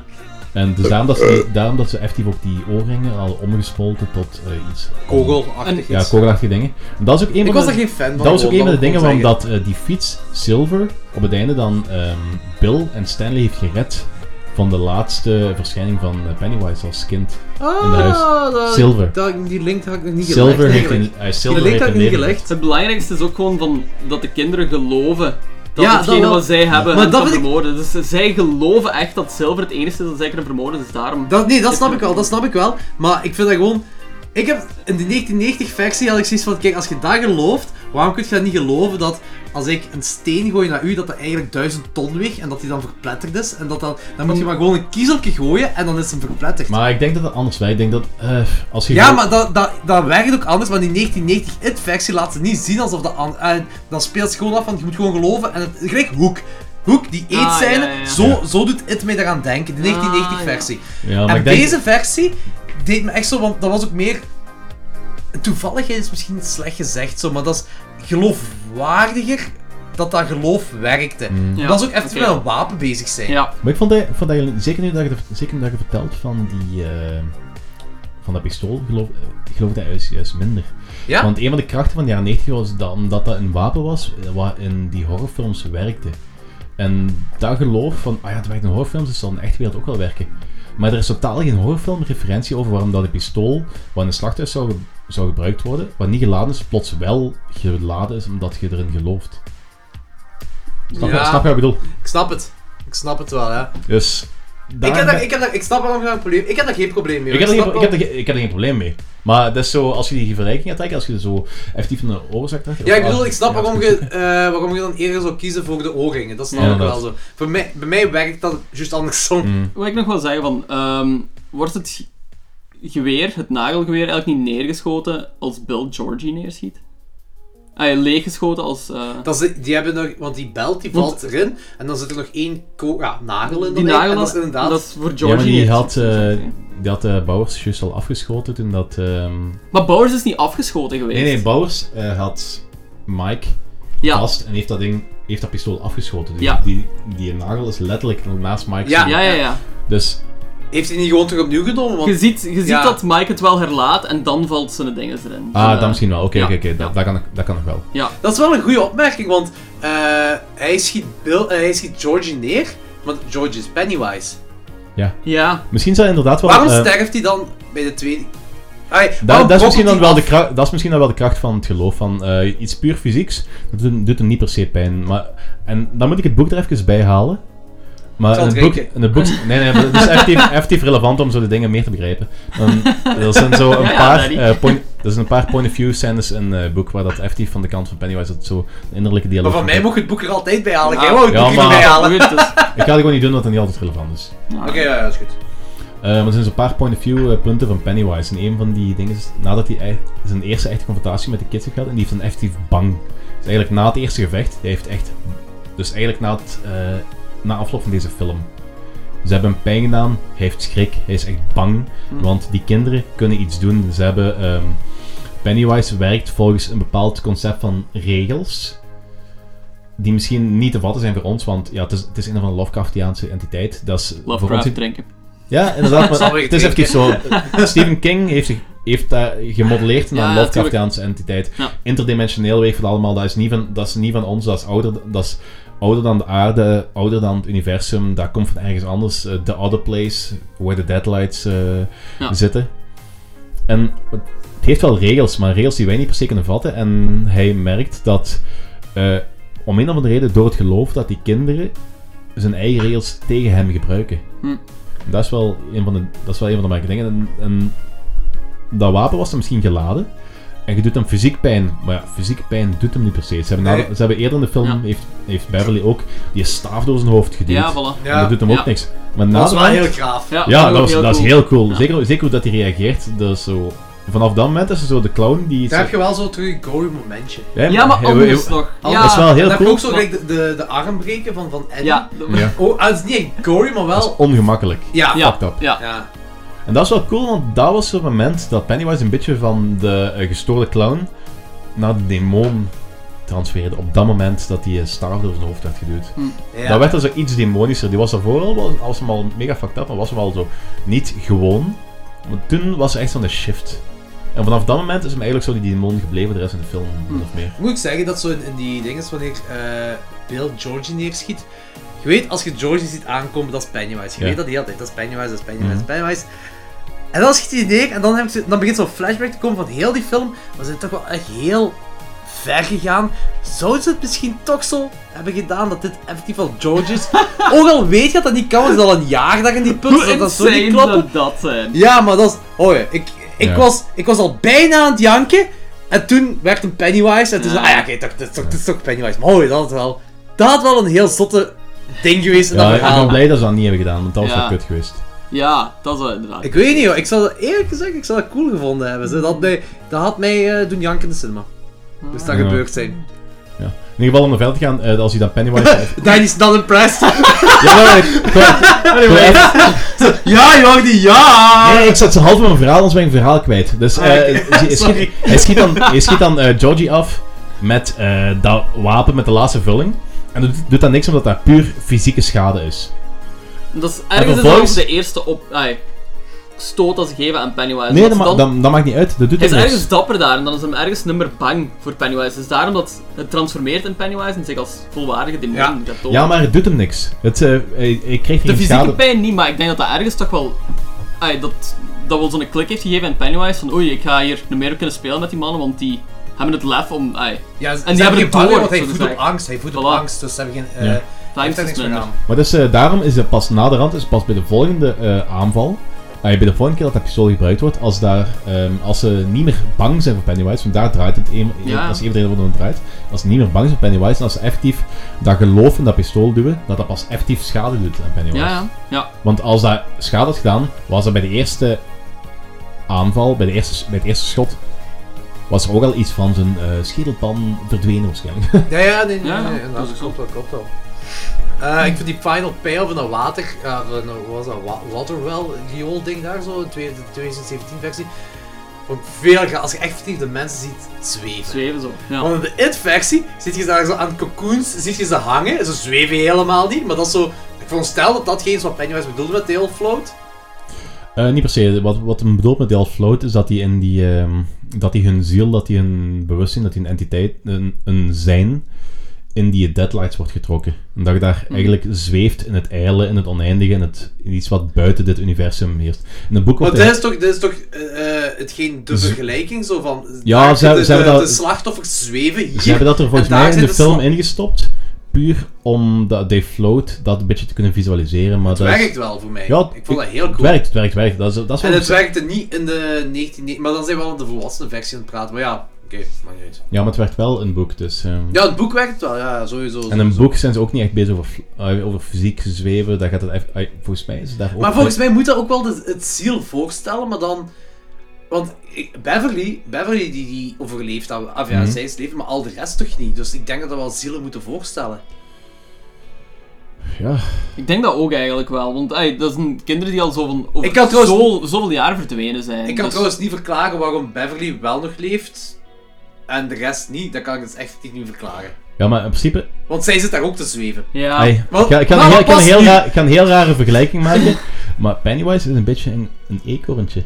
Speaker 3: En dus daarom dat ze, daarom dat ze effectief ook die oorringen hadden omgesmolten tot eh, iets...
Speaker 1: Kogelachtig
Speaker 3: Ja,
Speaker 1: iets.
Speaker 3: kogelachtige dingen. En dat is ook een
Speaker 1: Ik
Speaker 3: van
Speaker 1: was
Speaker 3: de...
Speaker 1: daar geen fan van.
Speaker 3: Dat was ook
Speaker 1: gewoon,
Speaker 3: een van de
Speaker 1: moet ik
Speaker 3: dingen
Speaker 1: gewoon
Speaker 3: waarom dat, eh, die fiets Silver op het einde dan ehm, Bill en Stanley heeft gered van de laatste verschijning van eh, Pennywise als kind.
Speaker 1: zeggen.
Speaker 3: in de huis.
Speaker 1: Ah, dat-
Speaker 3: Silver.
Speaker 1: dat- Die link had ik nog niet gelegd.
Speaker 3: Silver heeft
Speaker 1: eigenlijk.
Speaker 3: een, eh,
Speaker 1: Die
Speaker 3: Silver
Speaker 1: link
Speaker 3: heeft
Speaker 1: had ik
Speaker 3: een
Speaker 1: niet
Speaker 3: leven.
Speaker 1: gelegd.
Speaker 2: Het belangrijkste is ook gewoon van, dat de kinderen geloven dat
Speaker 1: Ja,
Speaker 2: hetgene
Speaker 1: dat wel.
Speaker 2: wat zij hebben
Speaker 1: Maar
Speaker 2: hen
Speaker 1: dat
Speaker 2: kan
Speaker 1: vind ik-
Speaker 2: vermoorden. Dus zij geloven echt dat zilver het enige is dat zij kunnen vermoorden. Dus daarom...
Speaker 1: Dat, nee, dat snap ik wel, dat snap ik wel. Maar ik vind dat gewoon... Ik heb in de 1990-versie had ik zoiets van, kijk, als je daar gelooft, waarom kun je dan niet geloven dat als ik een steen gooi naar u, dat dat eigenlijk duizend ton weegt en dat die dan verpletterd is? En dat dan, dan moet je maar gewoon een kiezeltje gooien en dan is hem verpletterd.
Speaker 3: Maar ik denk dat het anders werkt. Ik denk dat eh, als je...
Speaker 1: ja,
Speaker 3: gewoon-
Speaker 1: maar dat, dat, dat werkt ook anders, want die 1990-versie laat ze niet zien alsof dat... an- En dan speelt het gewoon af van, je moet gewoon geloven en het, gelijk Hoek. Hoek, die
Speaker 2: Ah,
Speaker 1: eetscène,
Speaker 2: ja, ja, ja.
Speaker 1: Zo, zo doet het mij daaraan denken, de
Speaker 2: Ah, ja.
Speaker 1: 1990-versie.
Speaker 3: Ja, maar
Speaker 1: En
Speaker 3: ik denk...
Speaker 1: deze versie deed me echt zo, want dat was ook meer. Toevalligheid is misschien slecht gezegd zo, maar dat is geloofwaardiger dat dat geloof werkte.
Speaker 3: Mm.
Speaker 2: Ja,
Speaker 1: dat is ook echt
Speaker 2: oké.
Speaker 1: met een wapen bezig zijn.
Speaker 2: Ja.
Speaker 3: Maar ik vond dat, vond dat je- zeker nu dat je, zeker nu dat je vertelt van die... eh, van dat pistool, geloof, geloof dat juist, juist minder.
Speaker 1: Ja?
Speaker 3: Want een van de krachten van de jaren 90 was dat, omdat dat een wapen was, eh, wat in die horrorfilms werkte. En dat geloof van, ah ja, het werkt in horrorfilms, dus het zal in de echte wereld ook wel werken. Maar er is totaal geen horrorfilmreferentie over waarom dat een pistool, wat in een slachthuis zou, ge- zou gebruikt worden, wat niet geladen is, plots wel geladen is omdat je erin gelooft. Snap, je,
Speaker 1: Ja.
Speaker 3: snap je wat ik bedoel?
Speaker 1: Ik snap het. Ik snap het wel, ja.
Speaker 3: Dus... daar-
Speaker 1: Ik, heb daar, ik, heb daar, ik snap wel nog een probleem. Ik heb daar geen probleem mee.
Speaker 3: Ik heb, er
Speaker 1: hoor.
Speaker 3: geen, ik,
Speaker 1: snap
Speaker 3: heb
Speaker 1: wel-
Speaker 3: er geen- ik heb er geen probleem mee. Maar dat is zo, als je die vergelijking gaat trekken, als je er zo effectief naar de oorzaak trekt...
Speaker 1: Ja, ik bedoel, ik snap
Speaker 3: Ja,
Speaker 1: waarom
Speaker 3: dat is
Speaker 1: je, eh, waarom je dan eerder zou kiezen voor de oorringen. Dat snap
Speaker 3: Ja,
Speaker 1: ik wel zo.
Speaker 3: inderdaad.
Speaker 1: Voor mij, bij mij werkt dat juist andersom.
Speaker 3: Mm.
Speaker 2: Wat ik nog wil zeggen, van, ehm, wordt het ge- geweer, het nagelgeweer, eigenlijk niet neergeschoten als Bill Georgie neerschiet? Ah, ja, leeggeschoten als... eh,
Speaker 1: Dat ze, die hebben nog, want die belt die
Speaker 2: Want-
Speaker 1: valt erin en dan zit er nog één ko- ja, nagel in.
Speaker 2: die
Speaker 1: dan eigenlijk.
Speaker 2: nagel,
Speaker 1: en dat is inderdaad.
Speaker 2: dat is voor
Speaker 3: Ja, maar
Speaker 2: Georgie
Speaker 3: die had,
Speaker 2: neergeschoten.
Speaker 3: eh die had eh, Bouwers juist al afgeschoten toen dat... ehm,
Speaker 2: Maar Bowers is niet afgeschoten geweest.
Speaker 3: Nee, nee, Bouwers eh, had Mike
Speaker 2: ja.
Speaker 3: vast en heeft dat ding... Heeft dat pistool afgeschoten. Dus
Speaker 2: Ja.
Speaker 3: die, die nagel is letterlijk naast Mike.
Speaker 1: Ja.
Speaker 2: ja, ja, ja.
Speaker 3: Dus
Speaker 1: Heeft hij niet gewoon terug opnieuw genomen? Want
Speaker 2: Je ziet, je ziet
Speaker 1: Ja.
Speaker 2: dat Mike het wel herlaat en dan valt zijn dingen erin.
Speaker 3: Ah,
Speaker 2: En, eh,
Speaker 3: dat misschien wel. Oké,
Speaker 2: ja.
Speaker 3: oké, oké. dat- Dat kan ik- dat kan nog wel.
Speaker 2: Ja.
Speaker 1: dat is wel een goede opmerking, want eh, hij, schiet Bill, eh, hij schiet Georgie neer, want Georgie is Pennywise.
Speaker 2: Ja.
Speaker 3: Misschien zou inderdaad wel...
Speaker 1: Waarom
Speaker 3: eh,
Speaker 1: sterft hij dan bij de tweede? Ai,
Speaker 3: Dat,
Speaker 1: waarom
Speaker 3: dat, is misschien
Speaker 1: brokkelt
Speaker 3: dan
Speaker 1: hij
Speaker 3: wel de
Speaker 1: Oh, af?
Speaker 3: kracht, dat is misschien dan wel de kracht van het geloof. Van eh, iets puur fysieks, dat doet, doet hem niet per se pijn. Maar, en dan moet ik het boek er even bij halen. Maar
Speaker 1: Ik zal
Speaker 3: in het,
Speaker 1: het
Speaker 3: boek,
Speaker 1: rekenen.
Speaker 3: in het boek... Nee, nee, maar het
Speaker 1: *laughs*
Speaker 3: is effectief, effectief relevant om zo de dingen meer te begrijpen. Dan, er zijn zo een
Speaker 2: Ja, ja,
Speaker 3: paar...
Speaker 2: Daddy.
Speaker 3: eh, point, er zijn een paar point-of-view scènes in eh, het boek waar dat effectief van de kant van Pennywise dat zo een innerlijke dialoog...
Speaker 1: Maar van mij
Speaker 3: van-
Speaker 1: mocht je het boek er altijd bij halen.
Speaker 2: Ja.
Speaker 1: Jij wou het
Speaker 3: Ja,
Speaker 1: boek er niet
Speaker 3: maar-
Speaker 1: bij halen. Oké,
Speaker 2: Goed,
Speaker 3: *laughs*
Speaker 2: dus-
Speaker 3: Ik ga het gewoon niet doen, omdat het niet altijd relevant is.
Speaker 2: ja.
Speaker 1: ja, ja, dat is goed.
Speaker 3: Eh, maar er zijn zo'n paar point-of-view eh, punten van Pennywise. En een van die dingen is, nadat hij e- zijn eerste echte confrontatie met de kids heeft gehad, en die heeft dan effectief bang. Dus eigenlijk na het eerste gevecht, hij heeft echt... Dus eigenlijk na, het, eh, na afloop van deze film. Ze hebben hem pijn gedaan, hij heeft schrik, hij is echt bang. Want die kinderen kunnen iets doen. Ze hebben... ehm, Pennywise werkt volgens een bepaald concept van regels. Die misschien niet te vatten zijn voor ons, want ja, het is, het is een of andere Lovecraftiaanse entiteit. Dat is voor ons
Speaker 2: Lovecraft drinken.
Speaker 3: ja,
Speaker 2: *laughs*
Speaker 3: inderdaad.
Speaker 1: Zal
Speaker 3: Maar
Speaker 1: weer
Speaker 3: het is
Speaker 1: drinken.
Speaker 3: even zo. Stephen King heeft, zich- heeft dat gemodelleerd naar
Speaker 2: Ja,
Speaker 3: een Lovecraftiaanse entiteit.
Speaker 2: Ja.
Speaker 3: Interdimensioneel weegt het allemaal. Dat is, niet van, dat is niet van ons. Dat is ouder, dat is ouder dan de aarde, ouder dan het universum. Dat komt van ergens anders. Eh, The Other Place, where the deadlights eh,
Speaker 2: Ja.
Speaker 3: zitten. En het heeft wel regels, maar regels die wij niet per se kunnen vatten. En hij merkt dat, eh, om een of andere reden, door het geloof dat die kinderen zijn eigen regels tegen hem gebruiken.
Speaker 2: Hm.
Speaker 3: Dat is wel een van de, dat is wel een van de belangrijke dingen. En, en dat wapen was dan misschien geladen. En je doet hem fysiek pijn. Maar ja, fysiek pijn doet hem niet per se. Ze hebben, na-
Speaker 1: Nee.
Speaker 3: ze hebben eerder in de film,
Speaker 2: Ja.
Speaker 3: heeft, heeft Beverly ook die staaf door zijn hoofd geduwd.
Speaker 2: Ja, voilà.
Speaker 3: En dat doet hem
Speaker 2: Ja.
Speaker 3: ook niks. Maar na
Speaker 1: Dat is
Speaker 3: de
Speaker 1: wel
Speaker 3: hand-
Speaker 1: heel graaf.
Speaker 2: Ja,
Speaker 3: ja,
Speaker 2: ook
Speaker 3: dat, was, dat is
Speaker 2: cool.
Speaker 3: heel cool.
Speaker 2: Ja.
Speaker 3: Zeker, zeker hoe dat hij reageert. Dat is zo... Vanaf dat moment is ze zo de clown die...
Speaker 1: Daar heb je wel zo terug een gory momentje.
Speaker 3: Ja,
Speaker 2: Ja, maar
Speaker 3: hij-
Speaker 2: anders
Speaker 3: hij-
Speaker 2: nog.
Speaker 1: Dat
Speaker 2: Ja,
Speaker 3: Dat is wel
Speaker 1: Dan
Speaker 3: heel
Speaker 1: heb je
Speaker 3: Ah, cool.
Speaker 1: ook zo gelijk de, de, de arm breken van, van Eddie.
Speaker 2: Ja,
Speaker 3: Ja.
Speaker 1: Oh, ah, het is niet echt gory, maar
Speaker 3: Dat is
Speaker 1: wel...
Speaker 3: ongemakkelijk.
Speaker 1: Ja.
Speaker 2: ja,
Speaker 3: fucked up.
Speaker 2: ja.
Speaker 1: Ja.
Speaker 3: En dat is wel cool, want dat was het moment dat Pennywise een beetje van de eh, gestoorde clown naar de demon transfereerde. Op dat moment dat die eh, staaf door zijn hoofd werd geduwd.
Speaker 1: Ja.
Speaker 3: Dat werd er zo iets demonischer. Die was daarvoor al wel als hem al mega fucked up, maar was hem al zo niet gewoon. Maar toen was er echt zo'n shift. En vanaf dat moment is hem eigenlijk zo die demon gebleven de rest van de film, min of meer.
Speaker 1: Moet ik zeggen dat zo in, in die dingen, wanneer eh Bill Georgie neerschiet... Je weet, als je Georgie ziet aankomen, dat is Pennywise. Je
Speaker 3: Ja.
Speaker 1: weet dat de hele tijd. Dat is Pennywise, dat is Pennywise, dat is Pennywise. En dan schiet hij neer en dan, heb ik zo- dan begint zo'n flashback te komen van heel die film. Maar ze zijn toch wel echt heel ver gegaan. Zouden ze het misschien toch zo hebben gedaan dat dit effectief wel George is? Ook al weet je dat dat niet kan, want het is al een jaar dat je in die put
Speaker 2: Hoe
Speaker 1: zit, dat zo niet
Speaker 2: insane
Speaker 1: kloppen.
Speaker 2: zou dat zijn?
Speaker 1: Ja, maar dat is. Oh ja, ik, ik,
Speaker 3: Ja.
Speaker 1: was, ik was al bijna aan het janken. En toen werd een Pennywise. En toen
Speaker 2: Ja.
Speaker 1: zei ah ja, oké, dat, dat, dat is toch Pennywise. Maar oh, dat had wel. Dat had wel een heel zotte ding geweest in
Speaker 3: Ja,
Speaker 1: dat
Speaker 3: ik ben
Speaker 1: verhaal.
Speaker 3: blij dat ze dat niet hebben gedaan, want dat was
Speaker 2: Ja.
Speaker 3: wel kut geweest.
Speaker 2: Ja, dat zou inderdaad.
Speaker 1: Ik weet niet hoor, ik zou dat eerlijk gezegd, ik zou dat cool gevonden hebben. Zo, Dat had mij, dat had mij eh, doen janken in de cinema. Dus dat
Speaker 3: Ja.
Speaker 1: gebeurd zijn.
Speaker 3: Ja. In ieder geval om naar verder te gaan, eh, als hij dan Pennywise...
Speaker 1: *laughs* Daddy is not impressed.
Speaker 3: ja, maar, ik- ik- ik-
Speaker 1: *laughs* ja, Jordi,
Speaker 2: Ah,
Speaker 1: ja!
Speaker 3: Nee, ik zat zo half in mijn verhaal, anders ben ik mijn verhaal kwijt. Dus eh,
Speaker 1: Ah, oké.
Speaker 2: *laughs*
Speaker 3: hij schiet-
Speaker 1: Sorry.
Speaker 3: hij schiet dan, hij schiet dan eh, Georgie af met eh, dat wapen met de laatste vulling. En dat doet- doet dat niks omdat dat puur fysieke schade is.
Speaker 2: Dat is ergens is dat
Speaker 3: vervolgens-
Speaker 2: ook de eerste op. ai, stoot dat ze geven aan Pennywise.
Speaker 3: Nee,
Speaker 2: Omdat
Speaker 3: dat,
Speaker 2: ze
Speaker 3: ma-
Speaker 2: dan-
Speaker 3: dat, dat maakt niet uit. Dat doet
Speaker 2: Hij is
Speaker 3: er niks.
Speaker 2: ergens dapper daar en dan is hem ergens nummer bang voor Pennywise. Dus daarom dat het transformeert in Pennywise en zich als volwaardige demon
Speaker 1: Ja.
Speaker 2: gaat tonen.
Speaker 3: Ja, maar het doet hem niks. Het, eh hij, hij kreeg
Speaker 2: De
Speaker 3: geen
Speaker 2: fysieke
Speaker 3: schade.
Speaker 2: pijn niet, maar ik denk dat dat ergens toch wel... ai, dat, dat wel zo'n klik heeft gegeven aan Pennywise van oei, ik ga hier nog meer op kunnen spelen met die mannen, want die hebben het lef om... ai,
Speaker 1: Ja, en
Speaker 2: hebben
Speaker 1: hebben
Speaker 2: het
Speaker 1: geen power,
Speaker 2: door,
Speaker 1: want hij
Speaker 2: zo te
Speaker 1: voedt op
Speaker 2: zeggen.
Speaker 1: angst. Hij voedt op
Speaker 2: Voilà.
Speaker 1: angst, dus ze hebben geen... eh
Speaker 3: Ja.
Speaker 1: hij heeft
Speaker 2: Times
Speaker 1: daar
Speaker 2: is
Speaker 1: niks meer
Speaker 2: minder.
Speaker 1: aan.
Speaker 3: Maar dus, eh, daarom is het pas naderhand, is het pas bij de volgende eh, aanval, eh, bij de volgende keer dat dat pistool gebruikt wordt, als, daar, ehm, als ze niet meer bang zijn voor Pennywise, want daar draait het, een,
Speaker 2: Ja.
Speaker 3: dat is even de reden waarom het draait, als ze niet meer bang zijn voor Pennywise, en als ze effectief dat geloof in dat pistool duwen, dat dat pas effectief schade doet aan Pennywise.
Speaker 2: Ja, ja. ja.
Speaker 3: Want als dat schade had gedaan, was dat bij de eerste aanval, bij, de eerste, bij het eerste schot, was er ook al iets van zijn eh, schedelpan verdwenen waarschijnlijk.
Speaker 1: Ja, ja, nee, nee,
Speaker 2: Ja,
Speaker 1: nee,
Speaker 2: ja,
Speaker 1: nee,
Speaker 2: dat
Speaker 1: dat
Speaker 2: is
Speaker 1: klopt wel, klopt wel. Eh, ik vind die final payoff van dat water, eh, van, eh, wat was dat, wa- Waterwell, die ding daar zo, de 2017 versie, vond ik veel gaaf, als je echt de mensen ziet zweven.
Speaker 2: Zweven zo. Ja.
Speaker 1: Want in de infectie zit je daar zo aan cocoons, zit je ze hangen, ze zweven helemaal niet, maar dat is zo, ik veronderstel dat dat geen is wat Pennywise bedoelde met Tail Float.
Speaker 3: Eh, niet per se. Wat, wat hem bedoelt met Delft Float is dat die in die... ehm, dat die hun ziel, dat die hun bewustzijn, dat die een entiteit, een, een zijn, in die deadlights wordt getrokken. En dat je daar
Speaker 1: Hmm.
Speaker 3: eigenlijk zweeft in het ijle, in het oneindige, in, het, in iets wat buiten dit universum heerst. In het boek
Speaker 1: Maar
Speaker 3: wordt...
Speaker 1: dit is toch, dit is toch eh, eh, hetgeen de
Speaker 3: Z-
Speaker 1: vergelijking zo van,
Speaker 3: Dus- Ja,
Speaker 1: daar
Speaker 3: ze
Speaker 1: zitten
Speaker 3: hebben- ze
Speaker 1: de,
Speaker 3: hebben
Speaker 1: de
Speaker 3: dat-
Speaker 1: slachtoffers zweven hier.
Speaker 3: Ze
Speaker 1: *laughs*
Speaker 3: hebben dat er volgens
Speaker 1: en daar
Speaker 3: mij in de
Speaker 1: zitten
Speaker 3: film
Speaker 1: sla-
Speaker 3: ingestopt, puur om dat, die float dat een beetje te kunnen visualiseren, maar dat is-
Speaker 1: Het werkt wel voor mij.
Speaker 3: Ja,
Speaker 1: ik vond dat heel
Speaker 3: Het
Speaker 1: cool.
Speaker 3: werkt, het werkt, het werkt. Dat is, dat is
Speaker 1: En
Speaker 3: wel
Speaker 1: het werkte niet in de 19... Maar dan zijn we wel in de volwassen versie aan het praten. Maar ja, oké, maakt niet uit.
Speaker 3: Ja, maar het werkt wel in het boek, dus... ehm.
Speaker 1: Ja, het boek werkt wel, ja, sowieso.
Speaker 3: En in
Speaker 1: sowieso.
Speaker 3: een boek zijn ze ook niet echt bezig over, fl- eh, over fysiek zweven. Daar gaat het echt, eh, volgens mij is daar ook...
Speaker 1: Maar volgens mij moet dat ook wel de, het ziel voorstellen, maar dan... Want ik- Beverly, Beverly die, die overleeft, dat, af ja,
Speaker 3: Mhm.
Speaker 1: zij is leven, maar al de rest toch niet. Dus ik denk dat we wel zielen moeten voorstellen.
Speaker 3: Ja,
Speaker 2: Ik denk dat ook eigenlijk wel, want ai, dat zijn kinderen die al zo van over
Speaker 1: Ik had trouwens-
Speaker 2: zo, zoveel jaar verdwenen zijn.
Speaker 1: Ik kan
Speaker 2: dus-
Speaker 1: trouwens niet verklaren waarom Beverly wel nog leeft en de rest niet. Dat kan ik dus echt niet verklaren.
Speaker 3: ja maar in principe...
Speaker 1: Want zij zit daar ook te zweven.
Speaker 2: Ja.
Speaker 3: Hey, ik,
Speaker 1: Wel,
Speaker 3: ga- ik, ga een
Speaker 1: maar
Speaker 3: heel, ik, ga een
Speaker 1: pas
Speaker 3: heel
Speaker 1: nu.
Speaker 3: raar- ik ga een heel rare vergelijking maken. *laughs* maar Pennywise is een beetje een, een eekhoorntje.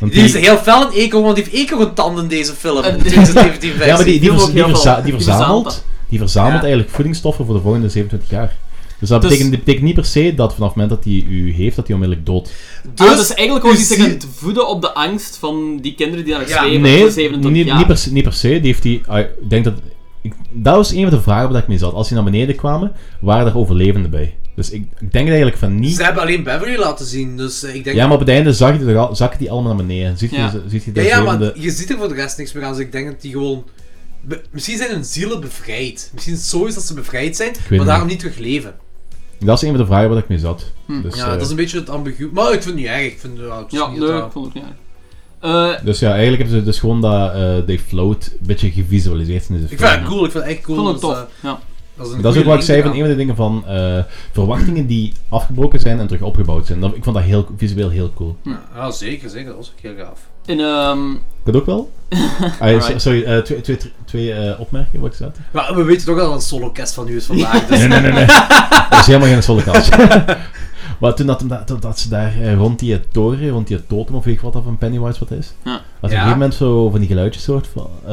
Speaker 3: Want
Speaker 1: Die is heel fel in eco, want die heeft eco tanden in deze
Speaker 3: *laughs*
Speaker 1: film.
Speaker 2: Eh,
Speaker 1: in de 2017 versie.
Speaker 3: Ja, maar die, die,
Speaker 2: Die
Speaker 3: verza-
Speaker 2: ook
Speaker 3: die,
Speaker 2: heel
Speaker 3: verza-
Speaker 2: veel.
Speaker 3: die
Speaker 2: Die verzamelt
Speaker 3: verzamelt,
Speaker 2: dat.
Speaker 3: die verzamelt
Speaker 1: Ja.
Speaker 3: eigenlijk voedingsstoffen voor de volgende 27 jaar. Dus dat
Speaker 2: Dus-
Speaker 3: betekent, dit betekent niet per se dat vanaf het moment dat hij u heeft, dat hij onmiddellijk dood.
Speaker 2: Dus, ah, dus eigenlijk gewoon
Speaker 1: u
Speaker 2: die zich
Speaker 1: ziet-
Speaker 2: aan het voeden op de angst van die kinderen die daar
Speaker 1: Ja.
Speaker 2: zweven
Speaker 3: Nee,
Speaker 2: voor 27
Speaker 3: niet,
Speaker 2: jaar.
Speaker 3: niet, per se, niet per se. Die heeft die, ah, ik denk dat, ik, dat was een van de vragen waar ik mee zat. Als die naar beneden kwamen, waren er overlevenden bij. Dus ik, ik denk eigenlijk van niet.
Speaker 1: Ze hebben alleen Beverly laten zien, dus eh, ik denk...
Speaker 3: Ja, maar op het einde zag je, er al- zakken die allemaal naar beneden. Ziet je,
Speaker 2: Ja.
Speaker 3: ziet je
Speaker 1: Ja,
Speaker 3: de
Speaker 1: ja,
Speaker 3: zevende-
Speaker 1: maar je ziet er voor de rest niks meer aan, dus ik denk dat die gewoon... Be- Misschien zijn hun zielen bevrijd. Misschien is het zo is dat ze bevrijd zijn, maar
Speaker 3: niet.
Speaker 1: daarom niet terug leven.
Speaker 3: Dat is een van de vragen waar ik mee zat.
Speaker 2: Hm.
Speaker 3: Dus,
Speaker 1: Ja,
Speaker 3: eh,
Speaker 1: dat is een beetje het ambigu... Maar ik vind het niet erg. Ik vind, ja, het is
Speaker 2: Ja,
Speaker 1: niet
Speaker 2: nee,
Speaker 1: dat-
Speaker 2: ik vond het ook niet erg. Eh,
Speaker 3: dus ja, eigenlijk hebben ze dus gewoon dat, eh die float een beetje gevisualiseerd in deze
Speaker 1: Ik
Speaker 3: film.
Speaker 1: vind het cool, ik vind het echt
Speaker 2: ik
Speaker 1: cool.
Speaker 2: vond het
Speaker 1: dat
Speaker 2: tof.
Speaker 1: ze-
Speaker 2: ja.
Speaker 1: dat is, eh, een
Speaker 3: Dat is ook
Speaker 1: goede
Speaker 3: wat ik zei
Speaker 1: link
Speaker 3: van een
Speaker 1: eraan.
Speaker 3: van de dingen van eh, verwachtingen die afgebroken zijn en terug opgebouwd zijn. Dat, ik vond dat heel, visueel heel cool.
Speaker 1: Ja, zeker, zeker. Dat was ook heel gaaf.
Speaker 2: In, ehm,
Speaker 3: Dat ook *laughs* wel? Ah, ja,
Speaker 2: Alright.
Speaker 3: Sorry, eh, twee, twee, twee eh, opmerkingen wat ik zat.
Speaker 1: Maar we weten toch al dat een solocast van u is
Speaker 3: *laughs*
Speaker 1: vandaag, dus...
Speaker 3: Nee, nee, nee, nee. Dat is helemaal geen zolle kans. *laughs* maar toen dat, hem da- toen dat ze daar eh, rond die toren, rond die totem of weet ik wat dat van Pennywise wat is.
Speaker 2: Ja.
Speaker 3: Als op een
Speaker 1: Ja.
Speaker 3: gegeven moment zo van die geluidjes hoort van... eh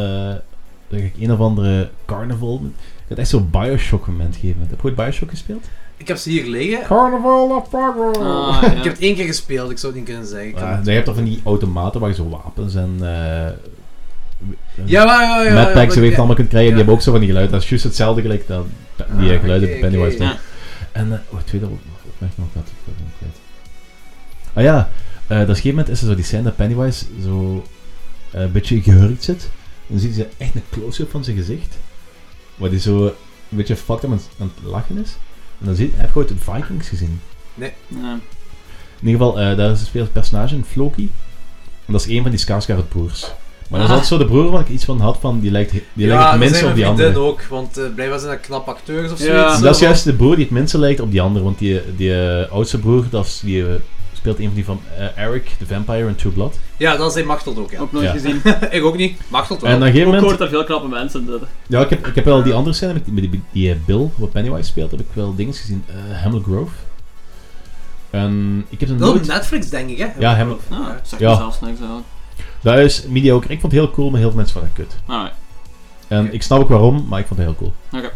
Speaker 3: dan ga ik een of andere carnaval... Ik had echt zo'n Bioshock moment gegeven. Heb je ooit Bioshock gespeeld?
Speaker 1: Ik heb ze hier liggen.
Speaker 3: Carnival of Carnival!
Speaker 1: *laughs*
Speaker 2: ah,
Speaker 1: Oh. Ik
Speaker 2: ja.
Speaker 1: heb het één keer gespeeld, ik zou het niet kunnen zeggen. Ik kan
Speaker 3: Ja,
Speaker 1: het-
Speaker 3: Ah, je hebt toch van die automaten waar je zo wapens en eh
Speaker 1: Ja, maar, ja, ja, ja,
Speaker 3: madpacks en weet
Speaker 1: maar-
Speaker 3: je wat allemaal kunt krijgen.
Speaker 1: Ja.
Speaker 3: Die hebben ook zo van die geluiden. Dat is juist hetzelfde gelijk dan pe- die eh,
Speaker 1: Ah,
Speaker 3: geluiden
Speaker 1: oké,
Speaker 3: die Pennywise
Speaker 1: oké.
Speaker 3: maakt. En eh, oh, het tweede op- opmerking nog dat ik dat ben ik kwijt. Ah ja, eh, dat is op een gegeven moment is er zo die scène dat Pennywise zo eh, een beetje gehurkt zit. En dan ziet ze echt een close-up van zijn gezicht. Waar die zo een beetje fucked up aan, het- aan het lachen is. En dan zie, heb je ooit de Vikings gezien.
Speaker 2: Ja.
Speaker 3: In ieder geval, eh, daar speelt een personage in, Floki. En dat is een van die Skarsgård broers. Maar dat is
Speaker 2: Ah.
Speaker 3: altijd zo de broer waar ik iets van had van, die lijkt, he- die lijkt
Speaker 1: ja, dat
Speaker 3: het minste
Speaker 1: zijn
Speaker 3: op die
Speaker 1: mijn
Speaker 3: andere.
Speaker 1: vriendin ook, want eh, blijkbaar zijn dat knap acteurs of
Speaker 2: Ja.
Speaker 1: zoiets.
Speaker 3: En dat is juist de broer die het minste lijkt op die andere, want die, die eh, oudste broer, dat is, die eh, speelt een van die van eh, Eric, de vampire in True Blood.
Speaker 1: Ja, dat zijn Machteld ook, ja.
Speaker 2: Ook nooit
Speaker 3: Ja.
Speaker 2: gezien.
Speaker 1: *laughs* ik ook niet. Machteld
Speaker 3: en op
Speaker 1: wel.
Speaker 3: een gegeven
Speaker 2: Ik hoor
Speaker 3: moment,
Speaker 2: daar veel knappe mensen. Dat,
Speaker 3: ja, ik heb, ik heb wel die andere scène met die, met die, die, eh, Bill, wat Pennywise speelt, heb ik wel dingen gezien, Eh Hemel Grove. En ik heb ze
Speaker 1: Dat op
Speaker 3: nooit...
Speaker 1: Netflix, denk ik, hè?
Speaker 3: Ja, hem...
Speaker 2: Ah, zeg
Speaker 3: Ja.
Speaker 2: me zelfs niks eigenlijk.
Speaker 3: dat is mediocre. Ik vond het heel cool, maar heel veel mensen vonden het kut.
Speaker 2: Alright.
Speaker 3: En ik snap ook waarom, maar ik vond het heel cool.
Speaker 2: Oké.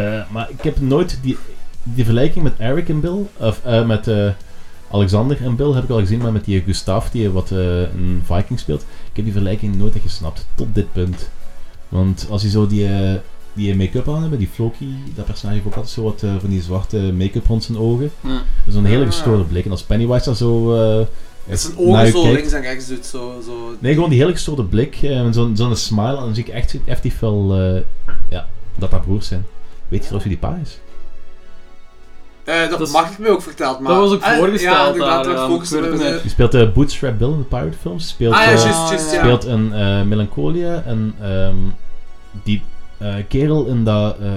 Speaker 3: Eh, maar ik heb nooit die, die vergelijking met Eric en Bill, of eh, met eh, Alexander en Bill heb ik al gezien, maar met die Gustav die eh, wat eh, een Viking speelt. Ik heb die vergelijking nooit echt gesnapt, tot dit punt. Want als je zo die, eh, die make-up aan hebben, die Floki, dat personage heeft ook altijd zo wat eh, van die zwarte make-up rond zijn ogen.
Speaker 2: Ja.
Speaker 3: Zo'n hele
Speaker 1: Ah.
Speaker 3: gestoorde blik. En als Pennywise daar zo. eh,
Speaker 1: Dat zijn
Speaker 3: naar
Speaker 1: ogen
Speaker 3: je
Speaker 1: zo
Speaker 3: kijkt-
Speaker 1: links en rechts doet, zo... zo.
Speaker 3: Nee, gewoon die hele gestoorde blik eh, en zo'n zo'n smile. En dan zie ik echt effectief wel eh, ja, dat dat broers zijn. Weet je trouwens wie die pa is?
Speaker 1: Eh, dat,
Speaker 2: Dat is-
Speaker 1: mag ik me ook verteld, maar...
Speaker 2: was ook
Speaker 1: Ah,
Speaker 2: voorgesteld
Speaker 1: Ja, inderdaad,
Speaker 2: daar,
Speaker 1: dat
Speaker 2: ja,
Speaker 1: werd voorgesteld.
Speaker 2: ik weet het
Speaker 1: eh,
Speaker 3: Die speelt eh, Bootstrap Bill in de Pirate films. Speelt,
Speaker 1: Ah ja,
Speaker 3: eh,
Speaker 1: juist, juist, ja.
Speaker 3: speelt een eh, Melancholia en ehm, die eh, kerel in dat... eh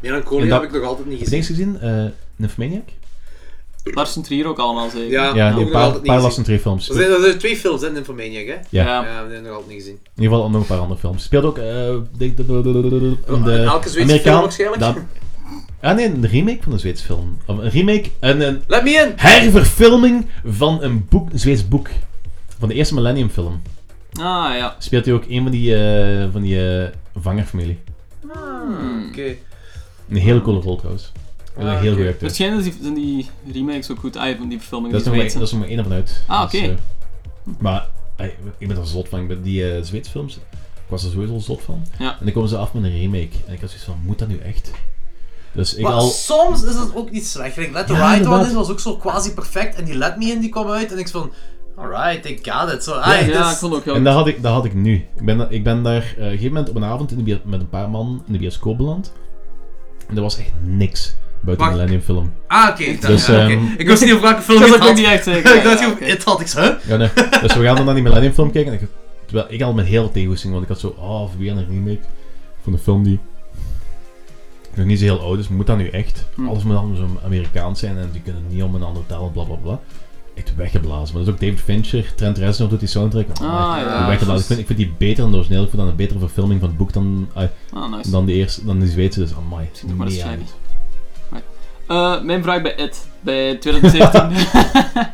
Speaker 1: Melancholia
Speaker 3: En dat-
Speaker 1: heb ik nog altijd niet
Speaker 3: heb je
Speaker 1: gezien.
Speaker 3: eens gezien? eh Nymphomaniac?
Speaker 2: Lars van Trier ook allemaal zeker.
Speaker 1: Ja.
Speaker 3: Ja, die
Speaker 1: nog
Speaker 3: een paar,
Speaker 1: altijd niet
Speaker 3: paar
Speaker 1: gezien.
Speaker 3: Last Trier films.
Speaker 1: Er zijn, er zijn twee films, hè, Nymphomaniac, hè?
Speaker 3: Ja.
Speaker 2: Ja.
Speaker 1: Ja, die heb ik nog altijd niet gezien.
Speaker 3: In ieder geval nog een paar andere films. Speelt ook... eh, de- de- de- de- de- de- in de
Speaker 1: Elke Zweedse
Speaker 3: Amerikaan-
Speaker 1: film waarschijnlijk.
Speaker 3: dat- Ah nee, een remake van een Zweedse film. Of een remake... en een
Speaker 1: Let me in!
Speaker 3: herverfilming van een, boek, een Zweeds boek. Van de eerste Millennium film.
Speaker 2: Ah ja.
Speaker 3: Speelt hij ook een van die, eh van die eh, vangerfamilie.
Speaker 2: Hmm.
Speaker 1: Oké.
Speaker 3: Een hele
Speaker 2: Ah,
Speaker 3: coole rol trouwens. Een
Speaker 1: Ah,
Speaker 3: heel goede
Speaker 1: oké.
Speaker 3: acteur.
Speaker 2: Het schijnt dat die- zijn die remakes ook goed uit van die verfilmingen
Speaker 3: Dat is,
Speaker 2: die
Speaker 3: nog maar,
Speaker 2: Zweedse.
Speaker 3: dat is nog maar één ervan uit.
Speaker 2: Ah,
Speaker 3: Dus,
Speaker 2: oké.
Speaker 3: eh, maar ey, ik ben er zot van. Ik ben die eh Zweedse films, ik was er sowieso zot van.
Speaker 2: Ja.
Speaker 3: En dan komen ze af met een remake. En ik had zoiets van, moet dat nu echt? Dus ik
Speaker 1: Maar
Speaker 3: al...
Speaker 1: soms is dat ook niet slecht. Like, Let the
Speaker 3: Ja,
Speaker 1: Right
Speaker 3: inderdaad.
Speaker 1: One is, was ook zo quasi perfect. En die Let Me In die kwam uit. En ik van, alright, I got it. Zo, ah,
Speaker 2: Ja,
Speaker 1: dit is-
Speaker 2: ik vond ook heel
Speaker 3: En dat had ik, dat had ik nu. Ik ben, ik ben daar eh, op een gegeven moment op een avond in de bio- met een paar man in de bioscoop beland. En er was echt niks buiten de
Speaker 1: Wacht.
Speaker 3: Millennium film.
Speaker 1: Ah, oké. ik dacht-
Speaker 3: Dus,
Speaker 1: ja, oké.
Speaker 3: ehm,
Speaker 1: Ik wist niet of welke film
Speaker 2: Dat
Speaker 1: het
Speaker 2: is ook
Speaker 1: had.
Speaker 2: niet
Speaker 1: *laughs*
Speaker 2: echt
Speaker 1: Ik
Speaker 2: zeker.
Speaker 1: dacht,
Speaker 2: Ja,
Speaker 1: joh,
Speaker 2: oké.
Speaker 1: het had ik zo. hè?
Speaker 3: Ja, nee. dus we gaan dan naar die Millennium film kijken. En ik, terwijl ik al met heel veel tegenwoordig, want ik had zo, oh, weer een remake van een film die nog niet zo heel oud is. Moet dat nu echt?
Speaker 2: Hm.
Speaker 3: Alles moet allemaal zo Amerikaans zijn en die kunnen niet om een andere taal, bla bla bla. Echt weggeblazen. Maar dat is ook David Fincher, Trent Reznor doet die soundtrack. Oh,
Speaker 2: Ah,
Speaker 3: echt
Speaker 2: ja,
Speaker 3: weggeblazen.
Speaker 2: juist.
Speaker 3: Ik, vind, ik vind die beter dan de origineel. Ik vind dat een betere verfilming van het boek dan... ah,
Speaker 2: Ah, nice.
Speaker 3: dan de eerste, dan de Zweedse, dus amai.
Speaker 2: Ziet er maar eens
Speaker 3: mega
Speaker 2: shiny.
Speaker 3: goed.
Speaker 2: Eh, mijn vraag bij Ed, bij
Speaker 3: *laughs*
Speaker 2: 2017.
Speaker 3: Het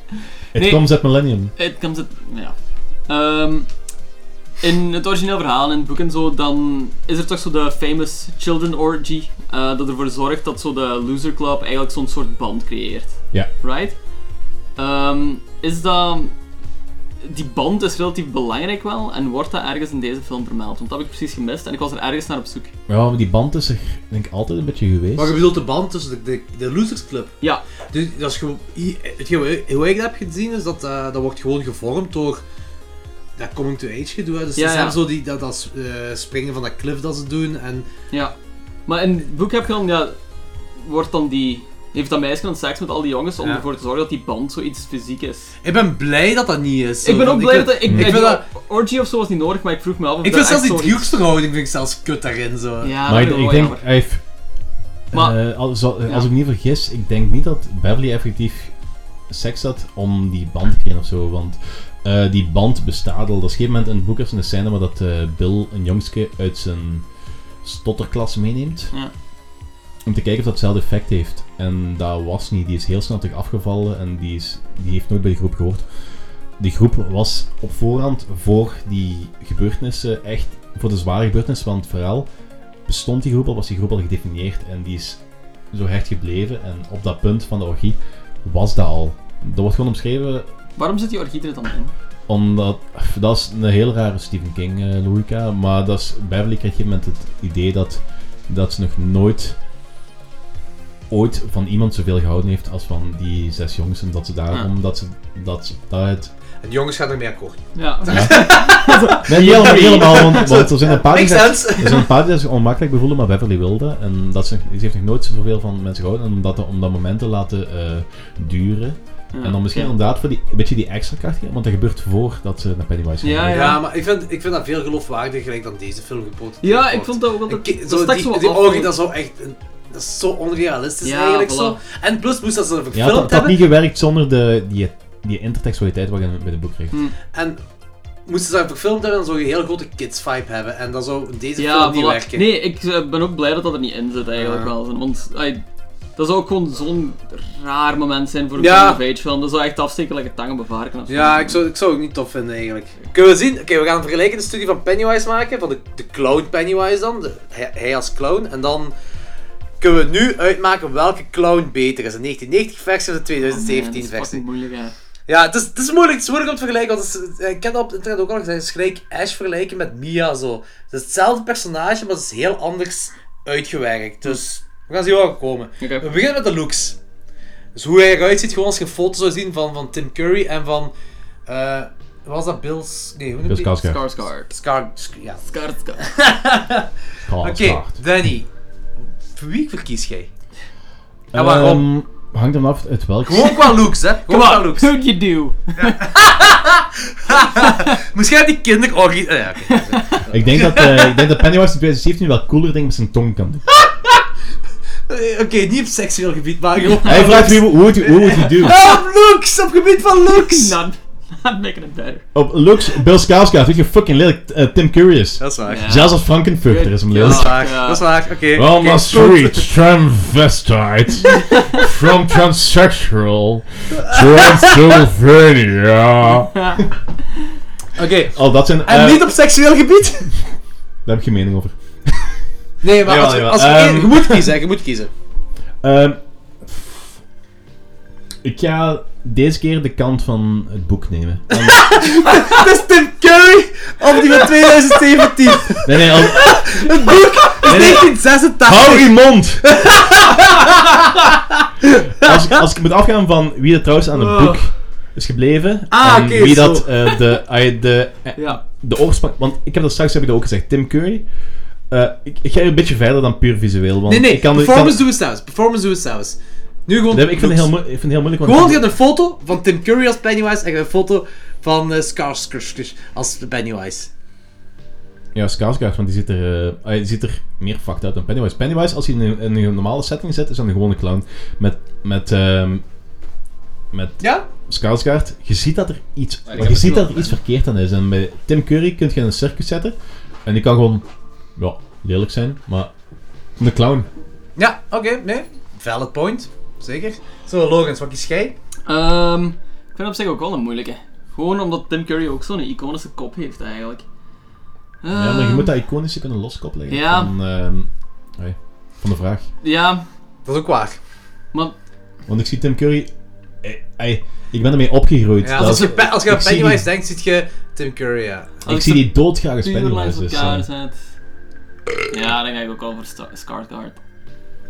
Speaker 2: Nee.
Speaker 3: komt uit Millennium.
Speaker 2: Het komt het. Ja. Ehm, in het origineel verhaal, in het boek en zo, dan is er toch zo de famous children orgy. eh, dat ervoor zorgt dat zo de loser club eigenlijk zo'n soort band creëert.
Speaker 3: Ja.
Speaker 2: Right? Ehm, is dat. Die band is relatief belangrijk wel en wordt dat ergens in deze film vermeld? Want dat heb ik precies gemist en ik was er ergens naar op zoek.
Speaker 3: Ja, maar die band is er denk ik altijd een beetje geweest.
Speaker 1: Maar je bedoelt de band tussen de, de, de Losers Club.
Speaker 2: Ja.
Speaker 1: Dus dat is gewoon, i- hetgeen hoe ik dat heb gezien is dat eh, dat wordt gewoon gevormd door dat coming to age gedoe. hè. Dus
Speaker 2: Ja,
Speaker 1: ze
Speaker 2: ja.
Speaker 1: hebben zo die, dat, dat eh, springen van dat cliff dat ze doen. En
Speaker 2: Ja. Maar in het boek heb je dan, ja, wordt dan die. Heeft dat meisje dan seks met al die jongens om
Speaker 1: Ja.
Speaker 2: ervoor te zorgen dat die band zoiets fysiek is?
Speaker 1: ik ben blij dat dat niet is.
Speaker 2: Ik ben
Speaker 1: Zo, want
Speaker 2: ook blij
Speaker 1: wil-
Speaker 2: dat... Ik,
Speaker 1: ik
Speaker 2: ik
Speaker 1: vind dat-
Speaker 2: Orgy of zo was niet nodig, maar ik vroeg me af of
Speaker 1: Ik
Speaker 2: dat
Speaker 1: vind zelfs
Speaker 2: echt
Speaker 1: die
Speaker 2: zoiets-
Speaker 1: driehoeksverhouding vind ik zelfs kut daarin. Zo.
Speaker 2: Ja,
Speaker 3: maar
Speaker 2: dat
Speaker 3: ik,
Speaker 2: vind
Speaker 3: ik
Speaker 2: wel
Speaker 3: denk,
Speaker 2: jammer.
Speaker 3: hij heeft,
Speaker 2: Maar-
Speaker 3: eh, als, als
Speaker 2: ja.
Speaker 3: ik me niet vergis, ik denk niet dat Beverly effectief seks had om die band te creëren of zo. Want eh, die band bestaat al. Dat is op een gegeven moment in het boek is een scène waar dat, eh, Bill een jongske uit zijn stotterklas meeneemt.
Speaker 2: Ja.
Speaker 3: Om te kijken of dat hetzelfde effect heeft. En dat was niet. Die is heel snel terug afgevallen en die, is, die heeft nooit bij de groep gehoord. Die groep was op voorhand voor die gebeurtenissen echt voor de zware gebeurtenissen van het verhaal bestond die groep al, was die groep al gedefinieerd en die is zo hecht gebleven. En op dat punt van de orgie was dat al. Dat wordt gewoon omschreven
Speaker 2: Waarom zit die orgie er dan in?
Speaker 3: omdat, dat is een heel rare Stephen King eh, logica, maar dat is, Beverly kreeg je met het idee dat, dat ze nog nooit ooit van iemand zoveel gehouden heeft als van die zes jongens en dat ze daarom, dat ze, dat ze, dat het...
Speaker 1: En de jongens gaan ermee akkoord.
Speaker 2: Ja.
Speaker 3: Nee, niet helemaal, niet helemaal, want, want er zijn een paar die
Speaker 1: Makes
Speaker 3: zeggen-
Speaker 1: sense.
Speaker 3: Er zijn een paar die zich onmakkelijk bevoelen, maar Beverly wilde. En dat ze, ze heeft nog nooit zoveel van mensen gehouden. En om dat, om dat moment te laten eh, duren. En dan misschien inderdaad voor die, een beetje die extra kracht geven, Want dat gebeurt voordat ze naar Pennywise gaan.
Speaker 2: Ja,
Speaker 1: Ja,
Speaker 2: ja.
Speaker 1: maar ik vind, ik vind dat veel geloofwaardiger gelijk dan deze film gepot.
Speaker 2: Ja, ik vond dat ook altijd...
Speaker 1: Ki-
Speaker 2: dat
Speaker 1: Zo,
Speaker 2: stak
Speaker 1: die,
Speaker 2: zo
Speaker 1: die
Speaker 2: af.
Speaker 1: orgie, dat is zo echt... een- dat is zo onrealistisch
Speaker 2: Ja,
Speaker 1: eigenlijk
Speaker 2: voilà.
Speaker 1: zo. En plus moest dat ze verfilmd
Speaker 3: Ja, het had- het had
Speaker 1: hebben.
Speaker 3: niet gewerkt zonder de, die, die intertextualiteit wat je bij de boek
Speaker 1: Hm.
Speaker 3: kreeg.
Speaker 1: En moesten ze dat verfilmd hebben, dan zou je een heel grote kids-vibe hebben. En dat zou in deze
Speaker 2: ja,
Speaker 1: film niet
Speaker 2: voilà.
Speaker 1: werken.
Speaker 2: Nee, ik eh, ben ook blij dat dat er niet in zit eigenlijk
Speaker 1: Ja.
Speaker 2: wel. Want, ai, Dat zou ook gewoon zo'n raar moment zijn voor een
Speaker 1: Ja.
Speaker 2: coming of age film. Dat zou echt afsteken like een tang op een varken of zo.
Speaker 1: Ja, ik zou, ik zou het niet tof vinden eigenlijk. Kunnen we zien? Oké, we gaan een vergelijkende studie van Pennywise maken. Van de, de clown Pennywise dan. De- hij, hij als clown. En dan kunnen we nu uitmaken welke clown beter is. De 1990-versie of de
Speaker 2: Oh, Man, dat is fucking
Speaker 1: 2017-versie.
Speaker 2: moeilijk, hè.
Speaker 1: ja, het is, het, is moeilijk, het is moeilijk om te vergelijken. Want het is- eh, ik heb dat op het internet ook al gezegd. Het is gelijk Ash vergelijken met Mia. Zo. Het is hetzelfde personage, maar het is heel anders uitgewerkt. Dus we gaan zien waar we komen.
Speaker 2: Oké.
Speaker 1: We beginnen met de looks. Dus hoe hij eruit ziet, gewoon als je een foto zou zien van, van Tim Curry en van. eh was dat Bill's. Nee, hoe noem
Speaker 3: Dus
Speaker 1: je die?
Speaker 3: Skarsgård.
Speaker 2: Skarsgård.
Speaker 1: Scar. Sc- Ja.
Speaker 2: Skarsgård.
Speaker 3: Skarsgård.
Speaker 1: Oké, Danny. Voor wie verkies jij? En
Speaker 3: Ehm,
Speaker 1: waarom?
Speaker 3: hangt ervan af uit welk...
Speaker 1: Gewoon qua looks, hè? Gewoon
Speaker 2: Come
Speaker 1: qua
Speaker 2: on,
Speaker 1: looks.
Speaker 2: who'd you
Speaker 1: *laughs*
Speaker 2: do?
Speaker 1: Misschien had die kinder. Oh, ja, oké.
Speaker 3: *laughs* Ik denk dat, eh, ik denk dat Pennywise in 2017 wel cooler ding met zijn tong kan doen.
Speaker 1: Eh, Oké, niet op seksueel gebied, maar gewoon.
Speaker 3: Hij vraagt wie hoe moet je hoe moet je doen?
Speaker 1: Ah, op looks! Op gebied van looks!
Speaker 2: Not, *laughs* not making it better.
Speaker 3: Op looks, Bill Skarsgård, weet je fucking lelijk, eh, Tim Curious.
Speaker 1: Dat is waar.
Speaker 2: Ja.
Speaker 3: Zelfs als Frankenfurter is hem
Speaker 1: Dat is
Speaker 3: lelijk.
Speaker 1: waar,
Speaker 2: Ja.
Speaker 1: dat is waar. Oké.
Speaker 3: On
Speaker 1: oké,
Speaker 3: the
Speaker 1: goed.
Speaker 3: street, transvestite,
Speaker 1: *laughs*
Speaker 3: from transsexual, Transylvania.
Speaker 1: Oké.
Speaker 3: Oh, dat zijn...
Speaker 1: En
Speaker 3: eh,
Speaker 1: niet op seksueel gebied?
Speaker 3: Daar heb ik geen mening over.
Speaker 1: Nee, maar
Speaker 3: Jawel,
Speaker 1: als,
Speaker 3: jawel.
Speaker 1: als er één-
Speaker 3: Ehm.
Speaker 1: je moet kiezen, hè, je moet kiezen.
Speaker 3: Ehm, ik ga deze keer de kant van het boek nemen. Anders-
Speaker 1: Het is Tim Curry of die van 2017.
Speaker 3: nee, nee, al,
Speaker 1: Het boek is
Speaker 3: nee.
Speaker 1: 1986.
Speaker 3: *laughs* hou je mond! *laughs* als, ik- als ik moet afgaan van wie er trouwens aan het boek is gebleven,
Speaker 1: Oh. Ah,
Speaker 3: en
Speaker 1: oké,
Speaker 3: wie
Speaker 1: zo.
Speaker 3: dat eh, de, ah, de, eh,
Speaker 2: Ja.
Speaker 3: de oorsprong... Want ik heb dat straks heb ik dat ook gezegd, Tim Curry. eh, ik, ik ga hier een beetje verder dan puur visueel, want
Speaker 1: Nee, nee,
Speaker 3: ik kan... ik kan-
Speaker 1: performance doen we zelfs. Performance doen we zelfs. Nu gewoon.
Speaker 3: Nee, ik, vind het heel,
Speaker 1: looks.
Speaker 3: moe- ik vind het heel moeilijk, want...
Speaker 1: Gewoon, je hebt een foto van Tim Curry als Pennywise en je hebt een foto van eh Skarsgård als Pennywise.
Speaker 3: Ja, Skarsgård, want die ziet er, eh, ah, die ziet er meer fucked uit dan Pennywise. Pennywise, als hij in een, in een normale setting zit, is dan een gewone clown. Met, met, ehm met
Speaker 1: Ja?
Speaker 3: Skarsgård, je ziet dat er iets,
Speaker 2: ik
Speaker 3: maar
Speaker 2: heb
Speaker 3: je
Speaker 2: het
Speaker 3: ziet
Speaker 2: wel.
Speaker 3: dat er iets verkeerd aan is. En bij Tim Curry kun je in een circus zetten en die kan gewoon, ja, lelijk zijn, maar een clown.
Speaker 1: Ja, oké, nee. Valid point. Zeker. Zo, Logans, wat kies jij?
Speaker 2: Ehm, ik vind het op zich ook wel een moeilijke. Gewoon omdat Tim Curry ook zo'n iconische kop heeft eigenlijk.
Speaker 3: Ja, maar je
Speaker 2: Ehm,
Speaker 3: moet dat iconische kunnen loskoppelen
Speaker 2: Ja.
Speaker 3: van, ehm, oei, van de vraag.
Speaker 2: Ehm, Ja,
Speaker 1: Dat is ook waar.
Speaker 2: maar
Speaker 3: Want ik zie Tim Curry, eh, eh, ik ben ermee opgegroeid.
Speaker 1: Ja,
Speaker 3: Dat-
Speaker 1: als, je, pe- als je
Speaker 3: ik
Speaker 1: aan
Speaker 3: zie die-
Speaker 1: Pennywise denkt, ziet je Tim Curry, ja.
Speaker 2: als
Speaker 3: ik zie
Speaker 2: ze
Speaker 3: die doodgraag als
Speaker 2: puur langs
Speaker 3: Pennywise. Dus, eh,
Speaker 2: elkaar zet. Ja, dan ga ik ook al voor Star- Skarsgård.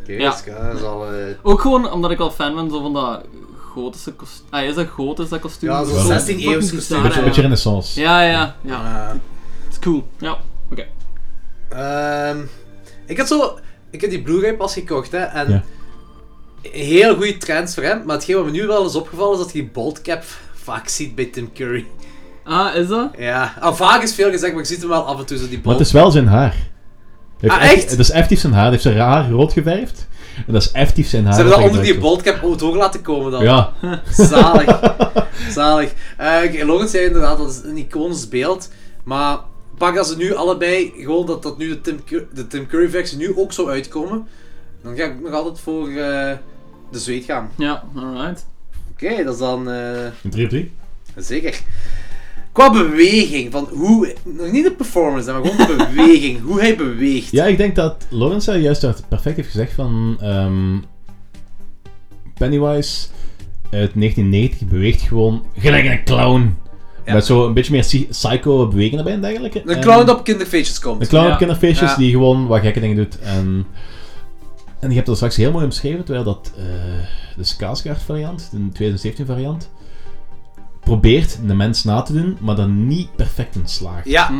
Speaker 1: Oké,
Speaker 2: Ja.
Speaker 1: dus, ja, dat is al... eh,
Speaker 2: Ook gewoon omdat ik wel fan ben zo van dat gotische kostuum. Ah, is dat gotisch dat kostuum?
Speaker 1: Ja, zo'n
Speaker 2: Zo
Speaker 1: 16
Speaker 2: fucking
Speaker 1: eeuws
Speaker 2: bizar,
Speaker 1: kostuum,
Speaker 2: hè.
Speaker 3: Beetje, beetje renaissance.
Speaker 2: Ja, ja, ja.
Speaker 1: eh,
Speaker 2: Het is cool. Ja, oké.
Speaker 1: Ehm, ik had zo... Ik heb die Blu-ray pas gekocht, hè. En...
Speaker 3: Ja.
Speaker 1: Heel goede trends voor hem, maar hetgeen wat me nu wel is opgevallen is dat je die baldcap vaak ziet bij Tim Curry.
Speaker 2: Ah, is dat?
Speaker 1: Ja, ah, vaak is veel gezegd, maar je ziet hem wel af en toe zo die
Speaker 3: Maar
Speaker 1: bald.
Speaker 3: het is wel zijn haar. Hij heeft
Speaker 1: Ah, echt?
Speaker 3: Het is effectief zijn haar. Hij heeft zijn haar rood geverfd. En dat is effectief zijn haar.
Speaker 1: Ze hebben dat onder die
Speaker 3: gebruikt
Speaker 1: baldcap ook door laten komen dan.
Speaker 3: wordt. Ja. *laughs*
Speaker 1: Zalig. Zalig. Eh Oké, Lorenz zei inderdaad, dat is een iconisch beeld. Maar pak dat ze nu allebei, gewoon dat, dat nu de Tim, Cur- de Tim Curry versie nu ook zou uitkomen. Dan ga ik nog altijd voor eh, de zweet gaan.
Speaker 2: Ja, alright.
Speaker 1: Oké, dat is dan eh,
Speaker 3: Een 3 op 3.
Speaker 1: zeker. Qua beweging, van hoe, nog niet de performance, maar
Speaker 3: *laughs*
Speaker 1: gewoon de beweging, hoe hij beweegt.
Speaker 3: Ja, ik denk dat Lawrence daar juist daar perfect heeft gezegd van... ehm, Pennywise uit 1990 beweegt gewoon gelijk een clown.
Speaker 1: Ja.
Speaker 3: Met zo een beetje meer psy- psycho bewegingen erbij en dergelijke.
Speaker 1: Een
Speaker 3: En-
Speaker 1: clown dat op kinderfeestjes
Speaker 3: ehm, Een
Speaker 1: komt.
Speaker 3: clown
Speaker 2: Ja.
Speaker 3: op kinderfeestjes
Speaker 1: Ja.
Speaker 3: die gewoon wat gekke dingen doet. En, en je hebt dat straks heel mooi omschreven, terwijl dat eh, de Skarsgård variant, de 2017 variant, probeert de mens na te doen, maar dan niet perfect in slaagt.
Speaker 1: Ja,
Speaker 2: Hm.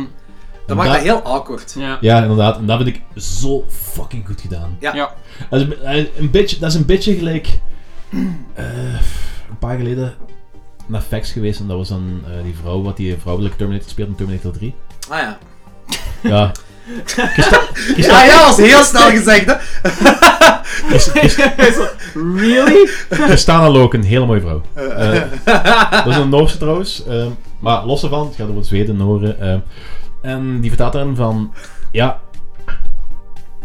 Speaker 1: dat maakt
Speaker 3: daar-
Speaker 1: dat heel awkward.
Speaker 2: Ja.
Speaker 3: Ja, inderdaad. En dat vind ik zo fucking goed gedaan.
Speaker 1: Ja.
Speaker 2: Ja.
Speaker 3: Dat is een, be- eh, een beetje, dat is een beetje gelijk... eh, een paar geleden naar Fax geweest en dat was dan eh, die vrouw, wat die vrouwelijke Terminator speelt in Terminator 3.
Speaker 1: Ah ja. Ah
Speaker 3: Ja.
Speaker 1: Ja, ja, dat was heel snel gezegd hè.
Speaker 2: Really?
Speaker 3: Christana Loken, een hele mooie vrouw. Eh, dat is een Noorse trouwens. eh, maar los ervan, het gaat over het Zweden, Noren. eh, en die vertelt daarin van... Ja,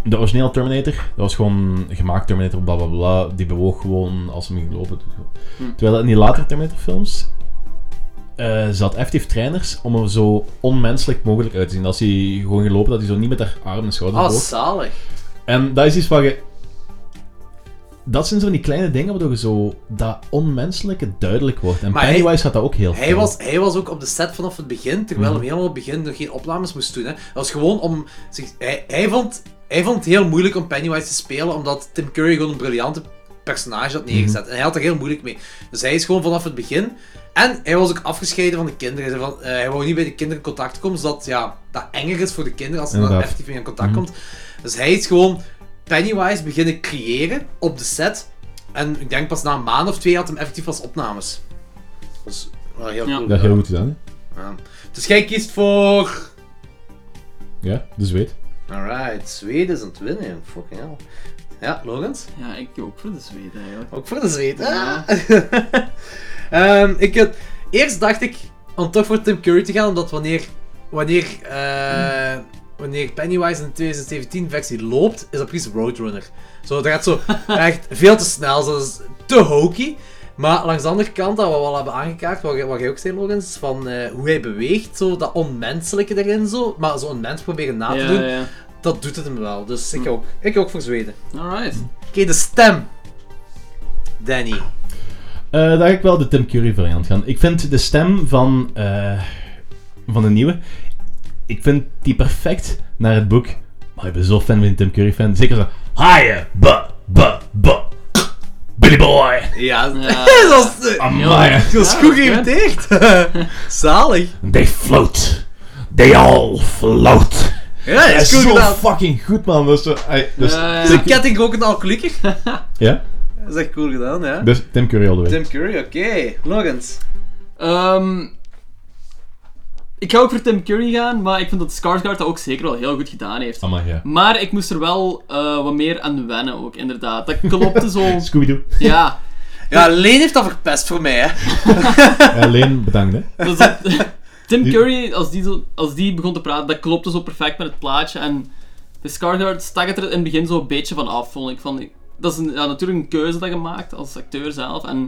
Speaker 3: de originele Terminator, dat was gewoon gemaakt Terminator, bla bla bla, die bewoog gewoon als hem ging lopen. Terwijl in die latere Terminator films eh, zat effectief trainers om er zo onmenselijk mogelijk uit te zien. Als hij gewoon gelopen, dat hij zo niet met haar armen en schouders
Speaker 1: Ah,
Speaker 3: bewoog.
Speaker 1: zalig.
Speaker 3: En dat is iets waar je... Dat zijn zo die kleine dingen waardoor je zo dat onmenselijke duidelijk wordt. En
Speaker 1: Maar hij-
Speaker 3: Pennywise had dat ook heel
Speaker 1: Hij
Speaker 3: veel. Mhm.
Speaker 1: was, hij was ook op de set vanaf het begin, terwijl hij helemaal op het begin nog geen opnames moest doen. Hè. Dat was gewoon om... Zich, hij, hij, vond, hij vond het heel moeilijk om Pennywise te spelen, omdat Tim Curry gewoon een briljante personage had
Speaker 3: Mhm.
Speaker 1: neergezet. En hij had er heel moeilijk mee. Dus hij is gewoon vanaf het begin... En hij was ook afgescheiden van de kinderen. Hij, zei van, eh, hij wou niet bij de kinderen in contact komen, zodat ja, dat enger is voor de kinderen als ze dan
Speaker 3: Inderdaad. Mhm.
Speaker 1: effectief mee in contact komt. Dus hij is gewoon Pennywise beginnen creëren op de set. En ik denk pas na een maand of twee had hem effectief als opnames. Dus wel heel
Speaker 2: Ja.
Speaker 1: cool.
Speaker 3: Dat is heel goed gedaan, hè?
Speaker 1: Ja. Dus jij kiest voor...
Speaker 3: Ja, dus weet.
Speaker 1: Alright, Zweden is aan het winnen, jong. fucking hell. Ja, Logans?
Speaker 2: Ja, ik doe ook voor de Zweden eigenlijk.
Speaker 1: Ook voor de zweet. Ah.
Speaker 2: Ja.
Speaker 1: *laughs* Ehm, ik had- eerst dacht ik om toch voor Tim Curry te gaan, omdat wanneer, wanneer, eh, wanneer Pennywise in de 2017-versie loopt, is dat precies Roadrunner. Zo, dat gaat
Speaker 2: *laughs*
Speaker 1: zo echt veel te snel, zo, dat is te hokey. Maar langs de andere kant, dat we wel hebben aangekaart, wat, jij- wat jij ook zei, Logans, van eh, hoe hij beweegt, zo, dat onmenselijke erin, zo, maar zo onmens proberen na te
Speaker 2: Ja,
Speaker 1: doen,
Speaker 2: ja. Hm.
Speaker 1: dat doet het hem wel. Dus ik ook. Ik ook voor Zweden.
Speaker 2: Alright.
Speaker 1: Oké, de stem. Danny.
Speaker 3: Eh, daar ga ik wel de Tim Curry variant gaan. Ik vind de stem van, eh, van de nieuwe, ik vind die perfect naar het boek. Maar ik ben zo fan van die Tim Curry fan. Zeker zo, hiya, buh, buh, buh, Billy boy,
Speaker 1: Ja, *laughs*
Speaker 2: Ja.
Speaker 1: dat is,
Speaker 3: Ah,
Speaker 1: eh,
Speaker 3: Amaya,
Speaker 1: dat is
Speaker 2: Ja,
Speaker 1: goed
Speaker 2: oké.
Speaker 1: geïmiteerd. *laughs* Zalig.
Speaker 3: they float, they all float.
Speaker 1: Ja, dat is
Speaker 3: Dat is
Speaker 1: goed
Speaker 3: zo
Speaker 1: gedaan.
Speaker 3: fucking goed, man. Dat is zo, ai, dus,
Speaker 2: Ja,
Speaker 1: Is een ketting ook een alcoholieker? *laughs*
Speaker 3: ja,
Speaker 1: Dat is echt cool gedaan, ja.
Speaker 3: dus Tim Curry all the way.
Speaker 1: Tim Curry, oké. Nog eens.
Speaker 2: Ehm, ik ga ook voor Tim Curry gaan, maar ik vind dat Skarsgård dat ook zeker wel heel goed gedaan heeft.
Speaker 3: Amai, ja.
Speaker 2: Maar ik moest er wel eh, wat meer aan wennen ook, inderdaad. Dat klopte
Speaker 3: *laughs*
Speaker 2: zo.
Speaker 3: Scooby-Doo.
Speaker 2: ja.
Speaker 1: Ja, Leen heeft dat verpest voor mij, hè.
Speaker 3: Alleen bedankt, hè.
Speaker 2: Dus dat- Tim Curry, als die, zo- als die begon te praten, dat klopte zo perfect met het plaatje. En de Skarsgård stak het er in het begin zo een beetje van af, vond ik. Van, dat is een, ja, natuurlijk een keuze dat je maakt als acteur zelf. En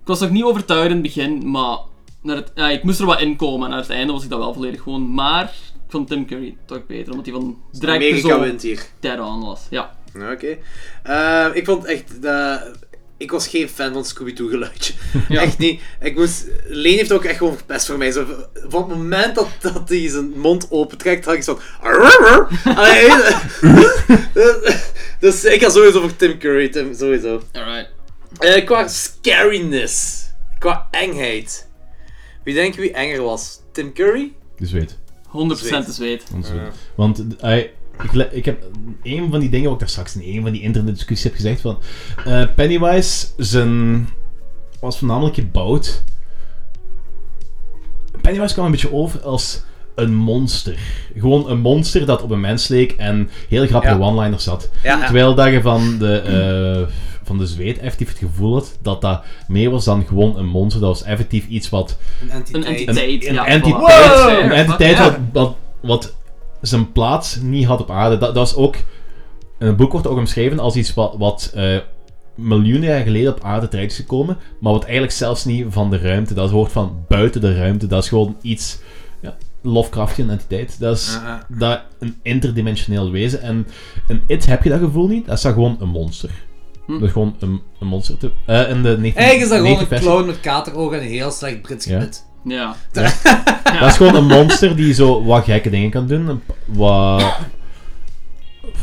Speaker 2: ik was nog niet overtuigd in het begin, maar naar het, ja, ik moest er wat in komen. En aan het einde was ik dat wel volledig gewoon. Maar ik vond Tim Curry toch beter, omdat hij van direct
Speaker 1: Amerika
Speaker 2: zo
Speaker 1: wint hier.
Speaker 2: dead on was. Ja.
Speaker 1: Oké. Eh, ik vond echt... eh, ik was geen fan van Scooby-Doo
Speaker 2: *laughs*
Speaker 1: geluidje. Echt niet. Ik moest... Leen heeft ook echt gewoon verpest voor mij. Zo, van het moment dat, dat hij zijn mond opentrekt, had ik zo van... Allee, *laughs* dus ik ga sowieso voor Tim Curry, Tim, sowieso.
Speaker 2: Alright.
Speaker 1: Eh, qua scariness. Qua engheid. Wie denk je wie enger was? Tim Curry?
Speaker 3: Dus
Speaker 2: 100%
Speaker 3: weet.
Speaker 2: te zweet.
Speaker 3: Ons doen. Want eh, I- ik, le- ik heb een van die dingen, ook daar straks in een van die internetdiscussies heb gezegd van eh, Pennywise zijn, was voornamelijk gebouwd. Pennywise kwam een beetje over als een monster. Gewoon een monster dat op een mens leek en heel grappige
Speaker 1: Ja.
Speaker 3: one-liners had.
Speaker 1: Ja, ja.
Speaker 3: Terwijl dat je van de, eh, van de zweet effectief het gevoel had dat dat meer was dan gewoon een monster. Dat was effectief iets wat
Speaker 1: Een
Speaker 2: Een
Speaker 1: entiteit.
Speaker 2: entiteit.
Speaker 3: een
Speaker 2: ja,
Speaker 3: entiteit,
Speaker 2: voilà.
Speaker 3: een entiteit
Speaker 2: Ja.
Speaker 3: wat, wat, wat zijn plaats niet had op aarde. Dat, dat is ook... In het boek wordt ook omschreven als iets wat, wat eh, miljoenen jaar geleden op aarde terecht is gekomen, maar wat eigenlijk zelfs niet van de ruimte. Dat hoort van buiten de ruimte. Dat is gewoon iets... Ja, Lovecraftian entiteit. Dat is
Speaker 1: Ah, ah.
Speaker 3: dat, een interdimensioneel wezen. En in It heb je dat gevoel niet. Dat is dan gewoon een monster. Dat is gewoon een, een monster. Te, eh, in de 19,
Speaker 1: Hm. Eigenlijk is dat gewoon
Speaker 3: 19
Speaker 1: een
Speaker 3: versie.
Speaker 1: clown met katerogen en een heel slecht Brits
Speaker 3: Ja.
Speaker 1: gebit.
Speaker 2: Ja.
Speaker 3: *laughs* Dat is gewoon een monster die zo wat gekke dingen kan doen. een p- Wat,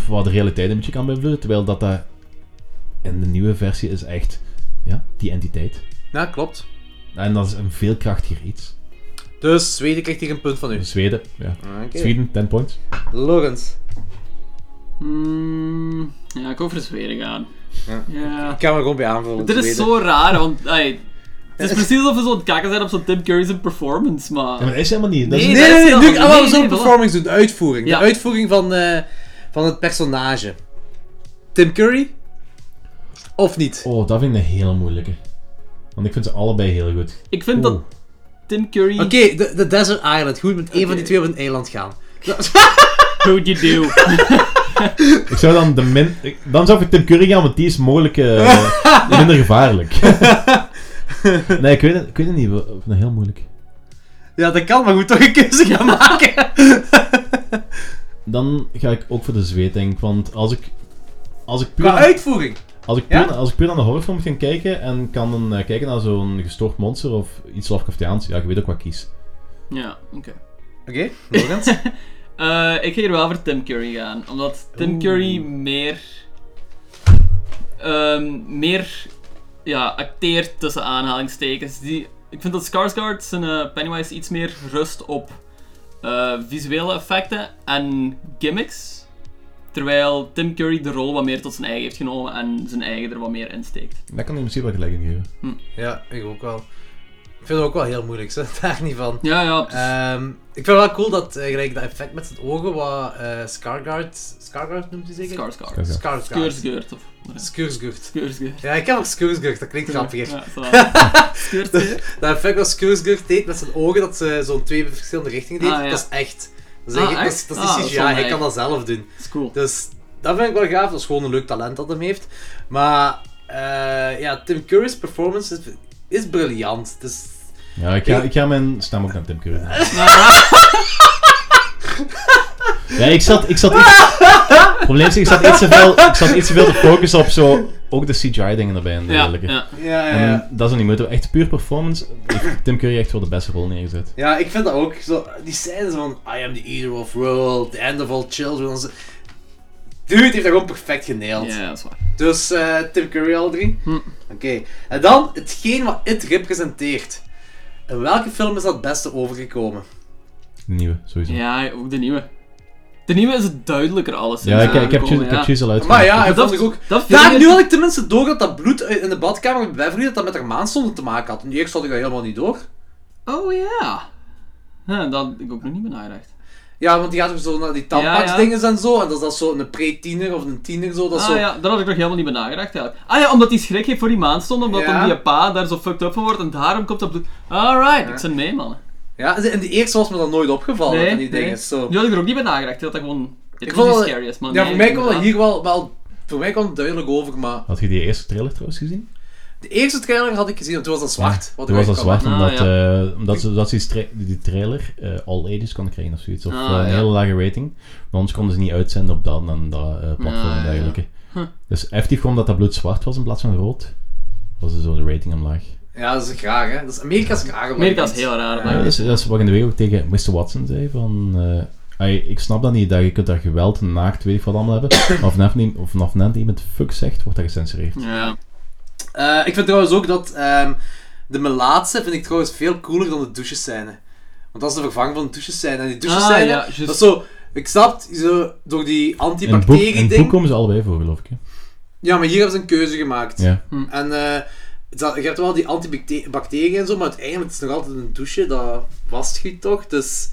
Speaker 3: wat de realiteit een beetje kan beïnvloeden. Terwijl dat, dat in de nieuwe versie is echt ja, die entiteit.
Speaker 1: Ja, klopt.
Speaker 3: En dat is een veel krachtiger iets. Dus
Speaker 1: Dus Zweden krijgt hier een punt van u.
Speaker 3: Zweden, ja.
Speaker 1: Oké.
Speaker 3: Zweden, 10 points.
Speaker 1: Logans.
Speaker 2: Mm, ja, ik wil voor Zweden gaan.
Speaker 1: Ja.
Speaker 2: Ja.
Speaker 1: Ik kan er gewoon bij aanvullen.
Speaker 2: Dit is
Speaker 1: Zweden.
Speaker 2: zo raar, want ey, het is precies alsof we zo'n kakken zijn op zo'n Tim Curry's performance,
Speaker 3: Ja, maar
Speaker 2: maar...
Speaker 3: dat is helemaal niet. Dat is,
Speaker 1: Nee,
Speaker 2: dat
Speaker 1: nee,
Speaker 2: is
Speaker 1: nee.
Speaker 2: heel
Speaker 1: nu-
Speaker 2: goed.
Speaker 1: ah, maar we
Speaker 2: Nee,
Speaker 1: zullen
Speaker 2: nee,
Speaker 1: de
Speaker 2: voilà.
Speaker 1: performance doen. De uitvoering.
Speaker 2: Ja.
Speaker 1: De uitvoering van, eh, van het personage. Tim Curry? Of niet?
Speaker 3: oh, dat vind ik een hele moeilijke. Want ik vind ze allebei heel goed.
Speaker 2: Ik vind dat
Speaker 3: Oeh.
Speaker 2: Tim Curry...
Speaker 1: Oké, de, de Desert Island. Goed, met één van
Speaker 2: Oké.
Speaker 1: die twee op een eiland gaan.
Speaker 2: Who'd you do?
Speaker 3: Ik zou dan de min... ik- Dan zou ik voor Tim Curry gaan, want die is
Speaker 1: *laughs*
Speaker 3: mogelijk eh, minder gevaarlijk. *laughs* Nee, ik weet het, ik weet het niet. Ik vind het heel moeilijk.
Speaker 1: *laughs* Ja, dat kan, maar je moet toch een keuze gaan *laughs* maken.
Speaker 3: Dan ga ik ook voor de zweet, denk ik. Want als ik... Als ik puur,
Speaker 1: Qua
Speaker 3: aan,
Speaker 1: uitvoering.
Speaker 3: als ik puur,
Speaker 1: Ja?
Speaker 3: als ik puur aan de horrorfilm moet gaan kijken en kan dan eh, kijken naar zo'n gestoord monster of iets Lovecraftiaans, ja, ik weet ook wat ik kies.
Speaker 2: Ja, oké.
Speaker 1: Oké, Logans.
Speaker 2: Eh, ik ga hier wel voor Tim Curry gaan, omdat Tim
Speaker 3: Oeh.
Speaker 2: Curry meer. ehm, meer. Ja, acteert tussen aanhalingstekens. Die, ik vind dat Skarsgård zijn eh, Pennywise iets meer rust op eh, visuele effecten en gimmicks. Terwijl Tim Curry de rol wat meer tot zijn eigen heeft genomen en zijn eigen er wat meer insteekt.
Speaker 3: Daar kan ik misschien wel gelijk in geven.
Speaker 1: *laughs* ja, ik ook wel. Ik vind het ook wel heel moeilijk, ze *laughs* daar niet van.
Speaker 2: Ja, ja. het is-
Speaker 1: Ehm, ik vind het wel cool dat eh, gelijk dat effect met zijn ogen, wat eh Scarguard. Scarguard noemt hij zeker?
Speaker 2: Skarsgård.
Speaker 1: Scarguard.
Speaker 2: Skeursgeurt of.
Speaker 1: Skursgucht.
Speaker 2: Skeursgeurt.
Speaker 1: Ja, ik heb ook Skursgucht, dat klinkt grappiger.
Speaker 2: Ja, zo. Skeursgeurt.
Speaker 1: *laughs* Dat effect wat Skursgucht deed met zijn ogen, dat ze zo'n twee verschillende richtingen deed,
Speaker 2: Ah, ja.
Speaker 1: dat is echt. Dat is,
Speaker 2: Ah,
Speaker 1: eigenlijk- dat is,
Speaker 2: echt?
Speaker 1: dat
Speaker 2: Ah,
Speaker 1: is
Speaker 2: dat
Speaker 1: CGI,
Speaker 2: is wel
Speaker 1: hij
Speaker 2: mij.
Speaker 1: kan dat zelf doen.
Speaker 2: Dat is cool.
Speaker 1: Dus dat vind ik wel gaaf. Dat is gewoon een leuk talent dat hem heeft. Maar eh, ja, Tim Curry's performance is, is briljant. Dus
Speaker 3: Ja, ik ga, ik ga mijn stem ook naar Tim Curry doen. Ja, ik zat, ik zat iets... Probleem is, ik zat iets te veel, ik zat iets te veel te focussen op zo... Ook de CGI-dingen erbij en
Speaker 2: Ja,
Speaker 3: dergelijke.
Speaker 2: ja.
Speaker 1: ja, ja,
Speaker 3: En
Speaker 1: ja.
Speaker 3: dat is ook niet moeite. Echt puur performance. heeft Tim Curry echt wel de beste rol neergezet.
Speaker 1: ja, ik vind dat ook. Zo, die scènes van I am the eater of world, the end of all children. en zo. Dude heeft dat gewoon perfect geneeld.
Speaker 2: Ja, dat is waar.
Speaker 1: Dus eh, Tim Curry al drie.
Speaker 2: Hm.
Speaker 1: Oké. En dan hetgeen wat It representeert. In welke film is dat het beste overgekomen?
Speaker 3: De nieuwe, sowieso. Ja,
Speaker 2: Ja, ook de nieuwe. De nieuwe is het duidelijker alles. sinds
Speaker 3: ik, ik heb
Speaker 2: aangekomen,
Speaker 3: juist- ik heb juist al
Speaker 1: Maar
Speaker 3: uitgekomen.
Speaker 1: ja, hij
Speaker 2: Ah, dat-
Speaker 1: vond ik ook...
Speaker 2: dat vind
Speaker 1: Daar,
Speaker 2: ik-
Speaker 1: nu had ik tenminste door dat dat bloed in de badkamer bij Beverly dat dat met haar maanstonden te maken had. En eerst had ik dat helemaal niet door.
Speaker 2: Oh ja. Huh, dat had ik ook nog niet benaderd.
Speaker 1: Ja, want die gaat ook zo naar die tandpaksdingen en zo. En dat is dat zo een pre-tiener of een tiener zo. Dat is
Speaker 2: Ah
Speaker 1: zo...
Speaker 2: ja, daar had ik nog helemaal niet benaderd eigenlijk. Ah ja, omdat die schrik heeft voor die maanstond, omdat
Speaker 1: Ja.
Speaker 2: dan die pa daar zo fucked up van wordt en daarom komt dat bloed. Alright, ik zit mee mannen.
Speaker 1: Ja, en de eerste was me dat nooit opgevallen.
Speaker 2: Nee,
Speaker 1: van die
Speaker 2: nee.
Speaker 1: dingen. Zo.
Speaker 2: Die had ik er ook niet benaderd. Dat dat gewoon... Dit
Speaker 1: Ik
Speaker 2: was
Speaker 1: vond
Speaker 2: niet
Speaker 1: wel-
Speaker 2: scary is, man.
Speaker 1: ja,
Speaker 2: Nee,
Speaker 1: voor mij kwam dat
Speaker 2: inderdaad.
Speaker 1: hier wel, wel... Voor mij kwam het duidelijk over, maar...
Speaker 3: Had je die eerste trailer trouwens gezien?
Speaker 1: De eerste trailer had ik gezien en toen was dat zwart. wat
Speaker 3: Toen was dat
Speaker 1: eruit kwam.
Speaker 3: zwart,
Speaker 2: kwam.
Speaker 3: omdat,
Speaker 2: Ah,
Speaker 3: eh, omdat, ze, omdat ze die, stra- die trailer eh, all ages konden krijgen of zoiets. Of
Speaker 2: Ah,
Speaker 3: eh, een
Speaker 2: ja.
Speaker 3: hele lage rating. Maar ons konden ze niet uitzenden op dat en dat eh, platform
Speaker 2: Ah, ja.
Speaker 3: en dergelijke.
Speaker 2: Huh.
Speaker 3: Dus effectief, omdat dat bloed zwart was in plaats van rood, was er zo de rating omlaag.
Speaker 1: Ja, dat is graag, hè. Dat is Amerika's graag. op
Speaker 2: Amerika is
Speaker 1: dat
Speaker 2: heel
Speaker 1: moment.
Speaker 2: raar,
Speaker 1: Ja.
Speaker 3: Ja, dat, is, dat is wat ik in de week ook tegen Mr. Watson zei. Van, eh, "Ai, ik snap dat niet, dat je kunt daar geweld en naakt, weet ik wat
Speaker 2: *coughs*
Speaker 3: allemaal hebben. Maar vanaf, niet, of vanaf net iemand fuck zegt, wordt dat gecensureerd.
Speaker 2: Ja.
Speaker 1: Eh, ik vind trouwens ook dat ehm, de melaatse vind ik trouwens veel cooler dan de douchescène. Want dat is de vervanging van de douchescène. En die douchescène,
Speaker 2: Ah, ja, juist.
Speaker 1: dat is zo... Ik snap, zo, door die
Speaker 3: In het boek, in het boek
Speaker 1: antibacterie-ding...
Speaker 3: komen ze allebei voor, geloof ik. hè.
Speaker 1: Ja, maar hier hebben ze een keuze gemaakt.
Speaker 3: Ja.
Speaker 2: Hm.
Speaker 1: En eh, dat- je hebt wel die antibacteriën en zo, maar uiteindelijk is het nog altijd een douche, dat wasgiet toch? Dus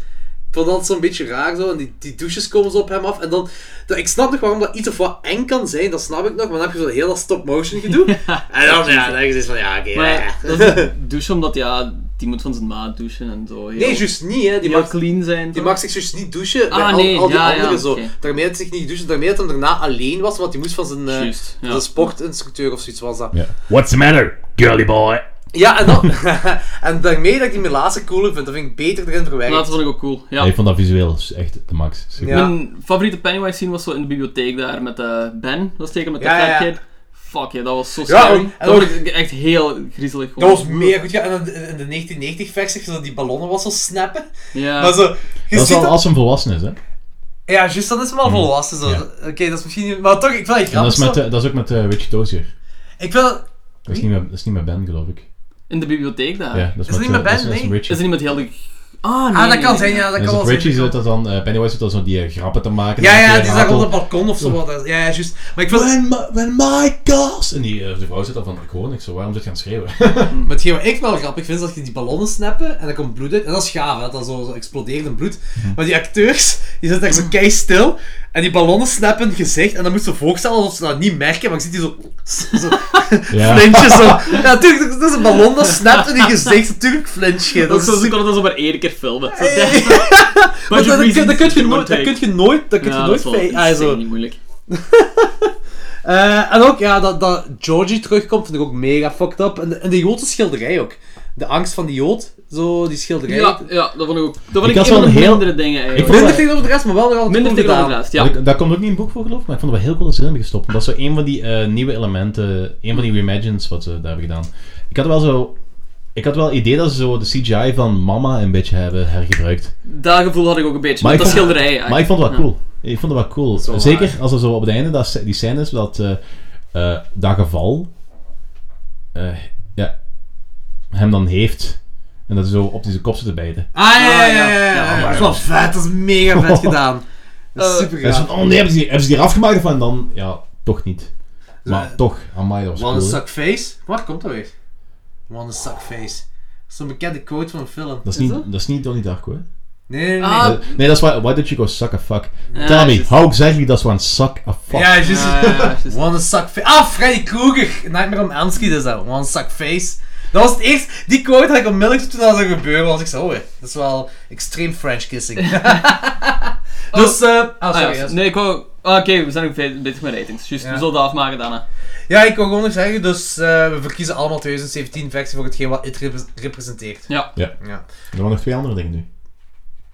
Speaker 1: ik vond dat zo'n beetje raar zo. En die, die douches komen zo op hem af. En dan, dat, ik snap nog waarom dat iets of wat eng kan zijn, dat snap ik nog, maar dan heb je zo heel dat stop-motion
Speaker 2: *laughs*
Speaker 1: gedoe. En dan, ja, dan is het van ja, oké.
Speaker 2: Maar
Speaker 1: ja.
Speaker 2: ja, dat is douchen omdat, ja, die moet van zijn maat douchen en zo.
Speaker 1: Nee, juist niet, hè. Die,
Speaker 2: Die mag
Speaker 1: mag,
Speaker 2: clean zijn.
Speaker 1: die
Speaker 2: toch?
Speaker 1: mag zich juist niet douchen. bij
Speaker 2: Ah,
Speaker 1: al,
Speaker 2: nee,
Speaker 1: al die
Speaker 2: ja, ja,
Speaker 1: anderen zo.
Speaker 2: oké.
Speaker 1: Daarmee had hij zich niet douchen, daarmee dat hij daarna alleen was, want hij moest van zijn, eh,
Speaker 2: Juist,
Speaker 1: van
Speaker 2: ja.
Speaker 1: zijn sportinstructeur of zoiets was dat.
Speaker 3: Ja.
Speaker 5: What's the matter, girly boy?
Speaker 1: Ja, en, dan, *laughs* en daarmee dat ik die melaatse cooler vind, dat vind ik beter erin verwerkt.
Speaker 2: Dat vond ik ook cool. Ja.
Speaker 3: Nee, Ik vond dat visueel is echt de max. Super.
Speaker 1: Ja.
Speaker 2: Mijn favoriete Pennywise scene was zo in de bibliotheek daar met eh, Ben, was tegen met de
Speaker 1: Ja, ja,
Speaker 2: fat
Speaker 1: ja.
Speaker 2: kid. Fuck ja, dat was zo scary.
Speaker 1: ook- en
Speaker 2: dat
Speaker 1: ook-
Speaker 2: was echt heel griezelig.
Speaker 1: Dat
Speaker 2: gewoon.
Speaker 1: was meer goed. Ja, en in de- in de 1990-versie, zo die ballonnen was zo snappen.
Speaker 2: Ja.
Speaker 1: Maar zo, je
Speaker 3: Dat is
Speaker 1: ziet
Speaker 3: al
Speaker 1: dat...
Speaker 3: als een volwassen is, hè.
Speaker 1: Ja, juist, dat is wel volwassen. Zo.
Speaker 3: Ja.
Speaker 1: Oké, dat is misschien... niet- Maar toch, ik vind het
Speaker 3: En dat,
Speaker 1: grappig.
Speaker 3: is met,
Speaker 1: zo.
Speaker 3: eh, dat is ook met eh Richie Dozier.
Speaker 1: Ik vind dat...
Speaker 3: Dat is, niet met, dat is niet met Ben, geloof ik.
Speaker 2: In de bibliotheek daar.
Speaker 3: Ja, dat is,
Speaker 1: het
Speaker 3: met,
Speaker 1: Ah, niet met
Speaker 3: eh, dat is-
Speaker 1: Ben?
Speaker 3: dat is
Speaker 1: Nee.
Speaker 3: Richie.
Speaker 2: Is er niet met heel de... Ah, nee.
Speaker 1: Ah,
Speaker 2: nee,
Speaker 1: dat kan
Speaker 2: nee,
Speaker 1: zijn,
Speaker 2: nee.
Speaker 1: ja, dat
Speaker 3: En
Speaker 1: kan
Speaker 3: zo
Speaker 1: wel
Speaker 3: Richie
Speaker 1: zijn.
Speaker 3: zit dat dan, eh, Pennywise zit dat zo die eh, grappen te maken.
Speaker 1: Ja,
Speaker 3: en
Speaker 1: ja,
Speaker 3: dat
Speaker 1: die zag op
Speaker 3: ratelt.
Speaker 1: het balkon of zo. wat. Ja, ja, juist. Maar ik vind...
Speaker 3: When my, when my girls... En die, eh, de vrouw zit al van, ik hoor niks, zo, waarom zit je aan
Speaker 1: *laughs*
Speaker 3: het schreeuwen?
Speaker 1: Maar hetgeen wat ik wel grappig vind, is dat je die ballonnen snappen en dan komt bloed uit. En dat is gaaf, hè, dat dan zo, zo explodeert in bloed. Maar die acteurs, die zitten daar zo kei stil. En die ballonnen snappen hun gezicht. En dan moet ze voorstellen alsof ze dat niet merken. Maar ik zie die zo... *laughs* zo
Speaker 3: Ja.
Speaker 1: Flintjes. Zo. Ja, natuurlijk. Dat is een ballon dat snapt in je gezicht. Natuurlijk flint je.
Speaker 2: Dat
Speaker 1: Dat
Speaker 2: is
Speaker 1: is
Speaker 2: zo, ze *laughs*
Speaker 1: super-
Speaker 2: konden dat zo maar één keer filmen. Zo,
Speaker 1: Maar dat, dat, dat kun je nooit... Dat
Speaker 2: dat
Speaker 1: kun je nooit... Dat kun je
Speaker 2: Ja, dat
Speaker 1: nooit...
Speaker 2: is wel
Speaker 1: bij- ah, zo.
Speaker 2: insane moeilijk.
Speaker 1: Eh, en ook, ja, dat, dat Georgie terugkomt vind ik ook mega fucked up. En, en de Joodse schilderij ook. De angst van die Jood. Zo, die schilderij.
Speaker 2: Ja, ja, dat vond ik ook. Dat vond
Speaker 3: Ik
Speaker 2: ik,
Speaker 3: had
Speaker 2: een van
Speaker 3: wel
Speaker 2: de
Speaker 3: een heel-
Speaker 2: mindere dingen eigenlijk.
Speaker 1: Minder tegenover de rest, maar wel nog altijd
Speaker 2: Minder
Speaker 1: goed
Speaker 2: tegen de
Speaker 1: gedaan.
Speaker 2: rest, ja.
Speaker 3: Dat- Daar komt ook niet in het boek voor geloof, maar ik vond het wel heel cool dat ze erin hebben gestopt. Dat is zo een van die eh, nieuwe elementen, een van die reimagines wat ze daar hebben gedaan. Ik had wel zo... Ik had wel het idee dat ze zo de CGI van Mama een beetje hebben hergebruikt.
Speaker 2: Dat gevoel had ik ook een beetje.
Speaker 3: Maar
Speaker 2: met
Speaker 3: ik
Speaker 2: dat
Speaker 3: vond-
Speaker 2: schilderij eigenlijk.
Speaker 3: Maar ik vond het wel
Speaker 2: Ja.
Speaker 3: cool. Ik vond het wel cool.
Speaker 1: wel
Speaker 3: Zeker
Speaker 1: waar.
Speaker 3: als er zo op het einde dat, sc- die scène is dat eh eh, dat geval eh, ja, hem dan heeft. En dat hij zo op zijn kop zit te bijten.
Speaker 1: Ah, ja, ja, ja. ja, ja,
Speaker 2: Ja,
Speaker 1: ja.
Speaker 2: maar-
Speaker 1: Dat is wel vet. Dat is mega *laughs* vet gedaan. Dat is
Speaker 2: Eh,
Speaker 1: super
Speaker 3: En zo
Speaker 1: gaaf.
Speaker 3: van, oh nee, hebben ze, die, hebben ze die eraf gemaakt? Van dan, ja, toch niet. Maar
Speaker 1: Eh,
Speaker 3: toch, amai, dat was
Speaker 1: Wanna
Speaker 3: cool. hè.
Speaker 1: suck face? Waar komt dat weer? Wanna suck face. Dat is een bekende quote van een film.
Speaker 3: Dat is, niet,
Speaker 2: Is
Speaker 3: dat? is niet Donnie Darko, hè?
Speaker 1: Nee, nee, nee.
Speaker 2: Ah,
Speaker 3: Eh, nee, dat is why, why did you go suck a fuck?
Speaker 2: Ja,
Speaker 3: Tell me,
Speaker 2: juist.
Speaker 3: how exactly does one suck a fuck?
Speaker 1: ja, juist.
Speaker 2: Ja, ja,
Speaker 3: *laughs*
Speaker 2: ja,
Speaker 1: *laughs*
Speaker 2: juist.
Speaker 1: Wanna suck face. Ah, Freddy Krueger. Nightmare on Elm Street is dat. Wanna suck face. Dat was het eerste... Die quote had ik onmiddellijk toen dat zou gebeuren. was ik zo, oh, hè. Dat is wel extreem French kissing. *laughs* dus, eh... ah,
Speaker 2: Ah,
Speaker 1: sorry.
Speaker 2: ja,
Speaker 1: ja,
Speaker 2: nee, ik wou... ah, Oké, we zijn ook ve- bezig met ratings. Juist,
Speaker 1: Ja.
Speaker 2: we zullen dat afmaken daarna.
Speaker 1: Ja, ik wil gewoon nog zeggen, dus eh, we verkiezen allemaal 2017 versie voor hetgeen wat het rep- representeert.
Speaker 2: Ja.
Speaker 1: Ja.
Speaker 3: Er waren nog twee andere dingen nu.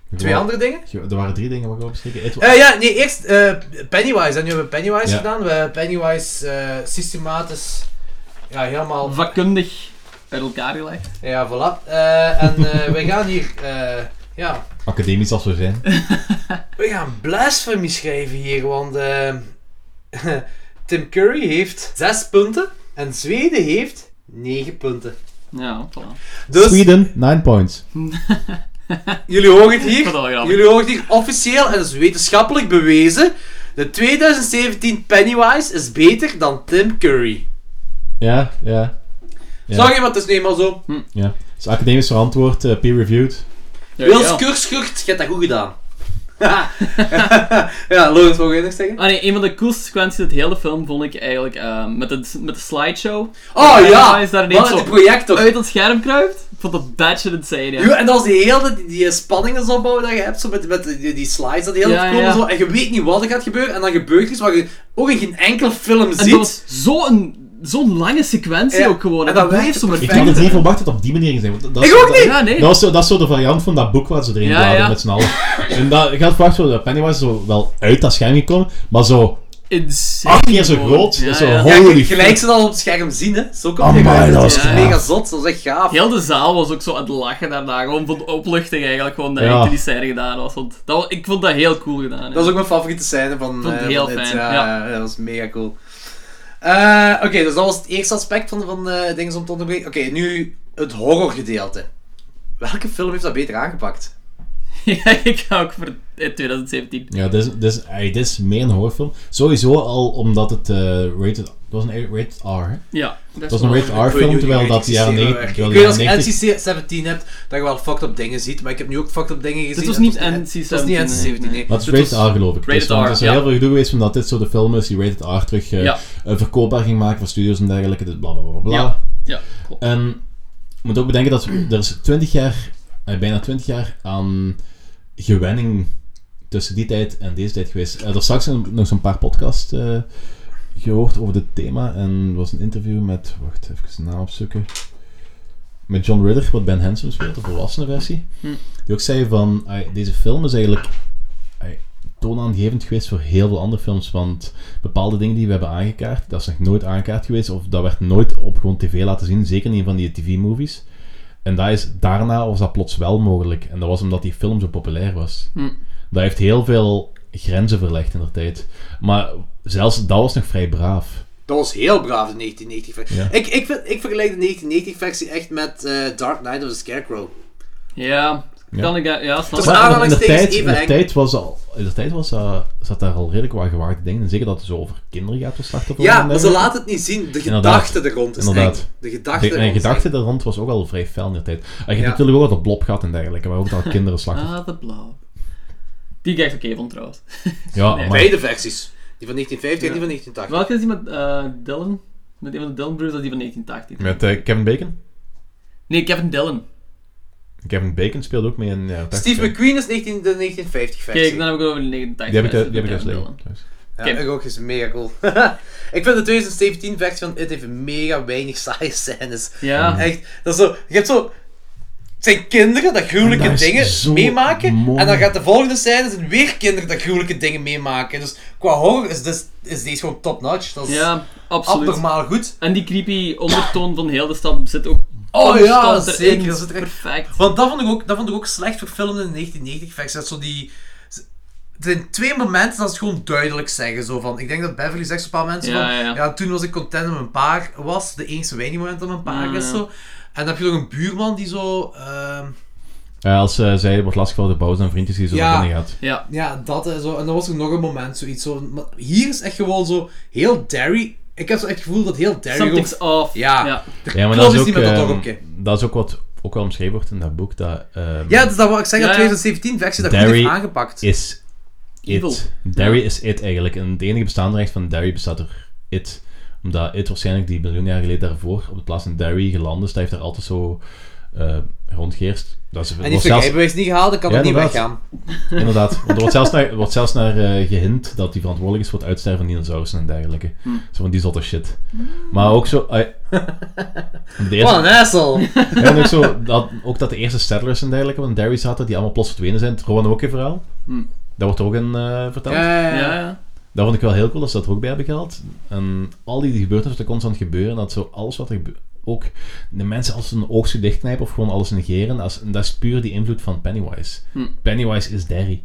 Speaker 1: Twee
Speaker 3: Gewoon-
Speaker 1: andere dingen?
Speaker 3: Er waren drie dingen waar ik op beschikken. Het-
Speaker 1: Eh, ja, nee, eerst eh, Pennywise. En nu hebben we Pennywise
Speaker 3: Ja.
Speaker 1: gedaan. We hebben Pennywise eh, systematisch ja, helemaal...
Speaker 2: Vakkundig uit elkaar gelegd.
Speaker 1: ja, voilà. Eh, en eh, wij gaan hier... eh, ja,
Speaker 3: Academisch als we zijn.
Speaker 1: we gaan blasphemy schrijven hier, want eh, *laughs* Tim Curry heeft 6 punten en Zweden heeft 9 punten.
Speaker 2: Ja, voilà.
Speaker 1: *laughs* Dus
Speaker 3: Sweden, 9 points.
Speaker 1: jullie horen het hier.
Speaker 2: Dat wel grappig.
Speaker 1: Jullie horen het hier officieel en dat is wetenschappelijk bewezen. De 2017 Pennywise is beter dan Tim Curry.
Speaker 3: Ja, ja, Ja.
Speaker 1: Sorry, maar het is nu eenmaal zo.
Speaker 3: ja. Het is academisch verantwoord, eh, peer-reviewed.
Speaker 2: Ja,
Speaker 1: Wil
Speaker 2: ja.
Speaker 1: Kurschurt, je hebt dat goed
Speaker 2: *laughs*
Speaker 1: gedaan. ja, Lorenz, wat ga je nog zeggen?
Speaker 2: Ah nee, een van de coolste sequenties uit de hele film vond ik eigenlijk ehm, met, de, met de slideshow.
Speaker 1: Oh ja,
Speaker 2: Is daar ineens
Speaker 1: wat
Speaker 2: zo
Speaker 1: het projector.
Speaker 2: uit het scherm kruipt. Ik vond dat batshit insane, ja.
Speaker 1: Ja, en dat is die hele die, die spanningen opbouwen dat je hebt, zo met, met die, die slides dat heel
Speaker 2: Ja,
Speaker 1: komen
Speaker 2: ja.
Speaker 1: zo, en je weet niet wat er gaat gebeuren, en dan gebeurt er iets wat je ook in geen enkel film
Speaker 2: En dat
Speaker 1: ziet.
Speaker 2: was zo'n zo'n lange sequentie
Speaker 1: Ja,
Speaker 2: ook gewoon.
Speaker 1: en
Speaker 2: En
Speaker 1: dat
Speaker 2: dat blijft zo maar
Speaker 3: Ik
Speaker 1: Perfect.
Speaker 3: had het niet
Speaker 2: vechten.
Speaker 3: verwacht dat het op die manier ging zijn. want dat- dat
Speaker 1: Ik
Speaker 3: is-
Speaker 1: ook
Speaker 3: dat-
Speaker 1: niet!
Speaker 2: Ja, nee.
Speaker 3: Dat was, zo, dat is zo de variant van dat boek waar ze erin
Speaker 2: Ja,
Speaker 3: bladeren
Speaker 2: ja.
Speaker 3: met z'n allen. En dat, ik had verwacht zo dat Pennywise zo wel uit dat scherm gekomen, maar zo
Speaker 2: Insane.
Speaker 3: acht keer zo
Speaker 2: gewoon.
Speaker 3: groot.
Speaker 2: Ja,
Speaker 3: zo
Speaker 2: ja.
Speaker 1: Ja, je-
Speaker 3: holy
Speaker 1: gelijk
Speaker 3: fuck.
Speaker 1: ze dat op het scherm zien, hè. Zo komt
Speaker 3: Amai,
Speaker 1: eruit.
Speaker 3: dat was
Speaker 1: is
Speaker 2: gaaf.
Speaker 1: mega zot, dat is echt gaaf.
Speaker 2: Heel de zaal was ook zo aan het lachen daarna. Gewoon van de opluchting eigenlijk. Gewoon dat
Speaker 3: Ja.
Speaker 2: ja. die scène gedaan was. Want dat, wa- ik vond dat heel cool gedaan.
Speaker 1: Dat is ook mijn favoriete scène van,
Speaker 2: Vond ik
Speaker 1: eh, van
Speaker 2: heel
Speaker 1: dit.
Speaker 2: fijn,
Speaker 1: Ja,
Speaker 2: ja.
Speaker 1: ja, dat was mega cool. Eh, Oké, dus dat was het eerste aspect van, van eh, dingen om te onderbreken. Oké, nu het horrorgedeelte. Welke film heeft dat beter aangepakt?
Speaker 2: *laughs* ja, ik ga ook voor in 2017.
Speaker 3: Ja, dit is, dit, is, ey, dit is meer een horrorfilm. Sowieso al omdat het eh, rated... Het was een rated R, hè?
Speaker 2: Ja.
Speaker 3: Het was een rated R film, terwijl dat de jaren
Speaker 1: negen.
Speaker 3: 90...
Speaker 1: Ik weet als je NC-17 hebt, dat je wel fucked up dingen ziet, maar ik heb nu ook fucked up dingen gezien.
Speaker 2: was
Speaker 1: en
Speaker 2: niet
Speaker 1: het was-
Speaker 2: NC-17,
Speaker 1: Het was niet NC-17, nee.
Speaker 3: Maar het is
Speaker 2: Dit
Speaker 3: rated
Speaker 2: was
Speaker 3: R geloof ik.
Speaker 2: rated
Speaker 3: dus, want
Speaker 2: R,
Speaker 3: er is
Speaker 2: ja.
Speaker 3: heel veel gedoe geweest van dat dit zo de film is die rated R terug eh,
Speaker 2: Ja.
Speaker 3: eh, verkoopbaar ging maken voor studios en dergelijke. Dus bla bla bla bla.
Speaker 2: Ja. Ja, klopt.
Speaker 3: En je moet ook bedenken dat er is 20 jaar, eh, bijna 20 jaar aan gewenning tussen die tijd en deze tijd geweest. Eh, er straks zijn nog zo'n paar podcasts eh, gehoord over dit thema. En er was een interview met, wacht even na opzoeken. Met John Ridder, wat Ben Hanson speelt, de volwassene versie.
Speaker 2: Hm.
Speaker 3: Die ook zei van, ai, deze film is eigenlijk ai, toonaangevend geweest voor heel veel andere films. Want bepaalde dingen die we hebben aangekaart, dat is nog nooit aangekaart geweest. Of dat werd nooit op gewoon tv laten zien, zeker niet in van die tv-movies. En dat is, daarna was dat plots wel mogelijk. En dat was omdat die film zo populair was.
Speaker 2: Hm.
Speaker 3: Dat heeft heel veel grenzen verlegd in de tijd. Maar zelfs dat was nog vrij braaf.
Speaker 1: Dat was heel braaf, de 1990-versie.
Speaker 3: Ja.
Speaker 1: Ik, ik, vind- ik vergelijk de 1990-versie echt met eh, Dark Knight of the Scarecrow.
Speaker 2: Ja. Kan ik dat... Ja, snap
Speaker 1: Het was
Speaker 2: ik.
Speaker 3: Maar in- in de
Speaker 1: Dus aanhalingstekens
Speaker 3: tijd, in
Speaker 1: even
Speaker 3: de
Speaker 1: eng.
Speaker 3: tijd, was al, in de tijd was, eh, zat daar al redelijk wat gewaagde dingen. En zeker dat het zo over kinderen gaat, de slachtoffer.
Speaker 1: Ja, maar ze laten het niet zien. De
Speaker 3: Inderdaad.
Speaker 1: gedachte er rond is
Speaker 3: Inderdaad.
Speaker 1: eng. De gedachte
Speaker 3: De,
Speaker 1: er
Speaker 3: en
Speaker 1: rond is
Speaker 3: gedachte
Speaker 1: eng.
Speaker 3: daar rond was ook al vrij fel in de tijd. En je hebt
Speaker 1: Ja. *laughs*
Speaker 3: natuurlijk ook wat de blob gehad en dergelijke, maar ook dat kinderen slachtoffer.
Speaker 2: Ah, de blauw. Die ik echt oké vond trouwens. *laughs*
Speaker 1: Ah.
Speaker 3: Ja,
Speaker 2: Nee.
Speaker 3: maar
Speaker 1: Beide versies. Die van 1950 en die van 1980.
Speaker 2: Welke is die met eh Dylan? Met een van de Dylan Brothers, dat is die van 1980.
Speaker 3: met eh, Kevin Bacon.
Speaker 2: Nee, Kevin Dylan.
Speaker 3: Kevin Bacon speelde ook mee in... Ja, dat-
Speaker 1: Steve McQueen is 19, de 1950 versie.
Speaker 2: Kijk, dan heb ik het over de 1980.
Speaker 3: Die heb ik, eh, die heb ik
Speaker 2: met
Speaker 3: dus
Speaker 2: Kevin
Speaker 3: liggen.
Speaker 2: Dillon.
Speaker 3: Dus.
Speaker 1: Ja,
Speaker 2: Oké.
Speaker 1: ik ook is mega cool. *laughs* ik vind de 2017 versie van It heeft mega weinig saaie scènes.
Speaker 2: Ja.
Speaker 3: Mm.
Speaker 1: Echt, dat is zo, je hebt zo... Het zijn kinderen dat gruwelijke
Speaker 3: En dat is
Speaker 1: dingen
Speaker 3: zo
Speaker 1: meemaken.
Speaker 3: mooi.
Speaker 1: En dan gaat de volgende scène zijn weer kinderen dat gruwelijke dingen meemaken. Dus qua horror is, dit, is deze gewoon top-notch. Dat is
Speaker 2: Ja, absoluut.
Speaker 1: abnormaal goed.
Speaker 2: En die creepy ondertoon van heel de stad zit ook
Speaker 1: Oh ja,
Speaker 2: constant erin.
Speaker 1: zeker. Dat is echt
Speaker 2: perfect.
Speaker 1: Want dat vond ik ook, dat vond ik ook slecht verfilmd in de 1990-versie. Dat zo die... Er zijn twee momenten dat ze het gewoon duidelijk zeggen. Zo van, ik denk dat Beverly zegt zo'n paar mensen
Speaker 2: Ja,
Speaker 1: van...
Speaker 2: ja, ja.
Speaker 1: toen was ik content dat mijn paar was. De enige weinig moment dat mijn paar
Speaker 2: Mm,
Speaker 1: is.
Speaker 2: ja.
Speaker 1: Zo. En dan heb je nog een buurman die zo... ehm,
Speaker 3: Eh, als eh, zij wordt lastiggevallen door Bowser en vriendjes die zo
Speaker 1: Ja.
Speaker 3: naar binnen gaat.
Speaker 2: Ja.
Speaker 1: ja, dat en zo. En dan was er nog een moment, zoiets zo... Maar hier is echt gewoon zo... Heel Derry... Ik heb zo echt het gevoel dat heel Derry... gewoon-
Speaker 2: Something's off.
Speaker 1: Ja.
Speaker 2: ja.
Speaker 3: Ja,
Speaker 1: Klopt,
Speaker 3: maar dat is
Speaker 1: is
Speaker 3: ook,
Speaker 1: niet met dat
Speaker 3: ehm,
Speaker 1: dorpje.
Speaker 3: dat is ook wat ook wel omschreven wordt in dat boek. Dat, ehm,
Speaker 1: Ja, dus dat wou ik zeggen.
Speaker 2: Ja, ja.
Speaker 1: dat 2017-versie dat goed
Speaker 3: Derry
Speaker 1: heeft aangepakt.
Speaker 3: is
Speaker 2: Evil.
Speaker 3: it. Derry is it eigenlijk. En het enige bestaande recht van Derry bestaat door it. Omdat it waarschijnlijk die miljoen jaar geleden daarvoor op de plaats in Derry geland is. Dat heeft daar altijd zo eh rondgeheerst. Dat is,
Speaker 1: En die
Speaker 3: wordt
Speaker 1: heeft zijn
Speaker 3: zelfs,
Speaker 1: rijbewijs niet gehaald, dan kan
Speaker 3: Ja,
Speaker 1: er niet
Speaker 3: inderdaad.
Speaker 1: weggaan.
Speaker 3: inderdaad. Want er wordt zelfs naar, wordt zelfs naar eh, gehind dat hij verantwoordelijk is voor het uitsterven van dinosaurussen en dergelijke. Zo van die zotte shit. Maar ook zo... eh, de eerste-
Speaker 1: Wat een
Speaker 2: *laughs*
Speaker 1: asshole!
Speaker 3: Ja, en ook, zo, dat, ook dat de eerste settlers en dergelijke van Derry zaten, die allemaal plots verdwenen zijn. Het Roanoke verhaal.
Speaker 2: Hm.
Speaker 3: Dat wordt er ook in eh, verteld.
Speaker 1: Ja, ja, ja.
Speaker 2: Ja, ja.
Speaker 3: Dat vond ik wel heel cool dat ze dat er ook bij hebben gehaald. En al die gebeurtenissen dat constant gebeuren, dat zo alles wat er gebeurt, ook de mensen als een oogstje dichtknijpen of gewoon alles negeren, als, en dat is puur die invloed van Pennywise.
Speaker 2: Hm.
Speaker 3: Pennywise is Derry.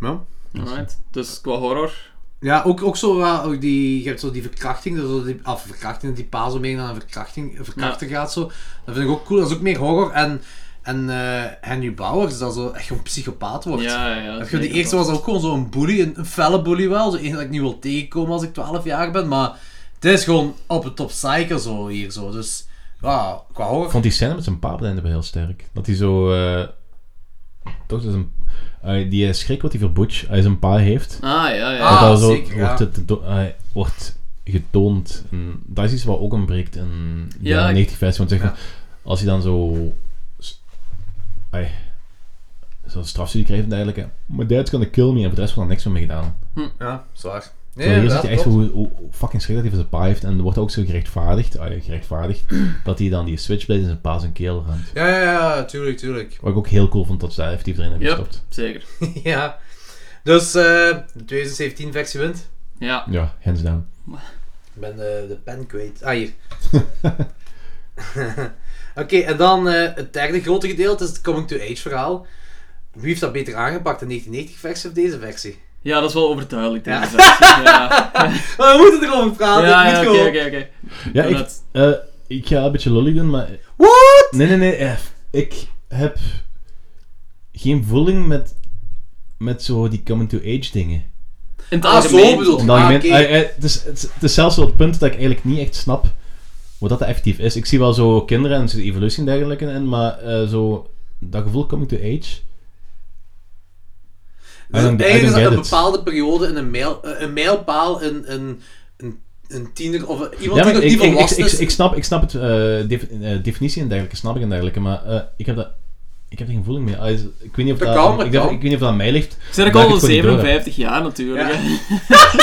Speaker 1: Ja.
Speaker 2: Alright. Dus qua horror.
Speaker 1: Ja, ook, ook zo, eh, ook die, je hebt zo die verkrachting, dus zo die, of verkrachting, dat die pa zo meer naar een verkrachting, een verkrachter gaat zo. Dat vind ik ook cool, dat is ook meer horror. En, en eh, Henry Bowers, dat zo echt een psychopaat wordt.
Speaker 2: Ja, ja.
Speaker 1: Dat je
Speaker 2: zeker.
Speaker 1: die eerste was ook gewoon zo'n bully, een, een felle bully wel, zo één dat ik niet wil tegenkomen als ik 12 jaar ben, maar dit is gewoon op het top psycho zo hier zo, dus ja, qua horror.
Speaker 3: Ik vond die scène met zijn paap einde wel heel sterk. Dat hij zo... eh, toch dus een, eh, die eh, schrik wat hij voor Butch, hij zijn pa heeft.
Speaker 2: Ah, ja, ja.
Speaker 1: Ah,
Speaker 3: Dat dat zo
Speaker 1: zeker, ja.
Speaker 3: wordt, het do- eh, wordt getoond. En dat is iets wat ook ontbreekt in de
Speaker 2: Ja,
Speaker 3: ja,
Speaker 2: ik-
Speaker 3: 90 versie. Want zeg
Speaker 1: Ja.
Speaker 3: maar, als je dan zo... s- ai, Zo'n strafstudie krijgt en dergelijke. My dad's gonna kill me. En voor de rest wordt er niks meer mee gedaan.
Speaker 1: Ja, zwaar. Nee,
Speaker 3: Zo, hier
Speaker 1: inderdaad,
Speaker 3: zit je echt
Speaker 1: klopt.
Speaker 3: hoe, hoe hoe fucking schrik dat hij van zijn pa heeft. En er wordt ook zo gerechtvaardigd,
Speaker 1: *clears throat*
Speaker 3: ai, gerechtvaardigd dat hij dan die switchblade in zijn pa zijn keel ramt.
Speaker 1: Ja, ja, ja, tuurlijk, tuurlijk. *laughs*
Speaker 3: Wat ik ook heel cool vond dat ze daar effectief erin hebben
Speaker 2: Yep.
Speaker 3: gestopt.
Speaker 2: Zeker.
Speaker 1: ja. Dus, eh, de 2017-versie wint.
Speaker 2: Ja.
Speaker 3: Ja, hands down.
Speaker 1: Ik ben de, de pen kwijt. Ah,
Speaker 3: *laughs*
Speaker 1: hier. Oké, en dan eh, het derde grote gedeelte is het coming to age verhaal. Wie heeft dat beter aangepakt, de 1990 versie of deze versie?
Speaker 2: Ja, dat is wel overduidelijk.
Speaker 1: Ja.
Speaker 2: Ja.
Speaker 1: *laughs*
Speaker 2: Ja,
Speaker 1: Maar Oh, we moeten erover praten,
Speaker 2: ja,
Speaker 1: het
Speaker 2: ja,
Speaker 1: moet
Speaker 2: oké,
Speaker 1: gewoon.
Speaker 2: oké, oké.
Speaker 1: Ah,
Speaker 3: Ja,
Speaker 2: Ja,
Speaker 3: ik,
Speaker 2: dat-
Speaker 3: eh, ik ga een beetje lullig doen, maar
Speaker 1: What?
Speaker 3: Nee, nee, nee. eh, Ik heb geen voeling met, met zo die coming-to-age dingen.
Speaker 2: In het
Speaker 1: Ah, zo
Speaker 2: algemeen.
Speaker 1: bedoel-
Speaker 3: In het algemeen-
Speaker 1: oké.
Speaker 3: eh, eh, het, is, het, is- het is zelfs wel het punt dat ik eigenlijk niet echt snap wat dat effectief is. Ik zie wel zo kinderen en zo evolutie en dergelijke in, maar eh, zo dat gevoel coming-to-age...
Speaker 1: Dus
Speaker 3: don't- I don't
Speaker 1: eigenlijk is
Speaker 3: get
Speaker 1: dat een
Speaker 3: it.
Speaker 1: bepaalde periode in een, mijl, eh, een mijlpaal, een, een, een, een tiener of een- iemand
Speaker 3: Ja,
Speaker 1: die
Speaker 3: maar
Speaker 1: nog
Speaker 3: ik,
Speaker 1: niet
Speaker 3: ik, ik,
Speaker 1: volwassen
Speaker 3: ik,
Speaker 1: is.
Speaker 3: ik snap, ik snap het, eh, def- eh, definitie en dergelijke, snap ik en dergelijke, maar eh, ik heb dat... Ik heb er geen voeling mee. Ah, is- Ik weet niet of
Speaker 1: Dat
Speaker 3: dat,
Speaker 1: kan, dat
Speaker 3: ik, denk-
Speaker 1: kan.
Speaker 3: ik weet niet of dat aan mij ligt.
Speaker 2: Ik zit ook
Speaker 3: omdat
Speaker 2: al
Speaker 3: het gewoon niet door heb.
Speaker 2: 57 jaar natuurlijk.
Speaker 1: Ja.
Speaker 2: hè.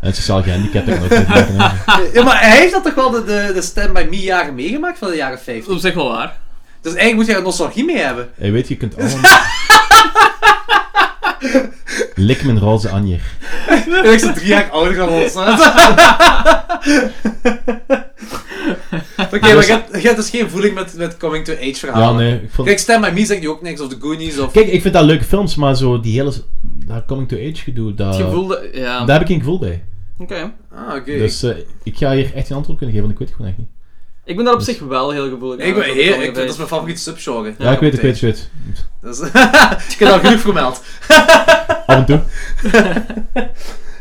Speaker 3: En sociaal gehandicapt heb ik nog niet. meegenomen.
Speaker 2: *laughs*
Speaker 1: Ja, maar hij heeft dat toch wel de, de, de Stand By Me jaren meegemaakt van de jaren
Speaker 2: Dat is
Speaker 1: 50.
Speaker 2: op zich wel waar.
Speaker 1: Dus eigenlijk moet je er nostalgie mee hebben.
Speaker 3: Hey, weet je, je kunt allemaal... Lik mijn roze anjer.
Speaker 1: En ik ben drie jaar ouder dan ons.
Speaker 3: *laughs*
Speaker 1: hè. Oké, maar je hebt- je hebt dus geen voeling met, met coming to age
Speaker 3: Ja,
Speaker 1: verhalen.
Speaker 3: nee. Ik vond...
Speaker 1: Kijk, Stem by Me zegt nu ook niks, of The Goonies, of...
Speaker 3: Kijk, ik vind dat leuke films, maar zo die hele... Dat coming-to-age gedoe, dat...
Speaker 2: Het gevoel dat... Ja.
Speaker 3: Daar heb ik geen gevoel bij.
Speaker 2: Oké.
Speaker 1: Ah, oké.
Speaker 3: Dus eh, ik ga hier echt geen antwoord kunnen geven, want ik weet het gewoon echt niet.
Speaker 2: Ik ben daar op
Speaker 1: Dus-
Speaker 2: zich wel heel gevoelig
Speaker 1: Ik ben
Speaker 2: aan.
Speaker 1: heer, ik, dat is mijn favoriete subgenre.
Speaker 3: Ja, ik weet het, ik weet het, ik weet het.
Speaker 1: Dus, *laughs* ik heb al genoeg vermeld.
Speaker 3: Af en toe.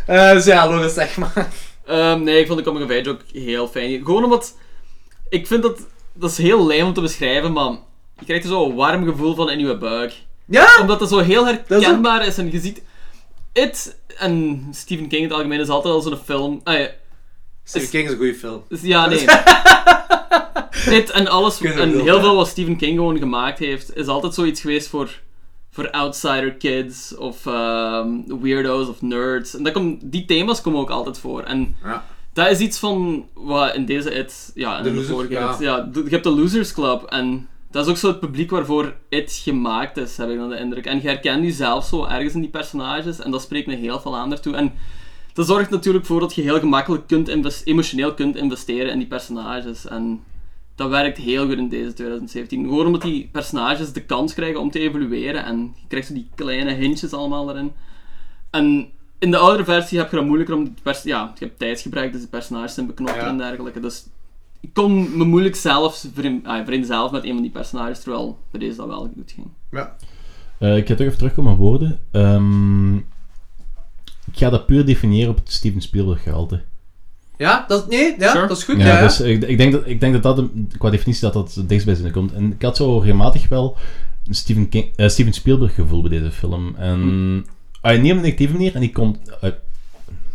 Speaker 1: Eh, dus ja, Loris, zeg maar.
Speaker 2: Ehm, nee, ik vond de Coming of Age ook heel fijn. Gewoon omdat... Ik vind dat dat is heel lijm om te beschrijven, maar je krijgt er zo een warm gevoel van in je buik.
Speaker 1: Ja!
Speaker 2: Omdat dat zo heel
Speaker 1: Dat is
Speaker 2: herkenbaar is, en je ziet... It en Stephen King in het algemeen is altijd al zo'n film... ah ja,
Speaker 1: Stephen King is een goede film.
Speaker 2: dus ja, nee. Dit en alles,
Speaker 1: Kunnen we
Speaker 2: en
Speaker 1: wel,
Speaker 2: heel
Speaker 1: hè?
Speaker 2: veel wat Stephen King gewoon gemaakt heeft, is altijd zoiets geweest voor, voor outsider kids, of ehm, weirdo's, of nerds. En dat komt, die thema's komen ook altijd voor. En
Speaker 1: Ja.
Speaker 2: dat is iets van wat in deze It, ja, en
Speaker 1: De
Speaker 2: in de
Speaker 1: losers,
Speaker 2: vorige
Speaker 1: ja.
Speaker 2: It, ja, de- je hebt de Losers Club, en dat is ook zo het publiek waarvoor It gemaakt is, heb ik dan de indruk. En je herkent jezelf zo ergens in die personages, en dat spreekt me heel veel aan daartoe. En dat zorgt natuurlijk voor dat je heel gemakkelijk kunt invest- emotioneel kunt investeren in die personages. En dat werkt heel goed in deze 2017. Gewoon omdat die personages de kans krijgen om te evolueren. En je krijgt zo die kleine hintjes allemaal erin. En in de oudere versie heb je dat moeilijker om... de Pers- ja, je hebt tijdsgebruik, dus de personages zijn beknopt
Speaker 1: Ja.
Speaker 2: en dergelijke. Dus ik kon me moeilijk zelf verin, ah, vereenzelven met een van die personages, terwijl bij deze dat wel goed ging.
Speaker 1: Ja.
Speaker 3: Eh, ik ga toch even terugkomen op mijn woorden. Ehm, ik ga dat puur definiëren op het Steven Spielberg gehalte.
Speaker 1: Ja, dat, nee, ja,
Speaker 2: Sure.
Speaker 1: dat is goed. Ja, ja.
Speaker 3: dus ik, ik, denk dat, ik denk dat dat een- qua definitie dat dat het dichtst bij zinnen komt. En ik had zo regelmatig wel een Steven, King- eh, Steven Spielberg gevoel bij deze film. En ah, niet op een negatieve manier, en die komt... eh,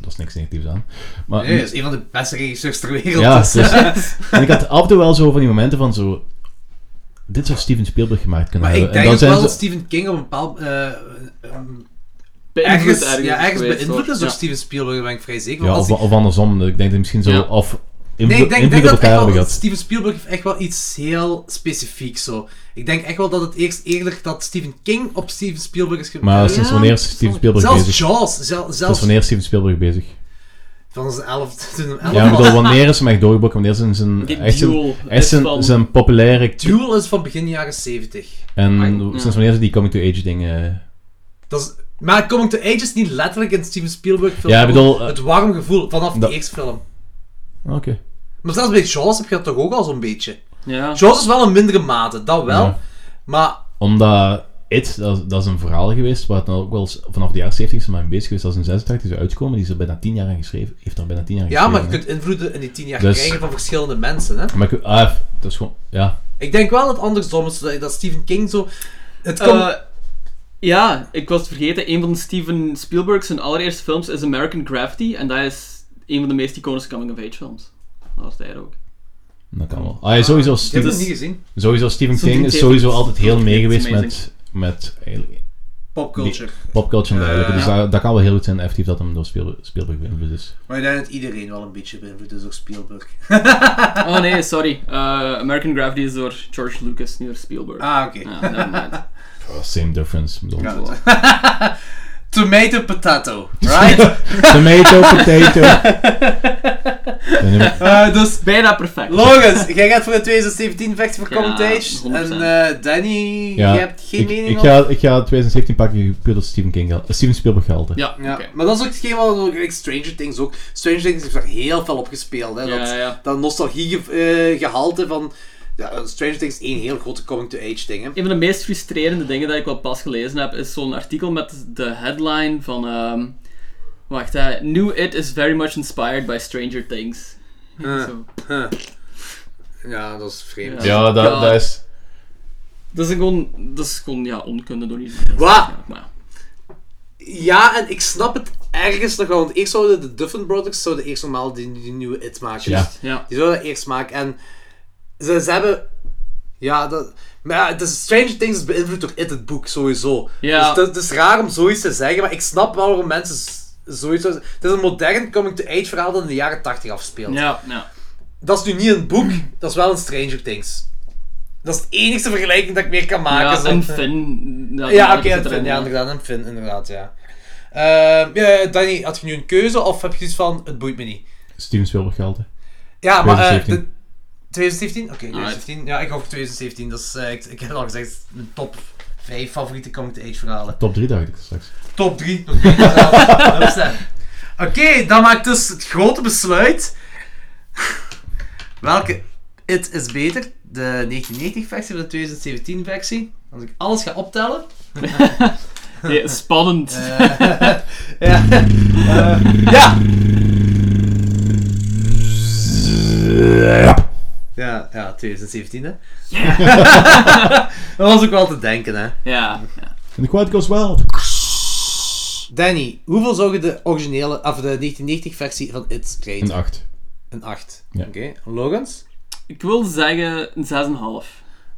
Speaker 3: dat is niks negatiefs aan. Maar,
Speaker 1: Nee, dat is een van de beste regisseurs ter wereld.
Speaker 3: Ja,
Speaker 1: dus-
Speaker 3: dus- en ik had af en toe wel zo van die momenten van zo... Dit zou Steven Spielberg gemaakt
Speaker 1: *laughs*
Speaker 3: kunnen
Speaker 1: maar ik
Speaker 3: hebben.
Speaker 1: denk ook
Speaker 3: en dan
Speaker 1: wel
Speaker 3: zijn
Speaker 1: dat
Speaker 3: ze...
Speaker 1: Stephen King op een bepaald... eh, ehm,
Speaker 2: Beïnvloed
Speaker 1: ergens, ja, ergens
Speaker 2: geweest,
Speaker 1: beïnvloed
Speaker 2: hoor.
Speaker 1: is door
Speaker 2: Ja.
Speaker 1: Steven Spielberg, daar ben ik vrij zeker.
Speaker 3: Ja,
Speaker 1: van.
Speaker 3: of,
Speaker 1: Als die-
Speaker 3: of andersom. Ik denk dat misschien zo...
Speaker 2: Ja.
Speaker 3: Of
Speaker 1: nee, ik
Speaker 3: invloed
Speaker 1: denk,
Speaker 3: invloed
Speaker 1: denk dat
Speaker 3: op elkaar
Speaker 1: echt wel,
Speaker 3: hebben gehad.
Speaker 1: Steven Spielberg heeft echt wel iets heel specifieks zo. Ik denk echt wel dat het eerst eerder dat Stephen King op Steven Spielberg is gemaakt.
Speaker 3: Maar
Speaker 2: Ja,
Speaker 3: sinds wanneer
Speaker 2: dat
Speaker 3: is Steven
Speaker 2: zal-
Speaker 3: Spielberg
Speaker 1: Zelfs
Speaker 3: bezig?
Speaker 1: Jaws, zel-
Speaker 3: Sinds
Speaker 1: zelfs
Speaker 3: wanneer is Steven Spielberg bezig?
Speaker 1: van zijn 11 toen hem
Speaker 3: Ja, ik
Speaker 1: 11 was.
Speaker 3: bedoel, wanneer is hem echt doorgebroken? Wanneer is hem zijn...
Speaker 2: Die
Speaker 3: Echt zijn,
Speaker 2: Duel
Speaker 3: echt
Speaker 2: is
Speaker 3: zijn,
Speaker 2: van-
Speaker 3: zijn populaire...
Speaker 1: Duel is van begin jaren 70.
Speaker 3: En
Speaker 2: ja.
Speaker 3: sinds wanneer is die coming-to-age ding... eh,
Speaker 1: Dat is, maar Coming to Age is niet letterlijk in Steven Spielberg film.
Speaker 3: Ja, ik bedoel, eh,
Speaker 1: het warm gevoel vanaf
Speaker 3: dat-
Speaker 1: de eerste film.
Speaker 3: Oké.
Speaker 1: Maar zelfs bij Jaws heb je dat toch ook al zo'n beetje.
Speaker 2: Ja.
Speaker 1: Jaws is wel een mindere mate, dat wel.
Speaker 3: Ja.
Speaker 1: Maar
Speaker 3: Omdat It, dat, is- dat is een verhaal geweest waar het nou ook wel eens vanaf de jaren 70 is er maar mee bezig geweest. Dat is in 86 is uitgekomen, die is er bijna 10 jaar aan geschreven. Heeft er bijna 10 jaar aan
Speaker 1: Ja, maar je
Speaker 3: geschreven.
Speaker 1: kunt invloeden in die tien jaar
Speaker 3: Dus-
Speaker 1: krijgen van verschillende mensen. Hè?
Speaker 3: hè. Maar ik- ah, dat is gewoon... Ja.
Speaker 1: Ik denk wel dat het andersom is, dat dat Stephen King zo... Het komt...
Speaker 2: Eh, ja, ik was het vergeten. Een van Steven Spielberg's zijn allereerste films is American Graffiti. En dat is een van de meest iconische coming-of-age films. Dat was daar ook.
Speaker 3: Dat kan wel. Ah, ja, sowieso,
Speaker 1: ik heb
Speaker 3: Steven,
Speaker 1: het niet gezien.
Speaker 3: sowieso Stephen
Speaker 2: Zo'n
Speaker 3: King
Speaker 2: ding
Speaker 3: is
Speaker 2: heeft-
Speaker 3: sowieso altijd heel mee
Speaker 2: It's
Speaker 3: geweest
Speaker 2: amazing.
Speaker 3: met, met eigenlijk
Speaker 1: Popculture.
Speaker 3: popculture en dergelijke. dus
Speaker 2: ja.
Speaker 3: dat, dat kan wel heel goed zijn, effectief, dat hem door Spielberg, Spielberg beïnvloed is.
Speaker 1: Maar ik denk dat iedereen wel een beetje beïnvloed is door Spielberg.
Speaker 2: Oh nee, sorry. Eh, American Graffiti is door George Lucas, niet door Spielberg.
Speaker 1: Ah, oké.
Speaker 2: Ja, nevermind.
Speaker 3: Same difference. Ik bedoel.
Speaker 1: *laughs* Ja. Tomato potato, right?
Speaker 3: Tomato, potato. En dan-
Speaker 1: Eh, dus...
Speaker 2: Bijna perfect.
Speaker 1: Logans, jij gaat voor de 2017 vechten voor
Speaker 2: Ja,
Speaker 1: Commentage.
Speaker 2: 100%.
Speaker 1: En eh, Danny,
Speaker 3: ja,
Speaker 1: je hebt geen
Speaker 3: ik,
Speaker 1: mening
Speaker 3: ik
Speaker 1: op.
Speaker 3: ga, ik ga 2017 pakken, puur dat Stephen, King, gehad- eh, Steven Spielberg gehalte.
Speaker 2: Ja,
Speaker 1: Ja,
Speaker 2: oké.
Speaker 1: maar dat is ook hetgeen wat ook, like, Stranger Things ook. Stranger Things heeft daar heel veel op gespeeld. Hè?
Speaker 2: Ja,
Speaker 1: dat,
Speaker 2: ja.
Speaker 1: dat nostalgiegehalte van. Ja, Stranger Things is één heel grote coming-to-age ding. Hè?
Speaker 2: Een van de meest frustrerende dingen dat ik wel pas gelezen heb, is zo'n artikel met de headline van... ehm, wacht, hè. New It is very much inspired by Stranger Things.
Speaker 1: Huh.
Speaker 2: Zo.
Speaker 1: Eh, Ja, dat is vreemd.
Speaker 2: Ja.
Speaker 3: dat, dat is...
Speaker 2: Dat is gewoon, dat is gewoon ja, onkunde door die
Speaker 1: Wat?
Speaker 2: Ja, maar ja.
Speaker 1: Ja, en ik snap het ergens nog wel. Want eerst zouden de Duffin Brothers zouden eerst normaal die, die nieuwe It maken.
Speaker 3: Ja.
Speaker 2: Ja.
Speaker 1: Die zouden dat eerst maken. En ze, ze hebben... Ja, dat... Maar ja, het is Stranger Things is beïnvloed door It, het boek, sowieso.
Speaker 2: Ja.
Speaker 1: Dus dat- het is raar om zoiets te zeggen, maar ik snap wel waarom mensen z- zoiets... Het is een modern coming-to-age verhaal dat in de jaren 80 afspeelt.
Speaker 2: Ja, ja.
Speaker 1: Dat is nu niet een boek, dat is wel een Stranger Things. Dat is de enige vergelijking dat ik meer kan maken.
Speaker 2: ja
Speaker 1: zo.
Speaker 2: en Finn.
Speaker 1: Ja, oké,
Speaker 2: en
Speaker 1: en Finn, ja, inderdaad, en Finn, inderdaad, ja. Ehm, ja, Danny, had je nu een keuze of heb je iets van, het boeit me niet?
Speaker 3: Steven Spielberg gehalte.
Speaker 1: Ja, maar... eh,
Speaker 3: 2017.
Speaker 1: de- 2017? Oké, 2017. Ja, ik ga voor 2017. Dat is, eh, ik, ik heb al gezegd, het is mijn top 5 favoriete coming-to-age verhalen.
Speaker 3: Top 3 dacht ik straks.
Speaker 1: Top 3. Oké, dan maakt dus het grote besluit. Welke It is beter? De 1990-versie of de 2017-versie? Als ik alles ga optellen...
Speaker 2: Ja, *laughs* spannend.
Speaker 1: Ja. ja. Ja, ja 2017 hè. *laughs* dat was ook wel te denken hè.
Speaker 2: Ja, ja.
Speaker 3: En de Quiet Goes Well.
Speaker 1: Danny, hoeveel zou je de originele, of de 1990 versie van It
Speaker 3: Een
Speaker 1: geven?
Speaker 3: 8.
Speaker 1: Een 8.
Speaker 3: Ja.
Speaker 1: Oké. Logans?
Speaker 2: Ik wil zeggen een 6,5.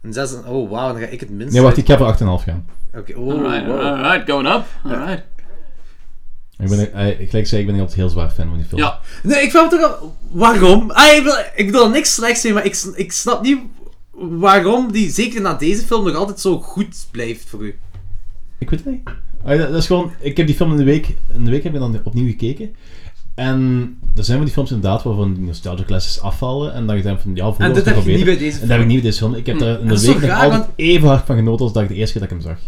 Speaker 1: Een 6. Oh wauw, dan ga ik het minst.
Speaker 3: Nee, wacht,
Speaker 1: uit-
Speaker 3: ik heb er 8,5 gaan.
Speaker 1: Oké, oh,
Speaker 2: Alright,
Speaker 1: wow.
Speaker 2: alright, going up. Alright.
Speaker 3: Ik ben, eh, eh, gelijk zei, ik ben niet altijd heel zwaar fan van die film.
Speaker 2: Ja,
Speaker 1: Nee, ik vraag me toch af, waarom? Ah, ik, bedoel, ik bedoel niks slechts zeggen, maar ik, s- ik snap niet waarom die, zeker na deze film, nog altijd zo goed blijft voor u.
Speaker 3: Ik weet het niet. Ah, dat, dat is gewoon, ik heb die film in de week, in de week heb ik dan opnieuw gekeken. En er zijn van die films inderdaad waarvan die nostalgia classes afvallen. En dan je denkt van, ja, vroeger
Speaker 1: En
Speaker 3: was
Speaker 1: dit
Speaker 3: het
Speaker 1: heb
Speaker 3: nog
Speaker 1: je
Speaker 3: wel
Speaker 1: niet
Speaker 3: beter.
Speaker 1: bij deze
Speaker 3: En dat heb ik
Speaker 1: film.
Speaker 3: niet bij deze film. Ik heb daar in
Speaker 1: dat is
Speaker 3: de
Speaker 1: zo
Speaker 3: week nog
Speaker 1: raar,
Speaker 3: altijd
Speaker 1: want-
Speaker 3: even hard van genoten als dat ik de eerste keer dat ik hem zag.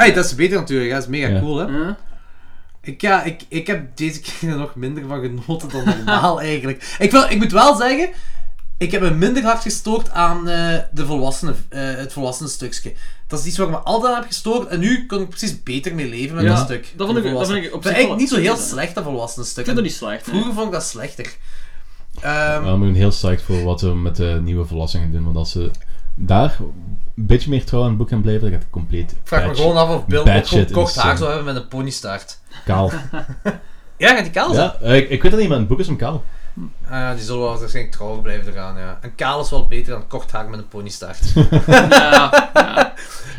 Speaker 1: Ah, dat is beter natuurlijk, hè. dat is mega
Speaker 3: Ja.
Speaker 1: cool hè.
Speaker 2: Ja.
Speaker 1: Ik, ja, ik, ik heb deze *laughs* keer er nog minder van genoten dan
Speaker 2: *laughs*
Speaker 1: normaal eigenlijk. Ik, wil, ik moet wel zeggen, ik heb me minder hard gestoord aan eh, de volwassenen, eh, het volwassenen stukje. Dat is iets waar ik me altijd aan heb gestoord en nu kon ik precies beter mee leven met
Speaker 2: Ja,
Speaker 1: dat stuk.
Speaker 2: dat
Speaker 1: van
Speaker 2: vond
Speaker 1: de
Speaker 2: ik- dat
Speaker 1: volwassenen.
Speaker 2: vond ik op
Speaker 1: Dat
Speaker 2: zich
Speaker 1: is
Speaker 2: wel-
Speaker 1: eigenlijk niet zo heel slecht, dat volwassenen
Speaker 2: ik
Speaker 1: stuk.
Speaker 2: vind dat niet slecht. nee.
Speaker 1: Vroeger vond ik dat slechter. Ehm,
Speaker 3: Maar ik ben heel psyched voor wat ze met de nieuwe verlossingen doen. Want als ze daar een beetje meer trouw aan het boek gaan blijven, dan gaat het compleet
Speaker 1: ik vraag me
Speaker 3: batch-
Speaker 1: gewoon af of Bill
Speaker 3: bad
Speaker 1: ook gewoon
Speaker 3: shit
Speaker 1: kort
Speaker 3: is,
Speaker 1: haar
Speaker 3: eh,
Speaker 1: zou hebben met een ponystaart. *laughs*
Speaker 3: kaal.
Speaker 1: Ja, gaat die kaal zijn?
Speaker 3: ja, eh, ik, ik weet dat niet, maar in het boek is hem kaal.
Speaker 1: Ah, die zullen wel waarschijnlijk trouw blijven eraan, ja. En kaal is wel beter dan kort haar met een ponystaart.
Speaker 2: Ja, ja.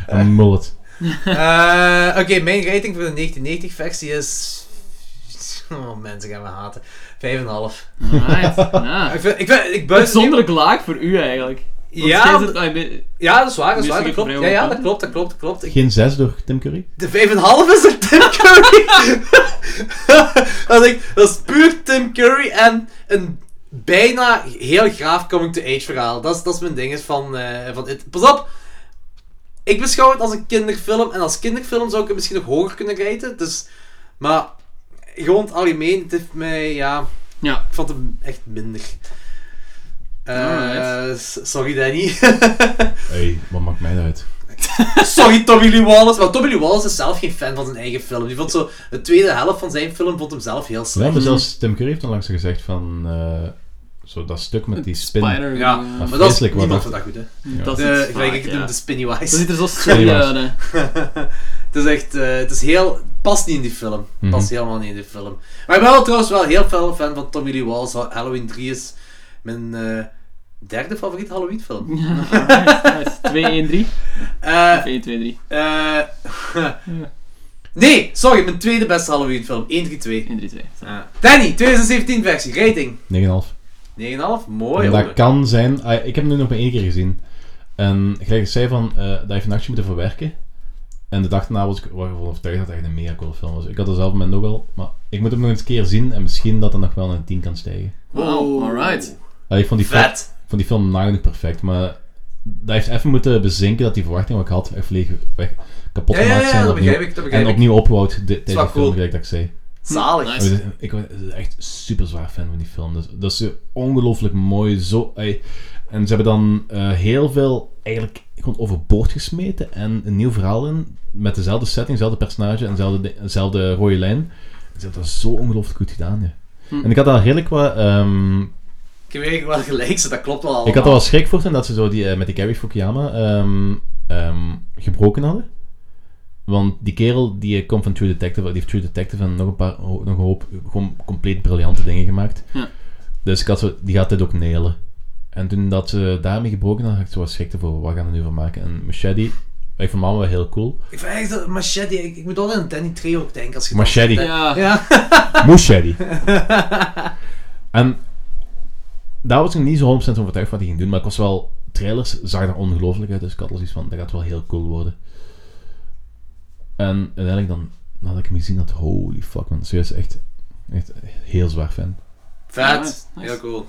Speaker 3: Een mullet.
Speaker 1: Eh, Oké, mijn rating voor de 1990-versie is... Oh, mensen gaan me haten. 5,5.
Speaker 2: Alright. Ja.
Speaker 1: *laughs* Ik, vind- ik, vind- ik buiten...
Speaker 2: Ah. Uitzonderlijk laag voor u eigenlijk. Want
Speaker 1: Ja,
Speaker 2: steeds het- ah, je-
Speaker 1: Ja, dat is waar, dat is
Speaker 2: Meestal
Speaker 1: waar, dat
Speaker 2: geef
Speaker 1: klopt.
Speaker 2: ik
Speaker 1: Ja,
Speaker 2: vrij
Speaker 1: ja,
Speaker 2: hoog
Speaker 1: dat
Speaker 2: punten.
Speaker 1: klopt, dat klopt, dat klopt. Ik-
Speaker 3: Geen 6 door Tim Curry.
Speaker 1: De 5,5 is er Tim Curry! *laughs* dat, is, echt- dat is puur Tim Curry en een bijna heel graaf coming-to-age verhaal. Dat is, dat is mijn ding is van, eh, van It. Pas op! Ik beschouw het als een kinderfilm en als kinderfilm zou ik het misschien nog hoger kunnen raten. Dus, maar gewoon het algemeen, het heeft mij, ja...
Speaker 2: Ja.
Speaker 1: Ik vond hem echt minder. Eh,
Speaker 2: Alright.
Speaker 1: s- sorry Danny. *laughs*
Speaker 3: Hey, wat maakt mij dat uit?
Speaker 1: Sorry, Tommy Lee Wallace. Maar Tommy Lee Wallace is zelf geen fan van zijn eigen film. Die vond zo de tweede helft van zijn film vond hem zelf heel
Speaker 3: Ja,
Speaker 1: slecht.
Speaker 3: maar zelfs Tim Curry heeft onlangs gezegd van... eh, zo dat stuk met die spin.
Speaker 2: Spider.
Speaker 1: Ja,
Speaker 2: eh,
Speaker 1: maar dat is
Speaker 3: Vreselijk, wat
Speaker 1: niemand
Speaker 3: dat-
Speaker 1: vond dat goed, hè.
Speaker 2: Dat is
Speaker 1: De,
Speaker 2: iets
Speaker 1: gelijk
Speaker 2: vaak,
Speaker 1: ik het noem,
Speaker 2: ja.
Speaker 1: de
Speaker 2: Dat *laughs*
Speaker 1: Spinnywise.
Speaker 2: ziet er zo silly
Speaker 3: Pennywise.
Speaker 2: uit. hè.
Speaker 1: *laughs* het is echt... eh, het is heel... Past niet in die film.
Speaker 3: Mhm.
Speaker 1: Past helemaal niet in die film. Maar ik ben wel trouwens wel heel fel fan van Tommy Lee Wallace. Halloween 3 is mijn eh, derde favoriete Halloween film.
Speaker 2: Ja, alright, alright. 2-1-3.
Speaker 1: Eh,
Speaker 2: 1-2-3.
Speaker 1: Eh, *laughs* nee, sorry, mijn tweede beste Halloween film. 1, 3, 2.
Speaker 2: 1-3-2.
Speaker 1: Danny, 2017 versie, rating.
Speaker 3: 9,5.
Speaker 1: 9,5, mooi
Speaker 3: En
Speaker 1: hoor.
Speaker 3: dat kan zijn... ah, ik heb hem nu nog maar één keer gezien. En gelijk ik zei van, eh, dat heeft een nachtje moeten verwerken. En de dag daarna was ik wel ervan overtuigd dat het echt een mega cool film was. Ik had er zelf moment ook al, maar ik moet hem nog eens een keer zien en misschien dat er nog wel naar een 10 kan stijgen.
Speaker 2: Wow, alright.
Speaker 3: Ah, ik vond die, film,
Speaker 1: Vet.
Speaker 3: vond die film nagenoeg perfect, maar dat heeft even moeten bezinken dat die verwachting wat ik had echt volledig weg, kapot
Speaker 1: Ja, ja,
Speaker 3: gemaakt
Speaker 1: ja,
Speaker 3: zijn.
Speaker 1: dat
Speaker 3: opnieuw-
Speaker 1: begrijp ik, dat begrijp
Speaker 3: en
Speaker 1: ik.
Speaker 3: opnieuw opgebouwd de- tijdens de
Speaker 1: wel
Speaker 3: film,
Speaker 1: cool.
Speaker 3: gelijk dat ik zei.
Speaker 1: Zalig.
Speaker 2: Nice.
Speaker 3: Maar dit- Ik was ik was echt super zwaar fan van die film. Dat, dat is ongelooflijk mooi. Zo, ey. en ze hebben dan eh, heel veel eigenlijk gewoon overboord gesmeten en een nieuw verhaal in. Met dezelfde setting, dezelfde personage en dezelfde, di- dezelfde rode lijn. Ze hebben dat zo ongelooflijk goed gedaan. Ja.
Speaker 2: Hm.
Speaker 3: En ik had daar redelijk wat. ehm,
Speaker 1: Ik heb eigenlijk wel gelijk, zo, dat klopt wel allemaal.
Speaker 3: ik had er wel schrik voor toen dat ze zo die, eh, met die Gary Fukuyama ehm, ehm, gebroken hadden. Want die kerel die eh, komt van True Detective, die heeft True Detective en nog een paar ho- nog een hoop gewoon compleet briljante dingen gemaakt.
Speaker 2: Ja.
Speaker 3: Dus ik had zo, die gaat dit ook nelen. En toen dat ze daarmee gebroken hadden, had ik zo wat schrik ervoor. Wat gaan we nu van maken? En Machete, ik vond mama wel heel cool.
Speaker 1: Ik vind echt dat Machete, ik, ik moet altijd aan Danny Trejo ook denken als je...
Speaker 3: Machete,
Speaker 2: Ja,
Speaker 1: Ja.
Speaker 3: Machete. en daar was ik niet zo 100% van overtuigd wat hij ging doen, maar ik was wel... Trailers zagen er ongelooflijk uit, dus ik had al zoiets van, dat gaat wel heel cool worden. En uiteindelijk dan, nadat ik hem gezien had, holy fuck man, serieus echt, echt heel zwaar fan.
Speaker 1: Vet.
Speaker 2: Nice, nice.
Speaker 1: Heel cool.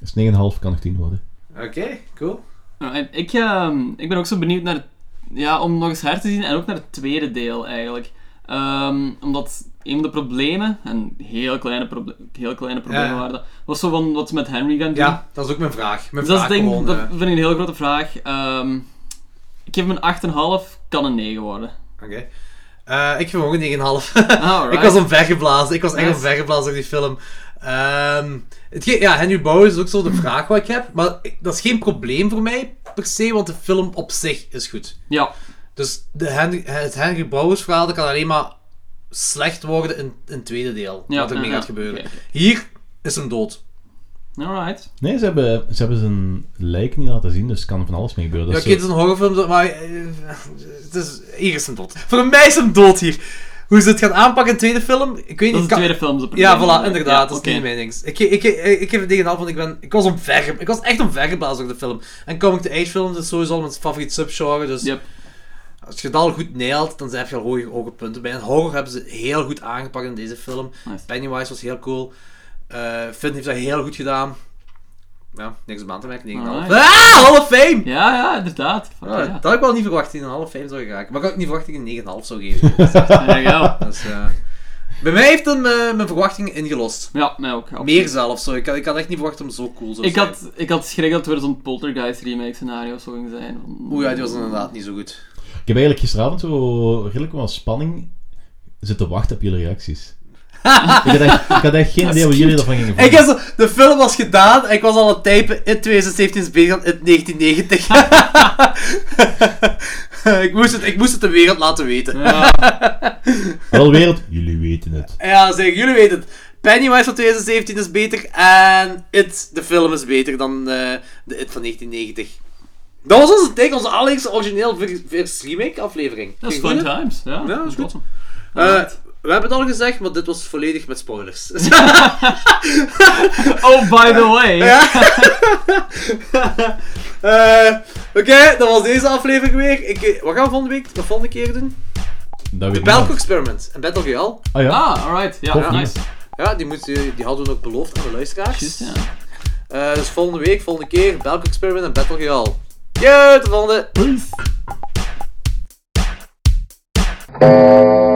Speaker 3: Dus 9,5 kan nog 10 worden.
Speaker 1: Oké, cool.
Speaker 2: Alright, Ik, ehm, ik ben ook zo benieuwd naar... Ja, om nog eens her te zien en ook naar het tweede deel eigenlijk. Ehm, omdat een van de problemen, en heel kleine, proble- heel kleine problemen
Speaker 1: Ja.
Speaker 2: waren dat, was zo van wat ze met Henry gaan doen.
Speaker 1: Ja, dat is ook mijn vraag. Mijn
Speaker 2: Dus dat is
Speaker 1: vraag
Speaker 2: het ding,
Speaker 1: gewoon,
Speaker 2: dat
Speaker 1: eh,
Speaker 2: vind ik een heel grote vraag. Ehm, ik geef hem een 8,5, kan een 9 worden.
Speaker 1: Oké. Eh, *laughs* ik geef hem ook een 9,5.
Speaker 2: Alright.
Speaker 1: Ik was omvergeblazen. Ik was echt
Speaker 2: Nice.
Speaker 1: omvergeblazen door die film. Ehm, hetgeen- ja, Henry Bowers is ook zo de vraag wat ik heb. Maar ik- dat is geen probleem voor mij, per se, want de film op zich is goed.
Speaker 2: Ja,
Speaker 1: Dus de Henry, het Henry Bowers verhaal dat kan alleen maar slecht worden in, in het tweede deel.
Speaker 2: Ja,
Speaker 1: wat er mee
Speaker 2: ja,
Speaker 1: gaat
Speaker 2: ja.
Speaker 1: gebeuren.
Speaker 2: Oké, oké.
Speaker 1: Hier is hem dood.
Speaker 2: alright.
Speaker 3: Nee, ze hebben, ze hebben zijn lijk niet laten zien, dus er kan van alles mee gebeuren.
Speaker 1: Ja,
Speaker 3: Dus Dat
Speaker 1: oké,
Speaker 3: is
Speaker 1: het is een horrorfilm, maar eh, het is, hier is hem dood. Voor mij is hem dood hier. Hoe ze het gaan aanpakken in de tweede film, ik weet
Speaker 2: Dat
Speaker 1: niet.
Speaker 2: is de
Speaker 1: kan-
Speaker 2: tweede film. dus dat
Speaker 1: Ja,
Speaker 2: probleem.
Speaker 1: voilà, inderdaad, dat is
Speaker 2: oké.
Speaker 1: niet mijn ding. Ik, ik, ik, ik geef het tegen af, want ik, ben, ik was omver, ik was echt omvergeblazen door de film. En Coming to Age films is sowieso al mijn favoriet subgenre, dus
Speaker 2: Yep.
Speaker 1: als je dat al goed nailt, dan heb je al hoge, hoge punten. Bij een horror hebben ze heel goed aangepakt in deze film.
Speaker 2: Nice.
Speaker 1: Pennywise was heel cool. Eh Finn heeft dat heel goed gedaan. Ja, niks om aan te merken, 9,5.
Speaker 2: Alright.
Speaker 1: Ah, Hall of Fame!
Speaker 2: Ja, ja, inderdaad. Fuck
Speaker 1: Ah,
Speaker 2: ja.
Speaker 1: Dat had ik wel niet verwacht, die een half 5 zou geraken. Maar ik had ook niet verwacht dat ik een 9,5 zou geven. *laughs*
Speaker 2: There you go.
Speaker 1: dus, eh, bij mij heeft hem eh, mijn verwachtingen ingelost.
Speaker 2: Ja, nee, ook. absoluut.
Speaker 1: Meer zelfs zo. Ik had, ik had echt niet verwacht dat hem zo cool zou
Speaker 2: Ik
Speaker 1: zijn.
Speaker 2: had, ik had schrik dat er weer zo'n Poltergeist remake scenario zou gaan zijn. Van-
Speaker 1: Oeh, ja, die was inderdaad niet zo goed.
Speaker 3: Ik heb eigenlijk gisteravond zo redelijk wel spanning zitten wachten op jullie reacties. *laughs* ik, had echt, ik had echt geen idee wat jullie ervan gingen
Speaker 1: Ik
Speaker 3: vinden.
Speaker 1: heb zo, de film was gedaan en ik was al aan het typen in 2017 is bezig aan in 1990. *laughs* ik, moest het, ik moest het de wereld laten weten.
Speaker 2: Ja,
Speaker 3: Wel wereld, jullie weten het.
Speaker 1: Ja, zeg, jullie weten het. Pennywise van 2017 is beter en It, de film, is beter dan eh, de It van 1990. Dat was onze take, onze allereerste origineel vers- vers remake aflevering.
Speaker 2: dat is
Speaker 1: Vind je
Speaker 2: fun
Speaker 1: goed?
Speaker 2: times. Ja,
Speaker 1: Ja, dat is goed.
Speaker 2: awesome.
Speaker 1: Eh, we hebben het al gezegd, maar dit was volledig met spoilers. *laughs*
Speaker 2: Oh, by the way.
Speaker 1: Eh, Oké, dat was deze aflevering weer. Ik, eh, wat gaan we volgende week, de volgende keer doen?
Speaker 3: Dat weet
Speaker 1: Belco
Speaker 3: niemand.
Speaker 1: Experiment en Battle Royale.
Speaker 3: Ah ja?
Speaker 2: Ah, alright. Ja,
Speaker 3: Tof,
Speaker 2: nice.
Speaker 1: Ja, die, moet, die hadden we ook beloofd aan de luisteraars.
Speaker 2: Juist, ja.
Speaker 1: Eh, dus volgende week, volgende keer, Belco Experiment en Battle Royale. Yo, tot de volgende!
Speaker 2: Peace.